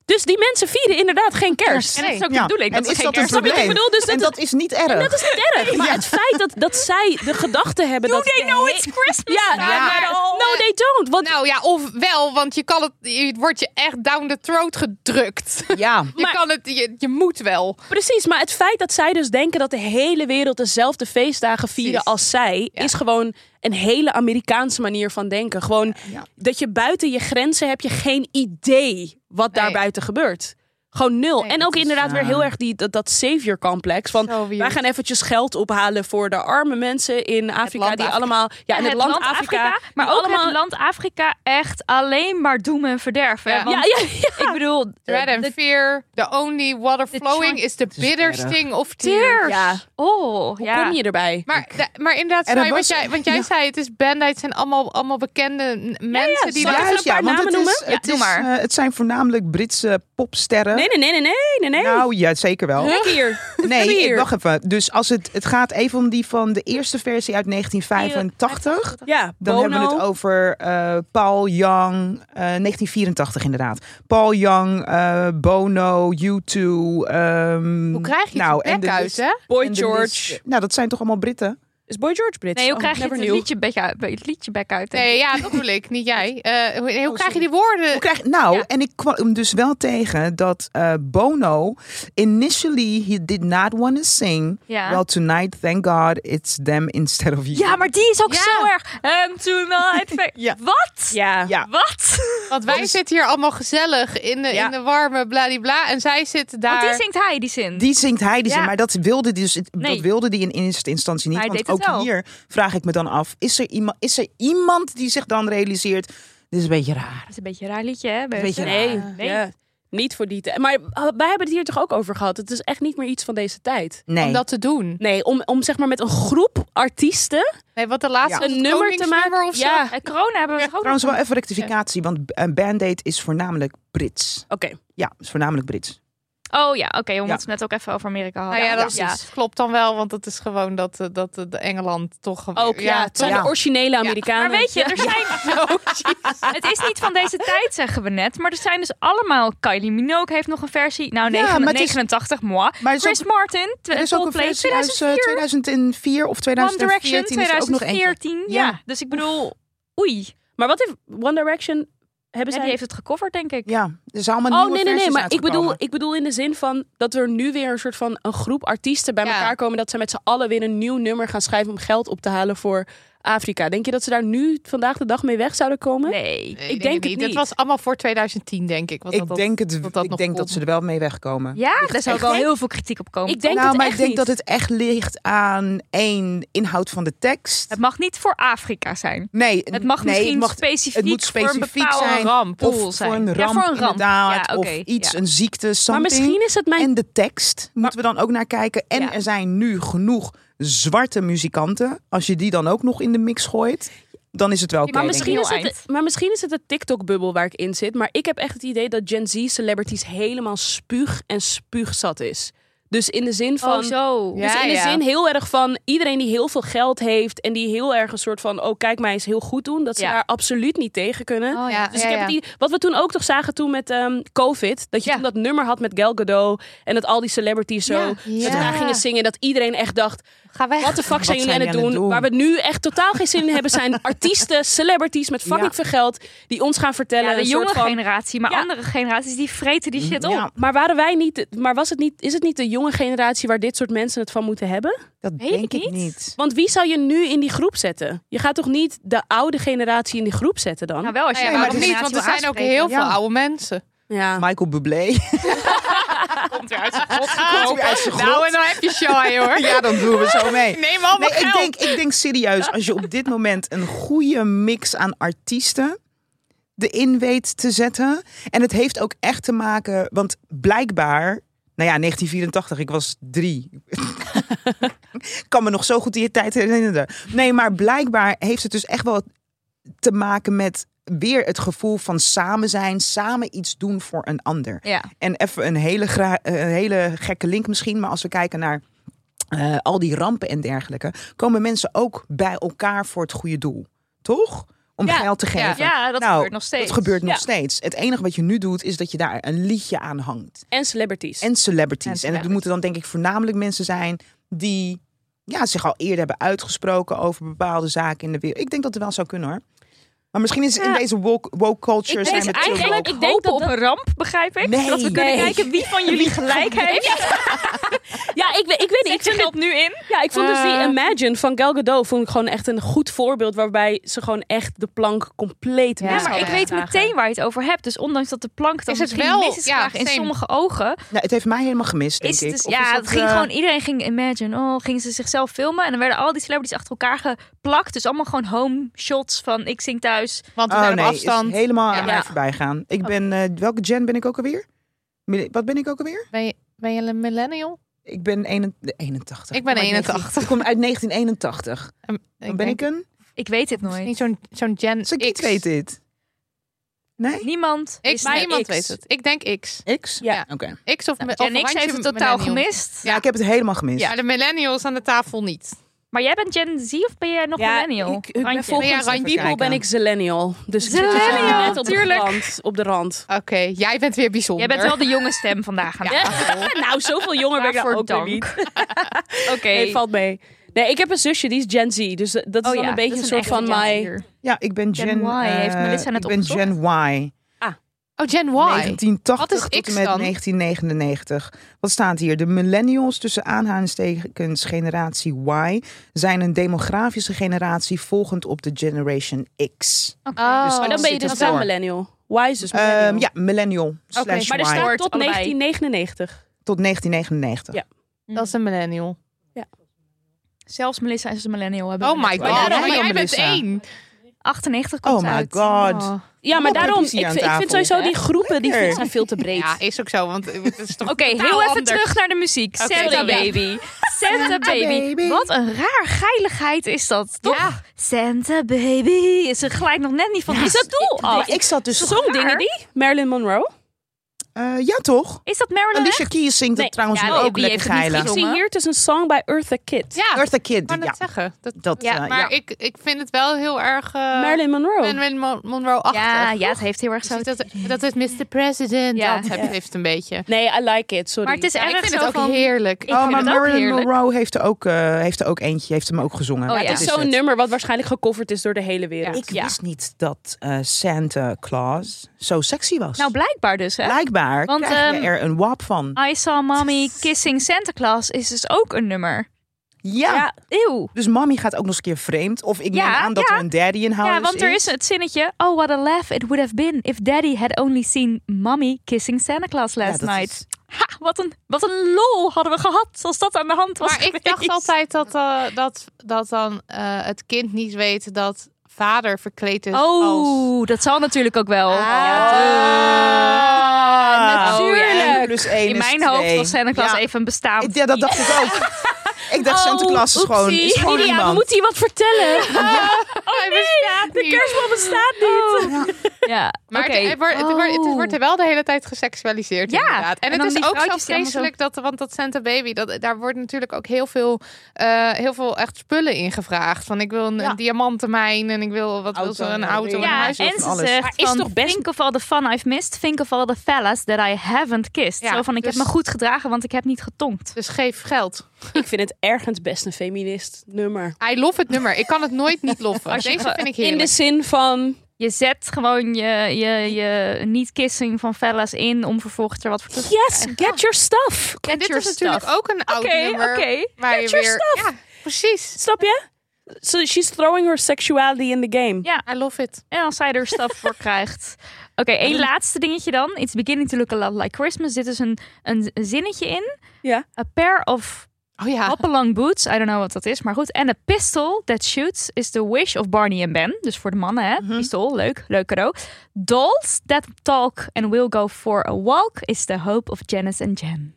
[SPEAKER 6] Dus die mensen vieren inderdaad geen kerst.
[SPEAKER 4] En
[SPEAKER 6] En
[SPEAKER 4] dat is ook de
[SPEAKER 5] Ja.
[SPEAKER 4] bedoeling.
[SPEAKER 5] en
[SPEAKER 4] dat
[SPEAKER 5] is
[SPEAKER 4] geen
[SPEAKER 5] dat een
[SPEAKER 4] kerst- Snap je wat
[SPEAKER 5] probleem?
[SPEAKER 4] ik bedoel?
[SPEAKER 6] Dus dat
[SPEAKER 5] en
[SPEAKER 6] is-
[SPEAKER 5] dat is niet erg.
[SPEAKER 6] dat is niet erg. Maar het feit dat, dat zij de gedachte hebben dat...
[SPEAKER 4] They know it's Christmas.
[SPEAKER 6] Ja,
[SPEAKER 4] time.
[SPEAKER 3] Ja.
[SPEAKER 4] Maar-
[SPEAKER 6] No, they don't. Want
[SPEAKER 3] Nou ja, of wel, want je kan het, je wordt je echt down the throat gedrukt.
[SPEAKER 5] Ja.
[SPEAKER 3] Je,
[SPEAKER 6] Maar-
[SPEAKER 3] kan het, je, je moet wel.
[SPEAKER 6] Precies, maar het feit dat zij dus denken dat de hele wereld dezelfde feestdagen vieren
[SPEAKER 3] Precies.
[SPEAKER 6] als zij,
[SPEAKER 3] Ja.
[SPEAKER 6] is gewoon een hele Amerikaanse manier van denken. Gewoon dat je buiten je grenzen heb je geen idee wat daar buiten gebeurt. Gewoon nul.
[SPEAKER 3] Nee,
[SPEAKER 6] en
[SPEAKER 3] dat
[SPEAKER 6] ook inderdaad weer heel erg die, dat, dat savior complex. Van
[SPEAKER 3] Zo weird.
[SPEAKER 6] wij gaan eventjes geld ophalen voor de arme mensen in Afrika.
[SPEAKER 3] land
[SPEAKER 6] Die
[SPEAKER 3] Afrika.
[SPEAKER 6] allemaal. Ja, in het, land, Afrika.
[SPEAKER 4] maar
[SPEAKER 6] die
[SPEAKER 4] ook
[SPEAKER 6] allemaal.
[SPEAKER 4] het land Afrika echt alleen maar doemen en verderven.
[SPEAKER 3] Ja.
[SPEAKER 4] Want,
[SPEAKER 6] ja, ja, ja.
[SPEAKER 4] Ik bedoel,
[SPEAKER 3] Dread and fear, the only water flowing is the bitter sting of tears.
[SPEAKER 6] Ja.
[SPEAKER 4] oh, ja.
[SPEAKER 6] Kom je erbij?
[SPEAKER 3] Maar, da- maar inderdaad,
[SPEAKER 5] En dat
[SPEAKER 3] Sai, wat
[SPEAKER 5] was-
[SPEAKER 3] jij, want jij
[SPEAKER 5] ja.
[SPEAKER 3] zei, het is Band-Aid, zijn allemaal, allemaal bekende n- mensen die
[SPEAKER 6] Zal ik
[SPEAKER 3] daar...
[SPEAKER 6] er een paar
[SPEAKER 5] want het,
[SPEAKER 6] namen
[SPEAKER 5] is,
[SPEAKER 6] noemen?
[SPEAKER 5] het,
[SPEAKER 4] doe
[SPEAKER 5] is,
[SPEAKER 4] maar.
[SPEAKER 5] eh, het zijn voornamelijk Britse popsterren.
[SPEAKER 6] Nee, nee, nee, nee, nee, nee. nee.
[SPEAKER 5] Nou ja, zeker wel.
[SPEAKER 6] Kijk hier.
[SPEAKER 5] Nee,
[SPEAKER 6] hier.
[SPEAKER 5] ik- wacht even. Dus als het, het gaat even om die van de eerste versie uit 1985.
[SPEAKER 6] Ja,
[SPEAKER 5] Dan
[SPEAKER 6] eh, Bono.
[SPEAKER 5] hebben we het over eh, Paul Young, eh, 1984 inderdaad. Paul Young, eh, Bono, U2. ehm,
[SPEAKER 3] Hoe krijg je
[SPEAKER 5] nou,
[SPEAKER 3] het
[SPEAKER 5] en
[SPEAKER 3] bek
[SPEAKER 5] de
[SPEAKER 3] uit,
[SPEAKER 5] list-
[SPEAKER 3] hè?
[SPEAKER 6] Boy
[SPEAKER 5] en de
[SPEAKER 6] George.
[SPEAKER 5] list- Nou, dat zijn toch allemaal Britten?
[SPEAKER 6] Is Boy George Brits?
[SPEAKER 4] Nee, hoe
[SPEAKER 6] Oh,
[SPEAKER 4] krijg je het
[SPEAKER 6] never knew.
[SPEAKER 4] liedje back uit? Het liedje back uit denk ik.
[SPEAKER 3] Nee, ja, dat bedoel ik, niet jij. Eh, hoe hoe krijg
[SPEAKER 5] Oh, sorry.
[SPEAKER 3] je die woorden?
[SPEAKER 5] Hoe krijg, nou,
[SPEAKER 3] Ja.
[SPEAKER 5] en ik kwam hem dus wel tegen dat eh, Bono initially he did not want to sing.
[SPEAKER 4] Ja.
[SPEAKER 5] Well tonight, thank God, it's them instead of you.
[SPEAKER 4] Ja, maar die is ook
[SPEAKER 3] Ja.
[SPEAKER 4] zo erg. Um, tonight. fa-
[SPEAKER 5] Ja.
[SPEAKER 4] Wat?
[SPEAKER 6] Ja.
[SPEAKER 5] Ja.
[SPEAKER 4] Wat?
[SPEAKER 3] Want
[SPEAKER 5] Oh, dus-
[SPEAKER 3] wij zitten hier allemaal gezellig in de,
[SPEAKER 6] Ja.
[SPEAKER 3] in de warme bladibla. En zij zit daar.
[SPEAKER 4] Want die zingt hij, die zin.
[SPEAKER 5] Die zingt hij die
[SPEAKER 4] Ja.
[SPEAKER 5] zin, maar dat wilde die dus
[SPEAKER 4] Nee.
[SPEAKER 5] dat wilde die in eerste instantie niet.
[SPEAKER 4] Maar hij
[SPEAKER 5] want
[SPEAKER 4] deed het
[SPEAKER 5] ook
[SPEAKER 4] wel.
[SPEAKER 5] hier vraag ik me dan af: is er iemand, is er iemand die zich dan realiseert? Dit is een beetje raar.
[SPEAKER 4] Dat is een beetje een raar liedje, hè? Een
[SPEAKER 5] beetje raar.
[SPEAKER 6] Nee,
[SPEAKER 4] Nee.
[SPEAKER 6] Ah, ja. niet voor die tijd. Maar uh, wij hebben het hier toch ook over gehad. Het is echt niet meer iets van deze tijd.
[SPEAKER 5] Nee,
[SPEAKER 3] om dat te doen.
[SPEAKER 6] Nee, om, om zeg maar met een groep artiesten
[SPEAKER 3] Nee, wat de laatste
[SPEAKER 6] een nummer te maken.
[SPEAKER 3] of zo.
[SPEAKER 6] ja, oké.
[SPEAKER 4] Eh, corona hebben we toch ook
[SPEAKER 5] trouwens
[SPEAKER 4] nog-
[SPEAKER 5] wel even rectificatie, want B- eh, Band-Aid is voornamelijk Brits. Ja, is voornamelijk Brits.
[SPEAKER 4] Oh ja, oké. we moeten het net ook even over Amerika hadden.
[SPEAKER 3] Nou ja, dat
[SPEAKER 5] dus-
[SPEAKER 3] is- klopt dan wel, want het is gewoon dat, eh, dat eh, de Engeland toch... gewoon-
[SPEAKER 6] Ook, ja. Het zijn
[SPEAKER 5] Ja.
[SPEAKER 6] de originele Amerikanen.
[SPEAKER 4] Maar weet je, er zijn... het is niet van deze tijd, zeggen we net. Maar er zijn dus allemaal... Kylie Minogue heeft nog een versie. Nou,
[SPEAKER 5] Ja,
[SPEAKER 4] negen-
[SPEAKER 5] maar het is-
[SPEAKER 4] 89, moi.
[SPEAKER 5] Maar er is
[SPEAKER 4] Chris
[SPEAKER 5] ook-
[SPEAKER 4] Martin, tw-
[SPEAKER 5] Er is ook een
[SPEAKER 4] Coldplay,
[SPEAKER 5] versie uit eh,
[SPEAKER 4] 2004.
[SPEAKER 5] 2004 of
[SPEAKER 4] One
[SPEAKER 5] 2014.
[SPEAKER 4] Direction,
[SPEAKER 5] is er ook nog eentje.
[SPEAKER 4] 2014. Ja.
[SPEAKER 5] Ja.
[SPEAKER 4] dus ik bedoel... Oei,
[SPEAKER 6] Maar wat heeft One Direction... Hebben
[SPEAKER 4] Ja,
[SPEAKER 6] zij...
[SPEAKER 4] die heeft het gecoverd, denk ik.
[SPEAKER 5] Ja, er zijn allemaal
[SPEAKER 6] Oh
[SPEAKER 5] nieuwe
[SPEAKER 6] nee, nee, nee,
[SPEAKER 5] versies
[SPEAKER 6] maar ik bedoel,
[SPEAKER 5] uitgekomen.
[SPEAKER 6] ik bedoel in de zin van dat er nu weer een soort van een groep artiesten bij
[SPEAKER 3] Ja.
[SPEAKER 6] elkaar komen. Dat ze met z'n allen weer een nieuw nummer gaan schrijven om geld op te halen voor Afrika. Denk je dat ze daar nu vandaag de dag mee weg zouden komen?
[SPEAKER 4] Nee.
[SPEAKER 3] Nee,
[SPEAKER 6] Ik denk het
[SPEAKER 3] Het
[SPEAKER 6] niet.
[SPEAKER 3] was allemaal voor 2010, denk ik. was
[SPEAKER 5] Ik
[SPEAKER 3] dat dat-
[SPEAKER 5] denk, het,
[SPEAKER 3] dat dat
[SPEAKER 5] ik
[SPEAKER 3] nog
[SPEAKER 5] denk
[SPEAKER 3] kon.
[SPEAKER 5] dat ze er wel mee wegkomen.
[SPEAKER 4] Ja, daar zou
[SPEAKER 6] echt
[SPEAKER 4] wel
[SPEAKER 6] niet.
[SPEAKER 4] heel veel kritiek op komen.
[SPEAKER 6] Ik denk
[SPEAKER 5] nou,
[SPEAKER 6] het
[SPEAKER 5] maar
[SPEAKER 6] echt
[SPEAKER 5] ik denk
[SPEAKER 6] niet.
[SPEAKER 5] dat het echt ligt aan één inhoud van de tekst.
[SPEAKER 4] Het mag niet voor Afrika zijn.
[SPEAKER 5] Nee,
[SPEAKER 4] Het mag
[SPEAKER 5] nee,
[SPEAKER 4] misschien
[SPEAKER 5] mag-
[SPEAKER 4] specifiek,
[SPEAKER 5] het moet
[SPEAKER 4] voor een
[SPEAKER 5] specifiek
[SPEAKER 4] bepaalde
[SPEAKER 5] zijn.
[SPEAKER 4] ramp,
[SPEAKER 5] of
[SPEAKER 4] pool zijn.
[SPEAKER 5] voor een ramp,
[SPEAKER 4] ja, voor een ramp.
[SPEAKER 5] inderdaad,
[SPEAKER 4] Ja, oké,
[SPEAKER 5] of iets,
[SPEAKER 4] ja.
[SPEAKER 5] een ziekte,
[SPEAKER 6] maar
[SPEAKER 5] something.
[SPEAKER 6] misschien is het mijn.
[SPEAKER 5] En de tekst moeten we dan ook naar kijken. En
[SPEAKER 4] Ja.
[SPEAKER 5] er zijn nu genoeg zwarte muzikanten. Als je die dan ook nog in de mix gooit, dan is het wel oké.
[SPEAKER 6] maar,
[SPEAKER 5] denk ik.
[SPEAKER 6] misschien
[SPEAKER 4] heel
[SPEAKER 6] is het,
[SPEAKER 4] eind.
[SPEAKER 6] maar misschien is het de TikTok-bubbel waar ik in zit. Maar ik heb echt het idee dat Gen Z-celebrities helemaal spuug en spuugzat is. Dus in de zin van.
[SPEAKER 4] Oh, zo.
[SPEAKER 6] Dus
[SPEAKER 3] Ja,
[SPEAKER 6] in de
[SPEAKER 3] ja.
[SPEAKER 6] zin heel erg van iedereen die heel veel geld heeft en die heel erg een soort van, oh kijk mij eens heel goed doen, dat ze
[SPEAKER 4] Ja.
[SPEAKER 6] daar absoluut niet tegen kunnen.
[SPEAKER 3] Oh, ja,
[SPEAKER 6] Dus
[SPEAKER 3] ja,
[SPEAKER 6] ik heb
[SPEAKER 3] ja.
[SPEAKER 6] het idee- wat we toen ook toch zagen toen met ehm, COVID, dat je
[SPEAKER 3] Ja.
[SPEAKER 6] toen dat nummer had met Gal Gadot en dat al die celebrities zo
[SPEAKER 4] Ja.
[SPEAKER 6] met
[SPEAKER 3] Ja.
[SPEAKER 6] elkaar gingen zingen, dat iedereen echt dacht,
[SPEAKER 3] Ga weg.
[SPEAKER 6] wat de fuck
[SPEAKER 5] Wat
[SPEAKER 6] zijn jullie aan
[SPEAKER 5] zijn
[SPEAKER 6] het
[SPEAKER 5] jullie aan
[SPEAKER 6] doen?
[SPEAKER 5] het doen?
[SPEAKER 6] Waar we nu echt totaal geen zin in hebben zijn artiesten, celebrities met fucking
[SPEAKER 5] Ja.
[SPEAKER 6] veel geld die ons gaan vertellen.
[SPEAKER 4] Ja, de
[SPEAKER 6] een
[SPEAKER 4] jonge
[SPEAKER 6] soort van,
[SPEAKER 4] generatie, maar
[SPEAKER 6] Ja.
[SPEAKER 4] andere generaties die vreten die shit op.
[SPEAKER 5] Ja,
[SPEAKER 6] maar waren wij niet, maar was het niet, is het niet de jonge generatie waar dit soort mensen het van moeten hebben?
[SPEAKER 5] dat
[SPEAKER 4] Weet
[SPEAKER 5] denk
[SPEAKER 4] ik niet.
[SPEAKER 5] ik niet.
[SPEAKER 6] Want wie zou je nu in die groep zetten? Je gaat toch niet de oude generatie in die groep zetten dan?
[SPEAKER 4] Nou, wel als je
[SPEAKER 3] Nou ja,
[SPEAKER 4] de
[SPEAKER 5] maar
[SPEAKER 3] waarom
[SPEAKER 4] oude
[SPEAKER 5] dit-
[SPEAKER 3] niet?
[SPEAKER 4] generatie
[SPEAKER 3] Want er
[SPEAKER 4] wil
[SPEAKER 3] zijn ook
[SPEAKER 4] aanspreken.
[SPEAKER 3] heel veel
[SPEAKER 5] Ja.
[SPEAKER 3] oude mensen.
[SPEAKER 6] ja.
[SPEAKER 5] Michael Bublé.
[SPEAKER 4] Komt weer uit.
[SPEAKER 5] Komt weer uit zijn grot.
[SPEAKER 3] Nou, en dan heb je Shai, hoor.
[SPEAKER 5] Ja, dan doen we zo mee.
[SPEAKER 3] Neem allemaal
[SPEAKER 5] Nee, ik
[SPEAKER 3] geld.
[SPEAKER 5] denk, ik denk serieus, als je op dit moment een goede mix aan artiesten erin weet te zetten. En het heeft ook echt te maken, want blijkbaar, nou ja, 1984, ik was drie. Ik kan me nog zo goed die tijd herinneren. Nee, maar blijkbaar heeft het dus echt wel te maken met weer het gevoel van samen zijn, samen iets doen voor een ander.
[SPEAKER 4] Ja.
[SPEAKER 5] En even een hele, gra- eh, een hele gekke link misschien, maar als we kijken naar eh, al die rampen en dergelijke, komen mensen ook bij elkaar voor het goede doel, toch? Om
[SPEAKER 4] Ja,
[SPEAKER 5] geld te
[SPEAKER 4] ja.
[SPEAKER 5] geven.
[SPEAKER 4] Ja, dat
[SPEAKER 5] Nou,
[SPEAKER 4] gebeurt nog steeds.
[SPEAKER 5] Dat gebeurt nog
[SPEAKER 4] Ja.
[SPEAKER 5] steeds. Het enige wat je nu doet, is dat je daar een liedje aan hangt.
[SPEAKER 6] En celebrities.
[SPEAKER 5] En celebrities.
[SPEAKER 4] En
[SPEAKER 5] En, het moeten dan denk ik voornamelijk mensen zijn die ja, zich al eerder hebben uitgesproken over bepaalde zaken in de wereld. Ik denk dat het wel zou kunnen hoor. Maar misschien is in deze woke, woke culture
[SPEAKER 6] Ik-
[SPEAKER 5] zijn
[SPEAKER 6] het
[SPEAKER 5] we
[SPEAKER 6] is
[SPEAKER 5] te woke.
[SPEAKER 6] eigenlijk-
[SPEAKER 4] Ik
[SPEAKER 6] Ik denk
[SPEAKER 4] denk
[SPEAKER 6] dat
[SPEAKER 4] op
[SPEAKER 6] dat-
[SPEAKER 4] een ramp, begrijp ik.
[SPEAKER 5] Nee.
[SPEAKER 4] Dat we kunnen
[SPEAKER 6] Nee.
[SPEAKER 4] kijken wie van jullie gelijk heeft.
[SPEAKER 6] Ja, ik, weet- ik weet niet. Ik
[SPEAKER 4] Ik
[SPEAKER 6] vind
[SPEAKER 4] geld
[SPEAKER 6] het,
[SPEAKER 4] nu in.
[SPEAKER 6] ja, ik vond dus die Imagine van Gal Gadot vond ik gewoon echt een goed voorbeeld waarbij ze gewoon echt de plank compleet mis
[SPEAKER 4] Ja, maar
[SPEAKER 6] hadden
[SPEAKER 4] ik weet
[SPEAKER 6] geslagen.
[SPEAKER 4] meteen waar je het over hebt. Dus ondanks dat de plank dan
[SPEAKER 3] Is het
[SPEAKER 4] misschien
[SPEAKER 3] wel-
[SPEAKER 4] mis is
[SPEAKER 3] ja,
[SPEAKER 4] geslagen in
[SPEAKER 3] same.
[SPEAKER 4] sommige ogen,
[SPEAKER 5] Nou, het heeft mij helemaal gemist, denk
[SPEAKER 4] is het
[SPEAKER 5] ik.
[SPEAKER 4] dus,
[SPEAKER 5] Of
[SPEAKER 4] ja,
[SPEAKER 5] is dat,
[SPEAKER 4] het ging
[SPEAKER 5] eh,
[SPEAKER 4] gewoon, iedereen ging imagine. Oh, gingen ze zichzelf filmen en dan werden al die celebrities achter elkaar geplakt. Dus allemaal gewoon home shots van ik zing thuis.
[SPEAKER 3] Want we
[SPEAKER 5] Oh
[SPEAKER 3] zijn
[SPEAKER 5] nee,
[SPEAKER 3] op
[SPEAKER 5] is
[SPEAKER 3] afstand.
[SPEAKER 5] helemaal aan
[SPEAKER 6] Ja.
[SPEAKER 5] mij voorbij gaan. Ik ben, eh, welke gen ben ik ook alweer? Mille- Wat ben ik ook alweer?
[SPEAKER 3] Ben je, ben je een millennial?
[SPEAKER 5] Ik ben 81. 81.
[SPEAKER 3] Ik ben
[SPEAKER 5] Kom uit
[SPEAKER 3] 81.
[SPEAKER 5] 19 Oh Ik kom uit 1981.
[SPEAKER 3] Ehm,
[SPEAKER 5] Dan ben ik een?
[SPEAKER 4] Ik weet dit nooit.
[SPEAKER 3] Niet zo'n zo'n Gen
[SPEAKER 5] Sagiet
[SPEAKER 3] X.
[SPEAKER 5] weet dit. Nee?
[SPEAKER 4] Niemand.
[SPEAKER 3] Ik,
[SPEAKER 4] wist
[SPEAKER 3] maar
[SPEAKER 4] het.
[SPEAKER 3] iemand
[SPEAKER 4] X.
[SPEAKER 3] weet het. Ik denk X.
[SPEAKER 5] X?
[SPEAKER 4] Ja.
[SPEAKER 5] Oké.
[SPEAKER 3] X of, me- of
[SPEAKER 4] Ja, niks
[SPEAKER 3] randje
[SPEAKER 4] heeft het totaal
[SPEAKER 3] millennial.
[SPEAKER 4] gemist.
[SPEAKER 3] Ja.
[SPEAKER 5] Ja, ik heb het helemaal gemist.
[SPEAKER 3] Ja, de millennials aan de tafel niet.
[SPEAKER 4] Maar jij bent Gen Z of ben jij nog millennial?
[SPEAKER 6] Ik, ik ben
[SPEAKER 4] Randje.
[SPEAKER 6] volgens
[SPEAKER 3] Ja,
[SPEAKER 6] People
[SPEAKER 3] randje kijken.
[SPEAKER 6] ben ik Zillennial. Dus ik zit
[SPEAKER 4] Zillennial,
[SPEAKER 6] dus wel net op
[SPEAKER 4] tuurlijk.
[SPEAKER 6] de rand. Op de rand.
[SPEAKER 3] Oké, jij bent weer bijzonder.
[SPEAKER 4] Jij bent wel de jonge stem vandaag aan
[SPEAKER 6] Ja.
[SPEAKER 4] tafel.
[SPEAKER 6] nou, zoveel jonger ben ik daar
[SPEAKER 4] Waarvoor
[SPEAKER 6] ook weer
[SPEAKER 4] dank.
[SPEAKER 6] niet.
[SPEAKER 4] Oké.
[SPEAKER 6] Nee, valt mee. Nee, ik heb een zusje, die is Gen Z. Dus dat is
[SPEAKER 4] Oh
[SPEAKER 6] dan
[SPEAKER 4] ja,
[SPEAKER 6] een beetje
[SPEAKER 4] dat
[SPEAKER 6] een,
[SPEAKER 4] is een
[SPEAKER 6] soort
[SPEAKER 4] echte
[SPEAKER 6] van
[SPEAKER 4] Gen
[SPEAKER 6] my...
[SPEAKER 4] Z'er.
[SPEAKER 5] Ja, ik ben
[SPEAKER 4] Gen
[SPEAKER 5] Gen...
[SPEAKER 4] Y. Heeft
[SPEAKER 5] eh,
[SPEAKER 4] Melissa net
[SPEAKER 5] Ik ben
[SPEAKER 4] opgezocht?
[SPEAKER 5] Gen Y.
[SPEAKER 3] Oh, Gen Y.
[SPEAKER 5] 1980
[SPEAKER 3] Wat is
[SPEAKER 5] tot en
[SPEAKER 3] X
[SPEAKER 5] met
[SPEAKER 3] dan?
[SPEAKER 5] 1999. Wat staat hier? De millennials tussen aanhalingstekens generatie Y zijn een demografische generatie volgend op de generation X.
[SPEAKER 3] Oh,
[SPEAKER 6] Maar dan ben je
[SPEAKER 5] zit
[SPEAKER 6] dus
[SPEAKER 5] het
[SPEAKER 6] wel
[SPEAKER 5] voor.
[SPEAKER 6] millennial. Y is dus millennial.
[SPEAKER 5] Ehm, ja, millennial slash
[SPEAKER 4] maar er
[SPEAKER 5] Y
[SPEAKER 4] staat-
[SPEAKER 6] Tot
[SPEAKER 4] Wordt allebei.
[SPEAKER 6] 1999.
[SPEAKER 5] tot 1999.
[SPEAKER 6] Ja.
[SPEAKER 3] Dus dat is een millennial.
[SPEAKER 4] Zelfs Melissa is een millennial. hebben we
[SPEAKER 3] Oh my
[SPEAKER 4] net
[SPEAKER 3] god,
[SPEAKER 4] gehoord.
[SPEAKER 5] daarom
[SPEAKER 3] maar
[SPEAKER 5] ben je
[SPEAKER 3] jij bent
[SPEAKER 5] Melissa.
[SPEAKER 3] één.
[SPEAKER 4] 98 komt
[SPEAKER 5] Oh my
[SPEAKER 4] uit.
[SPEAKER 5] god.
[SPEAKER 3] Oh.
[SPEAKER 6] Ja, maar
[SPEAKER 5] Wat
[SPEAKER 6] daarom,
[SPEAKER 5] heb
[SPEAKER 6] ik,
[SPEAKER 5] je hier
[SPEAKER 6] ik
[SPEAKER 5] aan tafel,
[SPEAKER 6] vind sowieso
[SPEAKER 5] hè?
[SPEAKER 6] die groepen, die vind ik
[SPEAKER 5] Lekker.
[SPEAKER 6] zijn veel te breed.
[SPEAKER 3] Ja, is ook zo, want het is toch
[SPEAKER 4] Oké, heel
[SPEAKER 3] totaal
[SPEAKER 4] even
[SPEAKER 3] anders.
[SPEAKER 4] terug naar de muziek. Santa,
[SPEAKER 3] ja.
[SPEAKER 4] Baby. Santa Baby.
[SPEAKER 5] Baby.
[SPEAKER 4] Wat een raar geiligheid is dat, toch? Santa Baby is er gelijk nog net niet van. Is dat doel af?
[SPEAKER 5] Maar ik zat dus...
[SPEAKER 4] Zo-
[SPEAKER 6] Zong dingen
[SPEAKER 4] Raar.
[SPEAKER 6] die? Marilyn Monroe?
[SPEAKER 5] Eh, ja, toch?
[SPEAKER 4] Is dat Marilyn
[SPEAKER 5] Alicia Keys zingt
[SPEAKER 6] Nee,
[SPEAKER 5] dat trouwens
[SPEAKER 4] ja,
[SPEAKER 5] nu
[SPEAKER 4] wie
[SPEAKER 5] ook
[SPEAKER 4] heeft
[SPEAKER 5] lekker
[SPEAKER 4] het niet
[SPEAKER 5] geilen.
[SPEAKER 6] Ik zie hier, het is een song by Eartha Kitt.
[SPEAKER 3] Ja, ik
[SPEAKER 5] Eartha Kidd,
[SPEAKER 3] kan
[SPEAKER 5] ja.
[SPEAKER 3] het zeggen. Dat,
[SPEAKER 5] Dat,
[SPEAKER 4] Ja,
[SPEAKER 5] eh,
[SPEAKER 3] maar Ik, ik vind het wel heel erg... eh,
[SPEAKER 6] Marilyn Monroe.
[SPEAKER 3] Marilyn Mon- Monroe-achtig.
[SPEAKER 4] Ja, ja, het heeft heel erg zo.
[SPEAKER 3] Dus dat, dat het Mr. President,
[SPEAKER 4] Ja.
[SPEAKER 3] dat heb- heeft het een beetje.
[SPEAKER 6] Nee, I like it, sorry.
[SPEAKER 4] Maar het is
[SPEAKER 3] Ja, ik
[SPEAKER 4] erg
[SPEAKER 3] vind
[SPEAKER 4] zo
[SPEAKER 3] het ook
[SPEAKER 4] van...
[SPEAKER 3] heerlijk.
[SPEAKER 4] Ik
[SPEAKER 5] Oh,
[SPEAKER 4] vind
[SPEAKER 5] maar
[SPEAKER 4] het ook
[SPEAKER 5] Marilyn
[SPEAKER 4] heerlijk.
[SPEAKER 5] Monroe heeft er, ook, eh, heeft er ook eentje, heeft hem ook gezongen.
[SPEAKER 4] Oh, ja.
[SPEAKER 5] Dat
[SPEAKER 6] het
[SPEAKER 4] is
[SPEAKER 6] is zo'n
[SPEAKER 5] het.
[SPEAKER 6] nummer wat waarschijnlijk gecoverd is door de hele wereld.
[SPEAKER 5] Ik wist niet dat eh, Santa Claus zo sexy was.
[SPEAKER 4] Nou, blijkbaar dus, hè?
[SPEAKER 5] Blijkbaar
[SPEAKER 4] Want,
[SPEAKER 5] krijg
[SPEAKER 4] ehm,
[SPEAKER 5] je er een wap van.
[SPEAKER 4] I Saw Mommy Kissing Santa Claus is dus ook een nummer.
[SPEAKER 5] Ja.
[SPEAKER 4] Eeuw.
[SPEAKER 5] Dus mommy gaat ook nog eens een keer vreemd. Of ik
[SPEAKER 4] Ja,
[SPEAKER 5] neem aan dat
[SPEAKER 4] ja.
[SPEAKER 5] er een daddy in huis
[SPEAKER 4] Ja, want er is het zinnetje... Oh, what a laugh it would have been if daddy had only seen mommy kissing Santa Claus
[SPEAKER 5] Ja,
[SPEAKER 4] last
[SPEAKER 5] dat
[SPEAKER 4] night.
[SPEAKER 5] is-
[SPEAKER 4] Ha, wat een, wat een lol hadden we gehad als dat aan de hand was
[SPEAKER 3] Maar ik dacht
[SPEAKER 4] geweest.
[SPEAKER 3] altijd dat, eh, dat, dat dan eh, het kind niet weet dat vader verkleed is dus als...
[SPEAKER 4] Oh, dat zal natuurlijk ook wel.
[SPEAKER 3] Ja,
[SPEAKER 5] Oh, Ah,
[SPEAKER 4] natuurlijk.
[SPEAKER 5] één plus één
[SPEAKER 4] In
[SPEAKER 5] is
[SPEAKER 4] mijn hoofd
[SPEAKER 5] twee.
[SPEAKER 4] was Santa Claus
[SPEAKER 5] Ja.
[SPEAKER 4] even een bestaand.
[SPEAKER 5] Ik- Ja, dat dacht ik ook. Ik
[SPEAKER 4] Oh,
[SPEAKER 5] dacht, Santa Claus is gewoon,
[SPEAKER 4] oepsie.
[SPEAKER 5] is gewoon
[SPEAKER 6] Lydia, we
[SPEAKER 5] iemand.
[SPEAKER 6] moeten je wat vertellen.
[SPEAKER 5] Oh,
[SPEAKER 3] Hij bestaat niet.
[SPEAKER 4] kerstman bestaat niet. Oh. Ja,
[SPEAKER 3] Maar
[SPEAKER 4] oké.
[SPEAKER 3] het, het wordt, het, wordt, het wordt er wel de hele tijd geseksualiseerd
[SPEAKER 4] Ja,
[SPEAKER 3] inderdaad.
[SPEAKER 4] en
[SPEAKER 3] En,
[SPEAKER 4] dan
[SPEAKER 3] het
[SPEAKER 4] die
[SPEAKER 3] is ook zo
[SPEAKER 4] vrouwtjes die allemaal zo-
[SPEAKER 3] vreselijk, dat, want dat Santa Baby, dat, daar wordt natuurlijk ook heel veel, eh, heel veel echt spullen in gevraagd. Van ik wil een, een diamantenmijn en ik wil, wat wil
[SPEAKER 5] Auto
[SPEAKER 3] ze, een
[SPEAKER 5] en
[SPEAKER 3] auto en een
[SPEAKER 4] Ja, en
[SPEAKER 3] huis. of-
[SPEAKER 4] ze
[SPEAKER 5] alles.
[SPEAKER 4] zegt
[SPEAKER 6] Maar is
[SPEAKER 4] van,
[SPEAKER 6] toch best-
[SPEAKER 4] think of all the fun I've missed, think of all the fellas that I haven't kissed.
[SPEAKER 3] Ja,
[SPEAKER 4] Zo van, ik
[SPEAKER 3] dus-
[SPEAKER 4] heb me goed gedragen, want ik heb niet getonkt.
[SPEAKER 3] Dus geef geld.
[SPEAKER 6] ik vind het ergens best een feminist nummer.
[SPEAKER 3] I love het nummer. Ik kan het nooit niet loffen.
[SPEAKER 4] Als je
[SPEAKER 3] Deze
[SPEAKER 4] ge-
[SPEAKER 3] vind ik
[SPEAKER 6] In de
[SPEAKER 3] heerlijk.
[SPEAKER 6] zin van...
[SPEAKER 4] Je zet gewoon je, je, je niet-kissing van fellas in om vervolgens er wat voor terug te
[SPEAKER 6] Yes, get your stuff.
[SPEAKER 4] get
[SPEAKER 3] Dit
[SPEAKER 4] your
[SPEAKER 3] is natuurlijk
[SPEAKER 4] stuff.
[SPEAKER 3] ook een oud
[SPEAKER 4] Oké,
[SPEAKER 3] nummer.
[SPEAKER 4] oké.
[SPEAKER 3] Waar je
[SPEAKER 6] Get your
[SPEAKER 3] weer, Ja, precies.
[SPEAKER 6] Snap je? So she's throwing her sexuality in the game.
[SPEAKER 4] Ja,
[SPEAKER 3] I love it.
[SPEAKER 4] en als zij er stuff voor krijgt. Oké, één laatste dingetje dan. It's beginning to look a lot like Christmas. Dit is een, een zinnetje in.
[SPEAKER 6] Ja.
[SPEAKER 4] A pair of
[SPEAKER 3] Oh ja.
[SPEAKER 4] Hopalong boots, I don't know wat dat is, maar goed. En a pistol that shoots is the wish of Barney en Ben. Dus voor de mannen, hè?
[SPEAKER 3] Mhm.
[SPEAKER 4] Pistool, leuk, leuk cadeau. Dolls that talk and will go for a walk is the hope of Janice and Jen.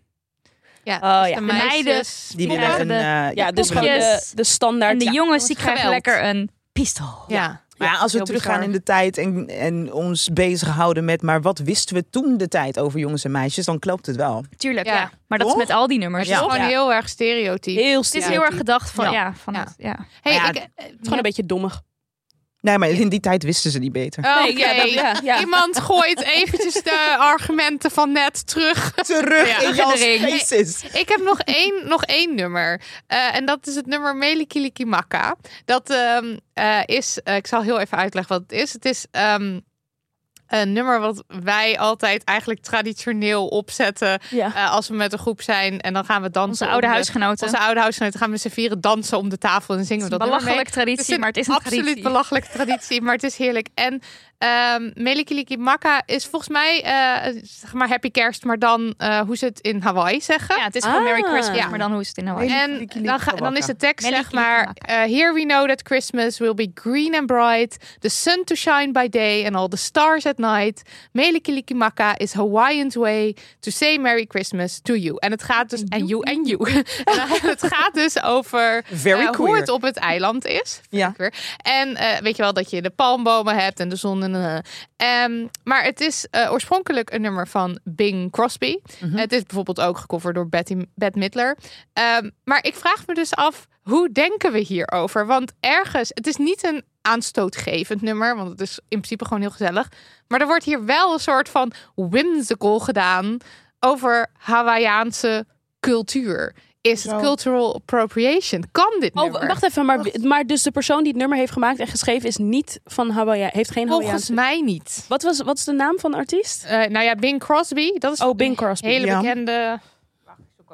[SPEAKER 3] ja.
[SPEAKER 6] Oh
[SPEAKER 3] dus De
[SPEAKER 6] ja.
[SPEAKER 4] De meiden-
[SPEAKER 3] meisjes.
[SPEAKER 5] Die
[SPEAKER 4] Ja.
[SPEAKER 5] willen een...
[SPEAKER 4] De-
[SPEAKER 5] eh,
[SPEAKER 6] Ja, dus gewoon de,
[SPEAKER 4] Poppetjes.
[SPEAKER 6] de standaard.
[SPEAKER 4] En de
[SPEAKER 6] ja.
[SPEAKER 4] jongens die krijgen
[SPEAKER 3] geweld.
[SPEAKER 4] lekker een pistool.
[SPEAKER 3] Ja.
[SPEAKER 5] Maar ja, als we
[SPEAKER 3] heel
[SPEAKER 5] teruggaan
[SPEAKER 3] bizar.
[SPEAKER 5] in de tijd en, en ons bezighouden met... maar wat wisten we toen de tijd over jongens en meisjes, dan klopt het wel.
[SPEAKER 4] Tuurlijk, ja.
[SPEAKER 3] Ja.
[SPEAKER 4] Maar dat is
[SPEAKER 5] Toch?
[SPEAKER 4] met al die nummers.
[SPEAKER 3] Het is
[SPEAKER 4] toch?
[SPEAKER 3] gewoon
[SPEAKER 6] Ja.
[SPEAKER 3] heel erg stereotyp.
[SPEAKER 6] Heel Ah,
[SPEAKER 4] Het is
[SPEAKER 6] stereotyp.
[SPEAKER 4] heel erg gedacht van, ja,
[SPEAKER 3] Ja.
[SPEAKER 4] van
[SPEAKER 3] Ja.
[SPEAKER 4] het, ja.
[SPEAKER 3] Hey,
[SPEAKER 5] Maar ja,
[SPEAKER 3] ik, eh,
[SPEAKER 6] Gewoon een beetje dommig.
[SPEAKER 5] Nee, maar in die tijd wisten ze niet beter.
[SPEAKER 3] Oh,
[SPEAKER 6] Nee, ja,
[SPEAKER 3] oké.
[SPEAKER 6] dat- ja, ja.
[SPEAKER 3] Iemand gooit eventjes de argumenten van net terug.
[SPEAKER 5] Terug in jouw
[SPEAKER 3] Herinnering.
[SPEAKER 5] faces.
[SPEAKER 3] Ik heb nog één, nog één nummer. Eh, en dat is het nummer Melikilikimaka. Dat ehm, eh, is, eh, ik zal heel even uitleggen wat het is. Het is ehm, een nummer wat wij altijd eigenlijk traditioneel opzetten.
[SPEAKER 6] Ja.
[SPEAKER 3] eh, als we met een groep zijn en dan gaan we dansen.
[SPEAKER 4] Onze
[SPEAKER 3] om
[SPEAKER 4] oude
[SPEAKER 3] de-
[SPEAKER 4] huisgenoten.
[SPEAKER 3] Onze oude huisgenoten gaan we z'n vieren dansen om de tafel en dan zingen we dat nummer mee.
[SPEAKER 4] Belachelijk traditie,
[SPEAKER 3] Het is een
[SPEAKER 4] maar het is een
[SPEAKER 3] absoluut
[SPEAKER 4] traditie.
[SPEAKER 3] belachelijke traditie, maar het is heerlijk. En ehm Melikiliki Maka is volgens mij, eh, zeg maar, happy kerst, maar dan eh, hoe ze het in Hawaii zeggen.
[SPEAKER 4] Ja, het is gewoon Merry
[SPEAKER 6] Ah.
[SPEAKER 4] Christmas,
[SPEAKER 3] Ja.
[SPEAKER 4] maar dan hoe is het in Hawaii?
[SPEAKER 3] En dan, ga- dan is de tekst, zeg
[SPEAKER 4] Melikiliki
[SPEAKER 3] maar...
[SPEAKER 4] Maka.
[SPEAKER 3] eh, here we know that Christmas will be green and bright, the sun to shine by day and all the stars at at Night. Melikilikimaka is Hawaiian's way to say Merry Christmas to you. En het gaat dus... En you en you. En het gaat dus over
[SPEAKER 5] Very
[SPEAKER 3] eh, hoe
[SPEAKER 5] queer.
[SPEAKER 3] het op het eiland is.
[SPEAKER 5] Ja.
[SPEAKER 3] Weer. En eh, weet je wel dat je de palmbomen hebt en de zon. En, eh. Ehm, maar het is eh, oorspronkelijk een nummer van Bing Crosby.
[SPEAKER 6] Mhm.
[SPEAKER 3] Het is bijvoorbeeld ook gecoverd door Betty, Bette Midler. Ehm, maar ik vraag me dus af, hoe denken we hierover? Want ergens, het is niet een aanstootgevend nummer, want het is in principe gewoon heel gezellig. Maar er wordt hier wel een soort van whimsical gedaan over Hawaïaanse cultuur. Is het
[SPEAKER 5] Zo.
[SPEAKER 3] cultural appropriation? Kan dit
[SPEAKER 6] Oh,
[SPEAKER 3] nummer?
[SPEAKER 6] wacht even. Maar, maar dus de persoon die het nummer heeft gemaakt en geschreven is niet van Hawaii. Heeft geen
[SPEAKER 3] Volgens
[SPEAKER 6] Hawaiiaanse...
[SPEAKER 3] mij niet.
[SPEAKER 6] Wat, was, wat is de naam van de artiest?
[SPEAKER 3] Eh, nou ja, Bing Crosby. Dat is
[SPEAKER 6] Oh, Bing Crosby.
[SPEAKER 3] een hele
[SPEAKER 5] ja.
[SPEAKER 3] bekende.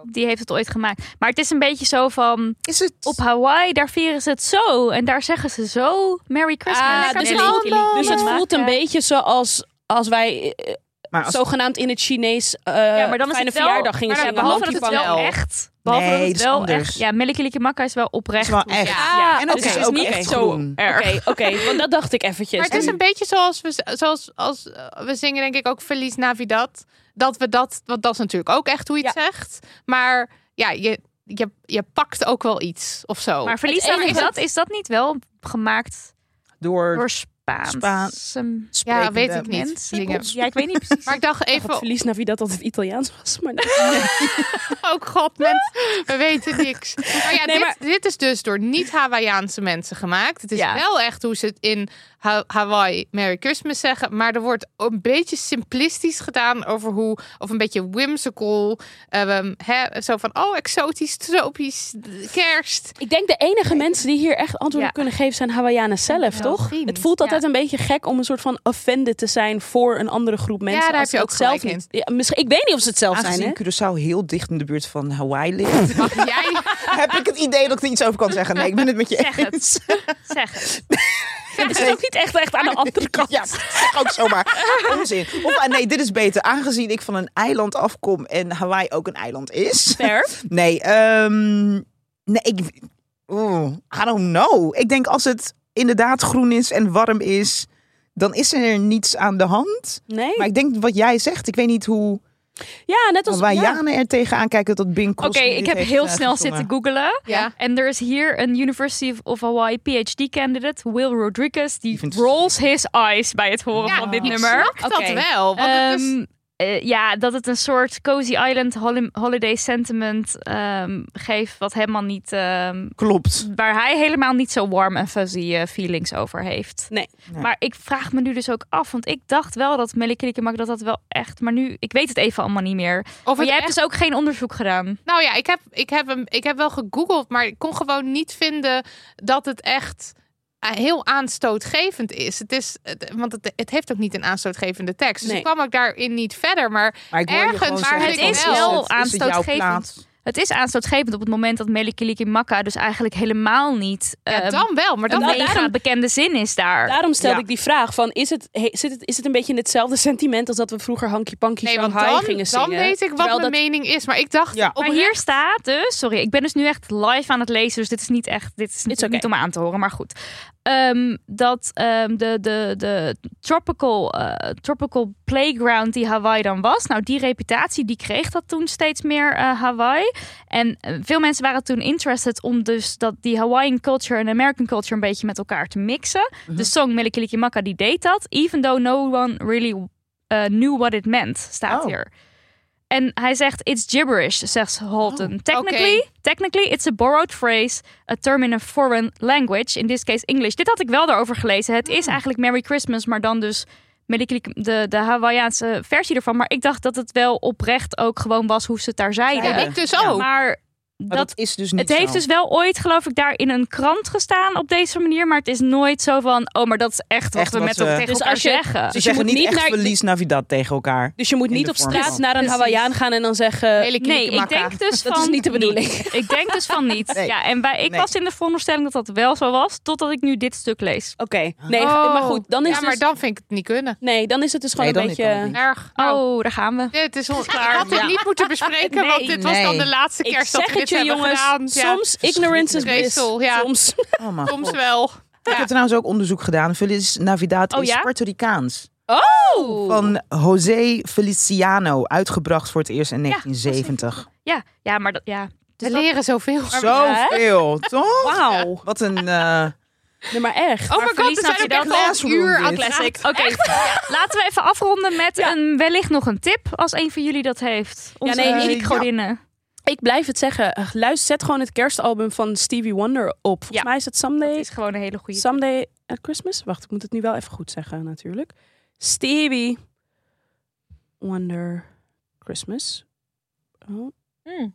[SPEAKER 4] Die heeft het ooit gemaakt. Maar het is een beetje zo van...
[SPEAKER 5] Is het...
[SPEAKER 4] Op Hawaii, daar vieren ze het zo. En daar zeggen ze zo Merry Christmas.
[SPEAKER 6] Ah,
[SPEAKER 4] En
[SPEAKER 6] dus
[SPEAKER 4] dan
[SPEAKER 6] het-
[SPEAKER 4] die- die- die-
[SPEAKER 6] Dus het
[SPEAKER 4] maken.
[SPEAKER 6] voelt een beetje zoals als wij eh,
[SPEAKER 5] maar als...
[SPEAKER 6] zogenaamd in het Chinees eh
[SPEAKER 4] Ja, maar dan is
[SPEAKER 6] fijne
[SPEAKER 4] het wel...
[SPEAKER 6] verjaardag gingen
[SPEAKER 4] maar
[SPEAKER 6] zingen.
[SPEAKER 4] behalve dat
[SPEAKER 6] Lampje
[SPEAKER 4] het wel
[SPEAKER 6] van El.
[SPEAKER 4] echt... Behalve
[SPEAKER 5] Nee,
[SPEAKER 4] dat het
[SPEAKER 5] dat is
[SPEAKER 4] wel
[SPEAKER 5] anders.
[SPEAKER 4] echt... Ja, Millikilikimaka is wel oprecht.
[SPEAKER 5] is wel echt.
[SPEAKER 4] Ja,
[SPEAKER 5] en ook, het
[SPEAKER 6] dus het
[SPEAKER 5] is
[SPEAKER 6] is
[SPEAKER 5] ook
[SPEAKER 6] niet
[SPEAKER 5] echt
[SPEAKER 6] zo
[SPEAKER 5] groen.
[SPEAKER 6] Oké, oké, want dat dacht ik eventjes.
[SPEAKER 3] Maar het is
[SPEAKER 6] En-
[SPEAKER 3] een beetje zoals we, z- zoals als, eh, we zingen, denk ik ook Feliz Navidad. Dat we dat, want dat is natuurlijk ook echt hoe je het zegt. Maar ja, je, je, je pakt ook wel iets of zo.
[SPEAKER 4] Maar verlies
[SPEAKER 6] enige
[SPEAKER 4] is dat, is dat niet wel gemaakt
[SPEAKER 5] Door
[SPEAKER 4] door Spaanse
[SPEAKER 5] Spaans.
[SPEAKER 3] ja,
[SPEAKER 5] sprekende
[SPEAKER 3] weet ik niet.
[SPEAKER 4] mensen?
[SPEAKER 3] Zingen.
[SPEAKER 4] Ja, ik weet niet precies.
[SPEAKER 3] Maar ik dacht
[SPEAKER 6] Ik had
[SPEAKER 3] even,
[SPEAKER 6] verlies naar wie dat altijd Italiaans was. Maar dat-
[SPEAKER 3] oh god, mensen,
[SPEAKER 4] Ah.
[SPEAKER 3] we weten niks. Maar ja,
[SPEAKER 6] Nee,
[SPEAKER 3] dit,
[SPEAKER 6] maar-
[SPEAKER 3] dit is dus door niet-Hawaïaanse mensen gemaakt. Het is
[SPEAKER 4] Ja.
[SPEAKER 3] wel echt hoe ze het in Ha- Hawaii Merry Christmas zeggen. Maar er wordt een beetje simplistisch gedaan over hoe... Of een beetje whimsical. ehm, hè, zo van, oh, exotisch, tropisch, kerst.
[SPEAKER 6] ik denk de enige mensen die hier echt antwoord op
[SPEAKER 4] Ja.
[SPEAKER 6] kunnen geven zijn Hawaiianen zelf,
[SPEAKER 3] wel
[SPEAKER 6] toch?
[SPEAKER 3] zien.
[SPEAKER 6] Het voelt altijd
[SPEAKER 3] Ja.
[SPEAKER 6] een beetje gek om een soort van offended te zijn voor een andere groep mensen.
[SPEAKER 3] daar heb
[SPEAKER 6] als
[SPEAKER 3] je
[SPEAKER 6] ze
[SPEAKER 3] ook
[SPEAKER 6] het zelf
[SPEAKER 3] gelijk
[SPEAKER 6] niet. Ja, misschien, ik weet niet of ze het zelf zijn,
[SPEAKER 5] aangezien
[SPEAKER 6] hè?
[SPEAKER 5] Curaçao heel dicht in de buurt van Hawaii ligt,
[SPEAKER 3] Mag jij
[SPEAKER 5] heb ik het idee dat ik er iets over kan zeggen. Nee, ik ben het met je
[SPEAKER 4] Zeg het.
[SPEAKER 5] eens.
[SPEAKER 4] Zeg het.
[SPEAKER 6] Het is ook niet echt, echt aan de andere kant.
[SPEAKER 5] Ja, zeg ook zomaar. Onzin. Of ah, nee, dit is beter. Aangezien ik van een eiland afkom en Hawaii ook een eiland is.
[SPEAKER 6] Fair.
[SPEAKER 5] Nee, ehm, nee ik, oeh, I don't know. Ik denk als het inderdaad groen is en warm is, dan is er niets aan de hand.
[SPEAKER 6] Nee?
[SPEAKER 5] Maar ik denk wat jij zegt, ik weet niet hoe
[SPEAKER 6] Ja, net als...
[SPEAKER 5] wij
[SPEAKER 6] ja.
[SPEAKER 5] Janen er tegenaan kijken dat Bing
[SPEAKER 4] Oké,
[SPEAKER 5] Crosby
[SPEAKER 4] ik
[SPEAKER 5] dit
[SPEAKER 4] heb
[SPEAKER 5] heeft,
[SPEAKER 4] heel
[SPEAKER 5] eh,
[SPEAKER 4] snel
[SPEAKER 5] verzonnen.
[SPEAKER 4] zitten googelen.
[SPEAKER 3] Ja.
[SPEAKER 4] En er is hier een University of- of Hawaii PhD-candidate, Will Rodriguez, die
[SPEAKER 5] Die vindt het-
[SPEAKER 4] rolls his eyes bij het horen
[SPEAKER 3] Ja,
[SPEAKER 4] van dit
[SPEAKER 3] ik
[SPEAKER 4] nummer.
[SPEAKER 3] snap dat wel? Want het is-
[SPEAKER 4] Ehm, eh, ja, dat het een soort cozy island hol- holiday sentiment ehm, geeft, wat helemaal niet, ehm,
[SPEAKER 5] Klopt.
[SPEAKER 4] waar hij helemaal niet zo warm en fuzzy eh, feelings over heeft.
[SPEAKER 6] Nee.
[SPEAKER 4] Maar ik vraag me nu dus ook af, want ik dacht wel dat Melikilikimaka dat dat wel echt, maar nu, ik weet het even allemaal niet meer.
[SPEAKER 3] of
[SPEAKER 4] Maar
[SPEAKER 3] het
[SPEAKER 4] jij
[SPEAKER 3] echt-
[SPEAKER 4] hebt dus ook geen onderzoek gedaan.
[SPEAKER 3] Nou ja, ik heb, ik, heb hem, ik heb wel gegoogeld, maar ik kon gewoon niet vinden dat het echt eh, heel aanstootgevend is. Het is het- want het, het heeft ook niet een aanstootgevende tekst. Dus
[SPEAKER 6] Nee.
[SPEAKER 3] ik kwam ook daarin niet verder. Maar,
[SPEAKER 5] Maar ik hoor je
[SPEAKER 3] ergens,
[SPEAKER 5] gewoon
[SPEAKER 3] maar
[SPEAKER 5] zeggen
[SPEAKER 3] het
[SPEAKER 5] van,
[SPEAKER 3] is
[SPEAKER 5] het-
[SPEAKER 3] wel.
[SPEAKER 5] het is jouw
[SPEAKER 4] aanstootgevend.
[SPEAKER 5] plaats.
[SPEAKER 4] Het is aanstootgevend op het moment dat Melikilikimaka dus eigenlijk helemaal niet
[SPEAKER 3] Ja,
[SPEAKER 6] Ehm,
[SPEAKER 4] eh,
[SPEAKER 3] dan wel, maar
[SPEAKER 4] een
[SPEAKER 3] dan
[SPEAKER 4] mega
[SPEAKER 6] daarom-
[SPEAKER 4] bekende zin is daar.
[SPEAKER 6] Daarom stelde
[SPEAKER 5] Ja.
[SPEAKER 6] ik die vraag van, is het, he- zit het, is het een beetje in hetzelfde sentiment als dat we vroeger Hanky Panky
[SPEAKER 3] Nee, want
[SPEAKER 6] Shanghai
[SPEAKER 3] dan,
[SPEAKER 6] gingen
[SPEAKER 3] dan
[SPEAKER 6] zingen?
[SPEAKER 3] weet ik wat
[SPEAKER 6] Terwijl
[SPEAKER 3] mijn
[SPEAKER 6] dat-
[SPEAKER 3] mening is. Maar ik dacht,
[SPEAKER 5] Ja.
[SPEAKER 3] op
[SPEAKER 4] maar hier staat dus, sorry, ik ben dus nu echt live aan het lezen, dus dit is niet echt, dit is natuurlijk
[SPEAKER 6] oké.
[SPEAKER 4] niet om aan te horen, maar goed. Ehm, dat ehm, de, de, de tropical, eh, tropical playground die Hawaii dan was, nou die reputatie die kreeg dat toen steeds meer eh, Hawaii. En eh, veel mensen waren toen interested om dus dat die Hawaiian culture en American culture een beetje met elkaar te mixen. De song Melikilikimaka die deed dat, even though no one really eh, knew what it meant, staat
[SPEAKER 5] Oh.
[SPEAKER 4] hier. En hij zegt, it's gibberish, zegt Holton. technically, technically, it's a borrowed phrase, a term in a foreign language, in this case English. Dit had ik wel daarover gelezen. Het is eigenlijk Merry Christmas, maar dan dus Melikilik- de, de Hawaiiaanse versie ervan. Maar ik dacht dat het wel oprecht ook gewoon was hoe ze het daar zeiden.
[SPEAKER 3] Ja, ik dus ook.
[SPEAKER 4] Maar
[SPEAKER 5] Maar
[SPEAKER 4] dat
[SPEAKER 5] dat, is dus niet
[SPEAKER 4] het heeft
[SPEAKER 5] zo.
[SPEAKER 4] dus wel ooit, geloof ik, daar in een krant gestaan op deze manier. Maar het is nooit zo van, oh, maar dat is echt wat
[SPEAKER 5] Echt
[SPEAKER 4] we
[SPEAKER 5] wat
[SPEAKER 4] met
[SPEAKER 5] we-
[SPEAKER 4] tegen
[SPEAKER 6] Dus
[SPEAKER 4] elkaar
[SPEAKER 6] als je-
[SPEAKER 4] zeggen.
[SPEAKER 5] Ze
[SPEAKER 6] Dus je
[SPEAKER 5] zeggen
[SPEAKER 6] moet
[SPEAKER 5] niet
[SPEAKER 6] niet
[SPEAKER 5] echt
[SPEAKER 6] naar-
[SPEAKER 5] verlies Navidad tegen elkaar.
[SPEAKER 6] Dus je moet
[SPEAKER 5] In
[SPEAKER 6] niet
[SPEAKER 5] de
[SPEAKER 6] op
[SPEAKER 5] vorm
[SPEAKER 6] straat
[SPEAKER 5] van.
[SPEAKER 6] naar een
[SPEAKER 4] Precies.
[SPEAKER 6] Hawaiiaan gaan en dan zeggen...
[SPEAKER 4] Nee, ik denk dus
[SPEAKER 6] Dat
[SPEAKER 4] van
[SPEAKER 6] is niet de bedoeling.
[SPEAKER 4] niet. Ik denk dus van niet.
[SPEAKER 5] Nee.
[SPEAKER 4] Ja, en bij, ik
[SPEAKER 5] Nee.
[SPEAKER 4] was in de veronderstelling dat dat wel zo was, totdat ik nu dit stuk lees.
[SPEAKER 6] Oké, nee, maar goed, dan is,
[SPEAKER 3] Oh. ja, maar
[SPEAKER 6] dus,
[SPEAKER 3] dan vind ik het niet kunnen.
[SPEAKER 6] nee, dan is het dus gewoon
[SPEAKER 5] Nee,
[SPEAKER 6] een
[SPEAKER 5] dan kan het
[SPEAKER 6] beetje...
[SPEAKER 5] niet.
[SPEAKER 3] Erg. Nou,
[SPEAKER 4] Oh, daar gaan we.
[SPEAKER 3] dit is ons klaar. Ik had dit
[SPEAKER 6] Ja.
[SPEAKER 3] niet moeten bespreken,
[SPEAKER 4] Nee,
[SPEAKER 3] want dit was dan
[SPEAKER 5] nee.
[SPEAKER 3] de laatste
[SPEAKER 6] Ik
[SPEAKER 3] kerst dat
[SPEAKER 6] zeg
[SPEAKER 3] we dit
[SPEAKER 6] het je
[SPEAKER 3] hebben
[SPEAKER 6] jongens,
[SPEAKER 3] gedaan. Ja.
[SPEAKER 6] soms ignorance is bliss.
[SPEAKER 3] Vreselijk, ja.
[SPEAKER 6] Soms.
[SPEAKER 5] Oh, mijn
[SPEAKER 3] Soms
[SPEAKER 5] God.
[SPEAKER 3] wel.
[SPEAKER 5] Ik heb trouwens ook onderzoek gedaan. Feliz Navidad
[SPEAKER 4] Oh,
[SPEAKER 5] is
[SPEAKER 4] ja?
[SPEAKER 5] Puerto Ricaans.
[SPEAKER 4] Oh!
[SPEAKER 5] Van José Feliciano, uitgebracht voor het eerst in
[SPEAKER 4] Ja,
[SPEAKER 5] 1970.
[SPEAKER 4] Ja, ja, maar dat, ja.
[SPEAKER 3] We
[SPEAKER 4] Dus dat-
[SPEAKER 3] leren zoveel.
[SPEAKER 5] Zoveel, toch?
[SPEAKER 6] Wauw.
[SPEAKER 5] Wat een... eh,
[SPEAKER 6] Nee, maar echt.
[SPEAKER 3] Oh my
[SPEAKER 4] Maar
[SPEAKER 3] god,
[SPEAKER 4] verlies
[SPEAKER 3] we zijn
[SPEAKER 4] had
[SPEAKER 3] ook
[SPEAKER 4] je
[SPEAKER 3] echt
[SPEAKER 4] dan
[SPEAKER 3] al een
[SPEAKER 5] classroom
[SPEAKER 3] uur
[SPEAKER 5] dit.
[SPEAKER 3] aan
[SPEAKER 4] Classic.
[SPEAKER 3] classic.
[SPEAKER 4] Oké, laten we even afronden met een, wellicht nog een tip, als een van jullie dat heeft. Onze
[SPEAKER 6] nee,
[SPEAKER 4] muziekgodinnen.
[SPEAKER 5] ik-
[SPEAKER 6] Ik blijf het zeggen. Eh, Luister, zet gewoon het kerstalbum van Stevie Wonder op. Volgens
[SPEAKER 4] Ja.
[SPEAKER 6] mij is het
[SPEAKER 4] Het
[SPEAKER 6] Someday,
[SPEAKER 4] is gewoon een hele goede
[SPEAKER 6] Someday at Christmas. Wacht, ik moet het nu wel even goed zeggen natuurlijk. Stevie Wonder Christmas. Oh.
[SPEAKER 5] Hmm.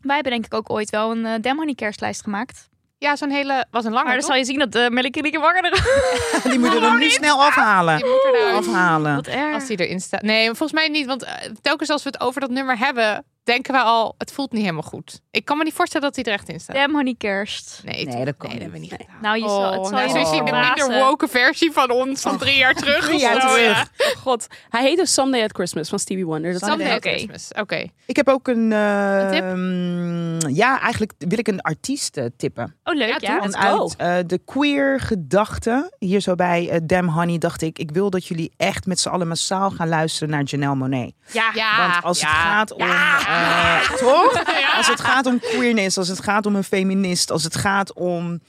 [SPEAKER 4] Wij hebben denk ik ook ooit wel een eh Demhoney kerstlijst gemaakt.
[SPEAKER 3] Ja, zo'n hele... was een lange,
[SPEAKER 4] maar dan zal je zien dat uh, Melike Lieke Wanger er...
[SPEAKER 5] die moet je er nu snel
[SPEAKER 3] Die
[SPEAKER 5] afhalen.
[SPEAKER 3] moet eruit.
[SPEAKER 5] Afhalen.
[SPEAKER 4] Ah, Wat erg.
[SPEAKER 3] Oh. Als die erin staat. Nee, maar volgens mij niet. Want eh, telkens als we het over dat nummer hebben, denken we al, het voelt niet helemaal goed. Ik kan me niet voorstellen dat hij er echt in staat.
[SPEAKER 4] Demhoney kerst.
[SPEAKER 3] Nee,
[SPEAKER 5] Nee, dat kan
[SPEAKER 3] nee, dat hebben we
[SPEAKER 5] niet.
[SPEAKER 3] niet gedaan.
[SPEAKER 4] Nou, je zal, het zal
[SPEAKER 3] nou,
[SPEAKER 4] je
[SPEAKER 3] zo
[SPEAKER 4] wel
[SPEAKER 3] is hij de
[SPEAKER 4] verbazen.
[SPEAKER 3] minder woke versie van ons van drie jaar terug.
[SPEAKER 5] Drie
[SPEAKER 3] of
[SPEAKER 5] jaar
[SPEAKER 3] zo,
[SPEAKER 5] terug.
[SPEAKER 3] ja.
[SPEAKER 6] Oh, God, hij heette Someday at Christmas van Stevie Wonder. Dat
[SPEAKER 3] Someday
[SPEAKER 6] is
[SPEAKER 3] at
[SPEAKER 4] Oké.
[SPEAKER 3] Christmas. Oké.
[SPEAKER 5] Ik heb ook een... eh,
[SPEAKER 3] Een tip?
[SPEAKER 5] mm, ja, eigenlijk wil ik een artiest eh, tippen.
[SPEAKER 4] Oh, leuk,
[SPEAKER 3] Ja,
[SPEAKER 4] ja.
[SPEAKER 5] Want
[SPEAKER 6] let's go.
[SPEAKER 5] uit eh, de queer gedachte, hier zo bij eh, Damn Honey, dacht ik... ik wil dat jullie echt met z'n allen massaal gaan luisteren naar Janelle Monet.
[SPEAKER 3] Ja,
[SPEAKER 4] Ah,
[SPEAKER 5] Want als
[SPEAKER 3] ja.
[SPEAKER 5] het gaat om. eh, toch? Als het gaat om queerness, als het gaat om een feminist, als het gaat om.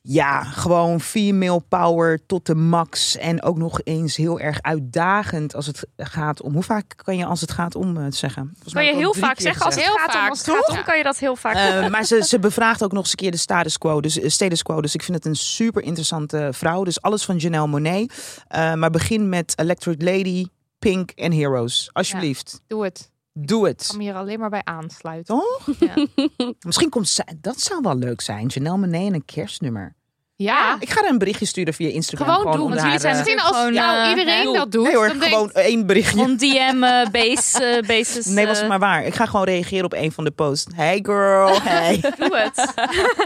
[SPEAKER 5] Ja, gewoon female power tot de max. En ook nog eens heel erg uitdagend als het gaat om. Hoe vaak kan je als het gaat om eh, zeggen? Volgens
[SPEAKER 4] kan
[SPEAKER 5] mij
[SPEAKER 4] je
[SPEAKER 5] heb ik
[SPEAKER 4] heel
[SPEAKER 5] al drie
[SPEAKER 4] vaak
[SPEAKER 5] keer
[SPEAKER 4] zeggen als het
[SPEAKER 5] gezegd.
[SPEAKER 3] Heel
[SPEAKER 4] gaat om,
[SPEAKER 3] vaak,
[SPEAKER 4] als het gaat om,
[SPEAKER 3] toch?
[SPEAKER 4] kan je dat heel vaak
[SPEAKER 5] Eh, maar ze, ze bevraagt ook nog eens een keer de status quo. Dus, eh, status quo. Dus ik vind het een super interessante vrouw. Dus alles van Janelle Monet. Eh, maar begin met Electric Lady, Pink en Heroes. Alsjeblieft,
[SPEAKER 3] Doe het.
[SPEAKER 5] doe
[SPEAKER 3] Ik
[SPEAKER 5] het.
[SPEAKER 3] kan me hier alleen maar bij aansluiten.
[SPEAKER 5] Toch?
[SPEAKER 3] Ja.
[SPEAKER 5] Misschien komt zij, dat zou wel leuk zijn. Janelle Monáe en een kerstnummer.
[SPEAKER 3] Ja.
[SPEAKER 5] Ik ga haar een berichtje sturen via Instagram.
[SPEAKER 3] Gewoon doen,
[SPEAKER 5] om
[SPEAKER 3] want
[SPEAKER 5] haar,
[SPEAKER 4] jullie zijn
[SPEAKER 5] eh,
[SPEAKER 3] Misschien als
[SPEAKER 4] Gewoon,
[SPEAKER 3] nou,
[SPEAKER 4] eh,
[SPEAKER 3] iedereen
[SPEAKER 4] doe.
[SPEAKER 3] dat doet,
[SPEAKER 5] Nee hoor,
[SPEAKER 3] dan denkt-
[SPEAKER 5] gewoon één berichtje.
[SPEAKER 4] On DM eh, base, eh, basis.
[SPEAKER 5] Nee, was
[SPEAKER 4] eh,
[SPEAKER 5] het maar waar. Ik ga gewoon reageren op een van de posts. Hey girl, hey.
[SPEAKER 4] Doe het.
[SPEAKER 5] I was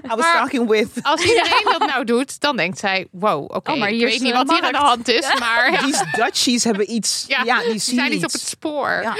[SPEAKER 3] Maar- Oh,
[SPEAKER 5] talking with.
[SPEAKER 3] Als iedereen dat nou doet, dan denkt zij: wow, oké,
[SPEAKER 4] Oh, maar
[SPEAKER 3] ik
[SPEAKER 4] hier
[SPEAKER 3] weet
[SPEAKER 4] is
[SPEAKER 3] niet
[SPEAKER 4] een
[SPEAKER 3] wat hier aan de
[SPEAKER 4] markt.
[SPEAKER 3] hand is, maar ja,
[SPEAKER 5] Die Dutchies hebben iets. Ja, die zien
[SPEAKER 3] zijn niet
[SPEAKER 5] iets.
[SPEAKER 3] op het spoor.
[SPEAKER 5] Ja.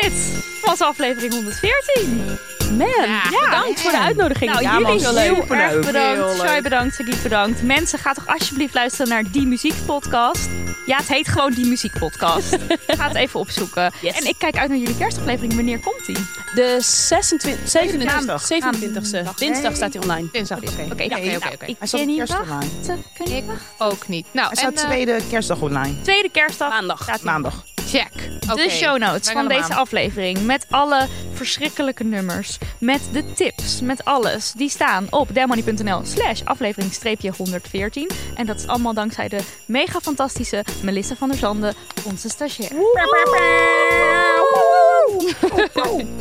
[SPEAKER 4] Dit was aflevering 114.
[SPEAKER 6] Man,
[SPEAKER 3] Ja.
[SPEAKER 6] bedankt voor de uitnodiging.
[SPEAKER 4] Nou,
[SPEAKER 6] Ja, man,
[SPEAKER 4] jullie
[SPEAKER 6] heel
[SPEAKER 4] heel
[SPEAKER 6] leuk.
[SPEAKER 4] erg
[SPEAKER 6] Heel
[SPEAKER 4] bedankt.
[SPEAKER 6] leuk.
[SPEAKER 4] Shai bedankt, Sagiet bedankt. Mensen, ga toch alsjeblieft luisteren naar Die Muziek Podcast. Ja, het heet gewoon Die Muziek Podcast. ga het even opzoeken.
[SPEAKER 6] Yes.
[SPEAKER 4] En ik kijk uit naar jullie kerstaflevering. Wanneer komt die? Oké,
[SPEAKER 6] De 26, 27,
[SPEAKER 5] 27.
[SPEAKER 6] 27ste. Dinsdag staat hij online.
[SPEAKER 3] Dinsdag, oké.
[SPEAKER 4] ik-
[SPEAKER 3] oké, oké,
[SPEAKER 4] nou,
[SPEAKER 3] oké.
[SPEAKER 4] ik
[SPEAKER 5] Hij staat
[SPEAKER 4] ken
[SPEAKER 5] op
[SPEAKER 4] niet
[SPEAKER 5] kerst
[SPEAKER 4] wachten.
[SPEAKER 5] online.
[SPEAKER 4] Kan eh, je
[SPEAKER 3] Ik ook niet. Nou,
[SPEAKER 5] Hij
[SPEAKER 3] en
[SPEAKER 5] staat
[SPEAKER 3] eh,
[SPEAKER 5] tweede kerstdag online.
[SPEAKER 4] Tweede kerstdag.
[SPEAKER 6] Maandag.
[SPEAKER 4] Staat hij
[SPEAKER 5] Maandag.
[SPEAKER 3] check. Oké.
[SPEAKER 4] De show notes
[SPEAKER 3] Breng
[SPEAKER 4] van
[SPEAKER 3] hem
[SPEAKER 4] deze
[SPEAKER 3] aan.
[SPEAKER 4] aflevering. Met alle verschrikkelijke nummers. Met de tips. Met alles. Die staan op demoney.nl slash aflevering 114. En dat is allemaal dankzij de mega fantastische Melissa van der Zanden, onze stagiair.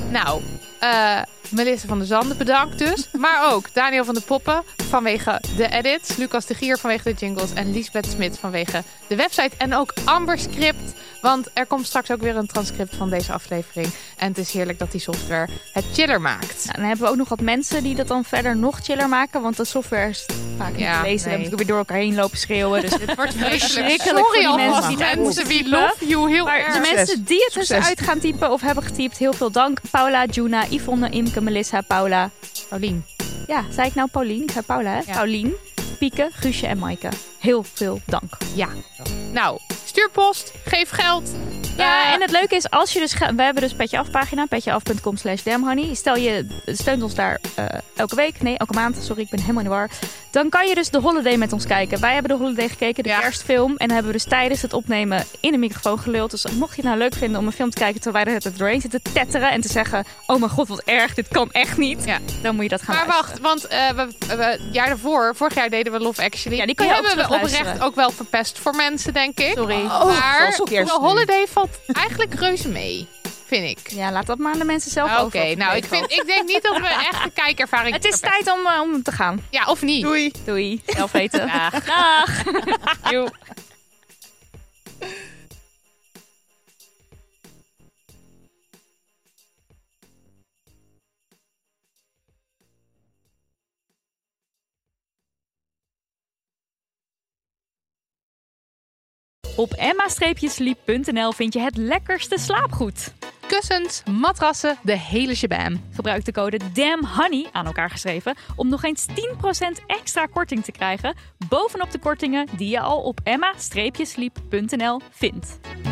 [SPEAKER 3] Nou, eh, Melissa van der Zanden, bedankt dus. Maar ook Daniel van de Poppen vanwege de edits. Lucas de Gier vanwege de jingles. En Lisbeth Smit vanwege de website. En ook Amber Script. Want er komt straks ook weer een transcript van deze aflevering. En het is heerlijk dat die software het chiller maakt.
[SPEAKER 4] Nou, dan hebben we ook nog wat mensen die dat dan verder nog chiller maken. Want de software is vaak niet
[SPEAKER 3] Ja,
[SPEAKER 4] te lezen. Dan
[SPEAKER 3] nee.
[SPEAKER 4] moet ik weer door elkaar heen lopen schreeuwen. Dus
[SPEAKER 3] Het wordt
[SPEAKER 4] Verschrikkelijk
[SPEAKER 3] vreselijk.
[SPEAKER 4] voor
[SPEAKER 3] Sorry
[SPEAKER 4] die
[SPEAKER 3] alvast,
[SPEAKER 5] mensen die
[SPEAKER 3] mensen. We love you heel
[SPEAKER 4] Maar de
[SPEAKER 3] erg.
[SPEAKER 4] mensen die het
[SPEAKER 5] Succes.
[SPEAKER 4] dus uit gaan typen of hebben getypt, heel veel dank. Paula, Juna, Yvonne, Imke, Melissa, Paula.
[SPEAKER 3] Paulien.
[SPEAKER 4] Ja, zei ik nou Paulien? Ik zei Paula, hè?
[SPEAKER 3] Ja.
[SPEAKER 4] Paulien, Pieke, Guusje en Maaike. Heel veel dank.
[SPEAKER 3] Nou, stuur post, geef geld.
[SPEAKER 4] Ja,
[SPEAKER 3] Eh,
[SPEAKER 4] en het leuke is, als je dus ga- we hebben dus Petje Af pagina, petjeaf.com slash damhoney. Stel je steunt ons daar eh, elke week, nee, elke maand, sorry, ik ben helemaal in de war. Dan kan je dus de holiday met ons kijken. Wij hebben de holiday gekeken, de
[SPEAKER 3] Ja.
[SPEAKER 4] kerstfilm. En dan hebben we dus tijdens het opnemen in een microfoon geluld. Dus mocht je het nou leuk vinden om een film te kijken terwijl wij er het doorheen zitten te tetteren en te zeggen, oh mijn god, wat erg, dit kan echt niet.
[SPEAKER 3] Ja.
[SPEAKER 4] Dan moet je dat gaan
[SPEAKER 3] Maar
[SPEAKER 4] luisteren.
[SPEAKER 3] wacht, want eh we, we- het jaar daarvoor, vorig jaar deden we Love Actually.
[SPEAKER 4] Ja, die kan je ook
[SPEAKER 3] hebben we
[SPEAKER 4] terugluisteren.
[SPEAKER 3] oprecht ook wel verpest voor mensen, denk ik.
[SPEAKER 4] Sorry.
[SPEAKER 3] maar
[SPEAKER 5] zoals Oh, ook eerst
[SPEAKER 3] de
[SPEAKER 5] nu.
[SPEAKER 3] holiday valt eigenlijk reuze mee, vind ik.
[SPEAKER 4] Ja, laat dat maar aan de mensen zelf
[SPEAKER 3] Oké,
[SPEAKER 4] over. of het
[SPEAKER 3] nou, ik,
[SPEAKER 4] meevalt.
[SPEAKER 3] vind, ik denk niet dat we echt de kijkervaring
[SPEAKER 4] Het is
[SPEAKER 3] verpesten.
[SPEAKER 4] tijd om, eh, om te gaan.
[SPEAKER 3] Ja, of niet?
[SPEAKER 5] Doei.
[SPEAKER 4] Doei. Zelf weten. Dag. Joe. Op emma-sleep.nl vind je het lekkerste slaapgoed.
[SPEAKER 3] kussens, matrassen, de hele shabam.
[SPEAKER 4] Gebruik de code DAMHONEY, aan elkaar geschreven, om nog eens 10% extra korting te krijgen bovenop de kortingen die je al op emma-sleep.nl vindt.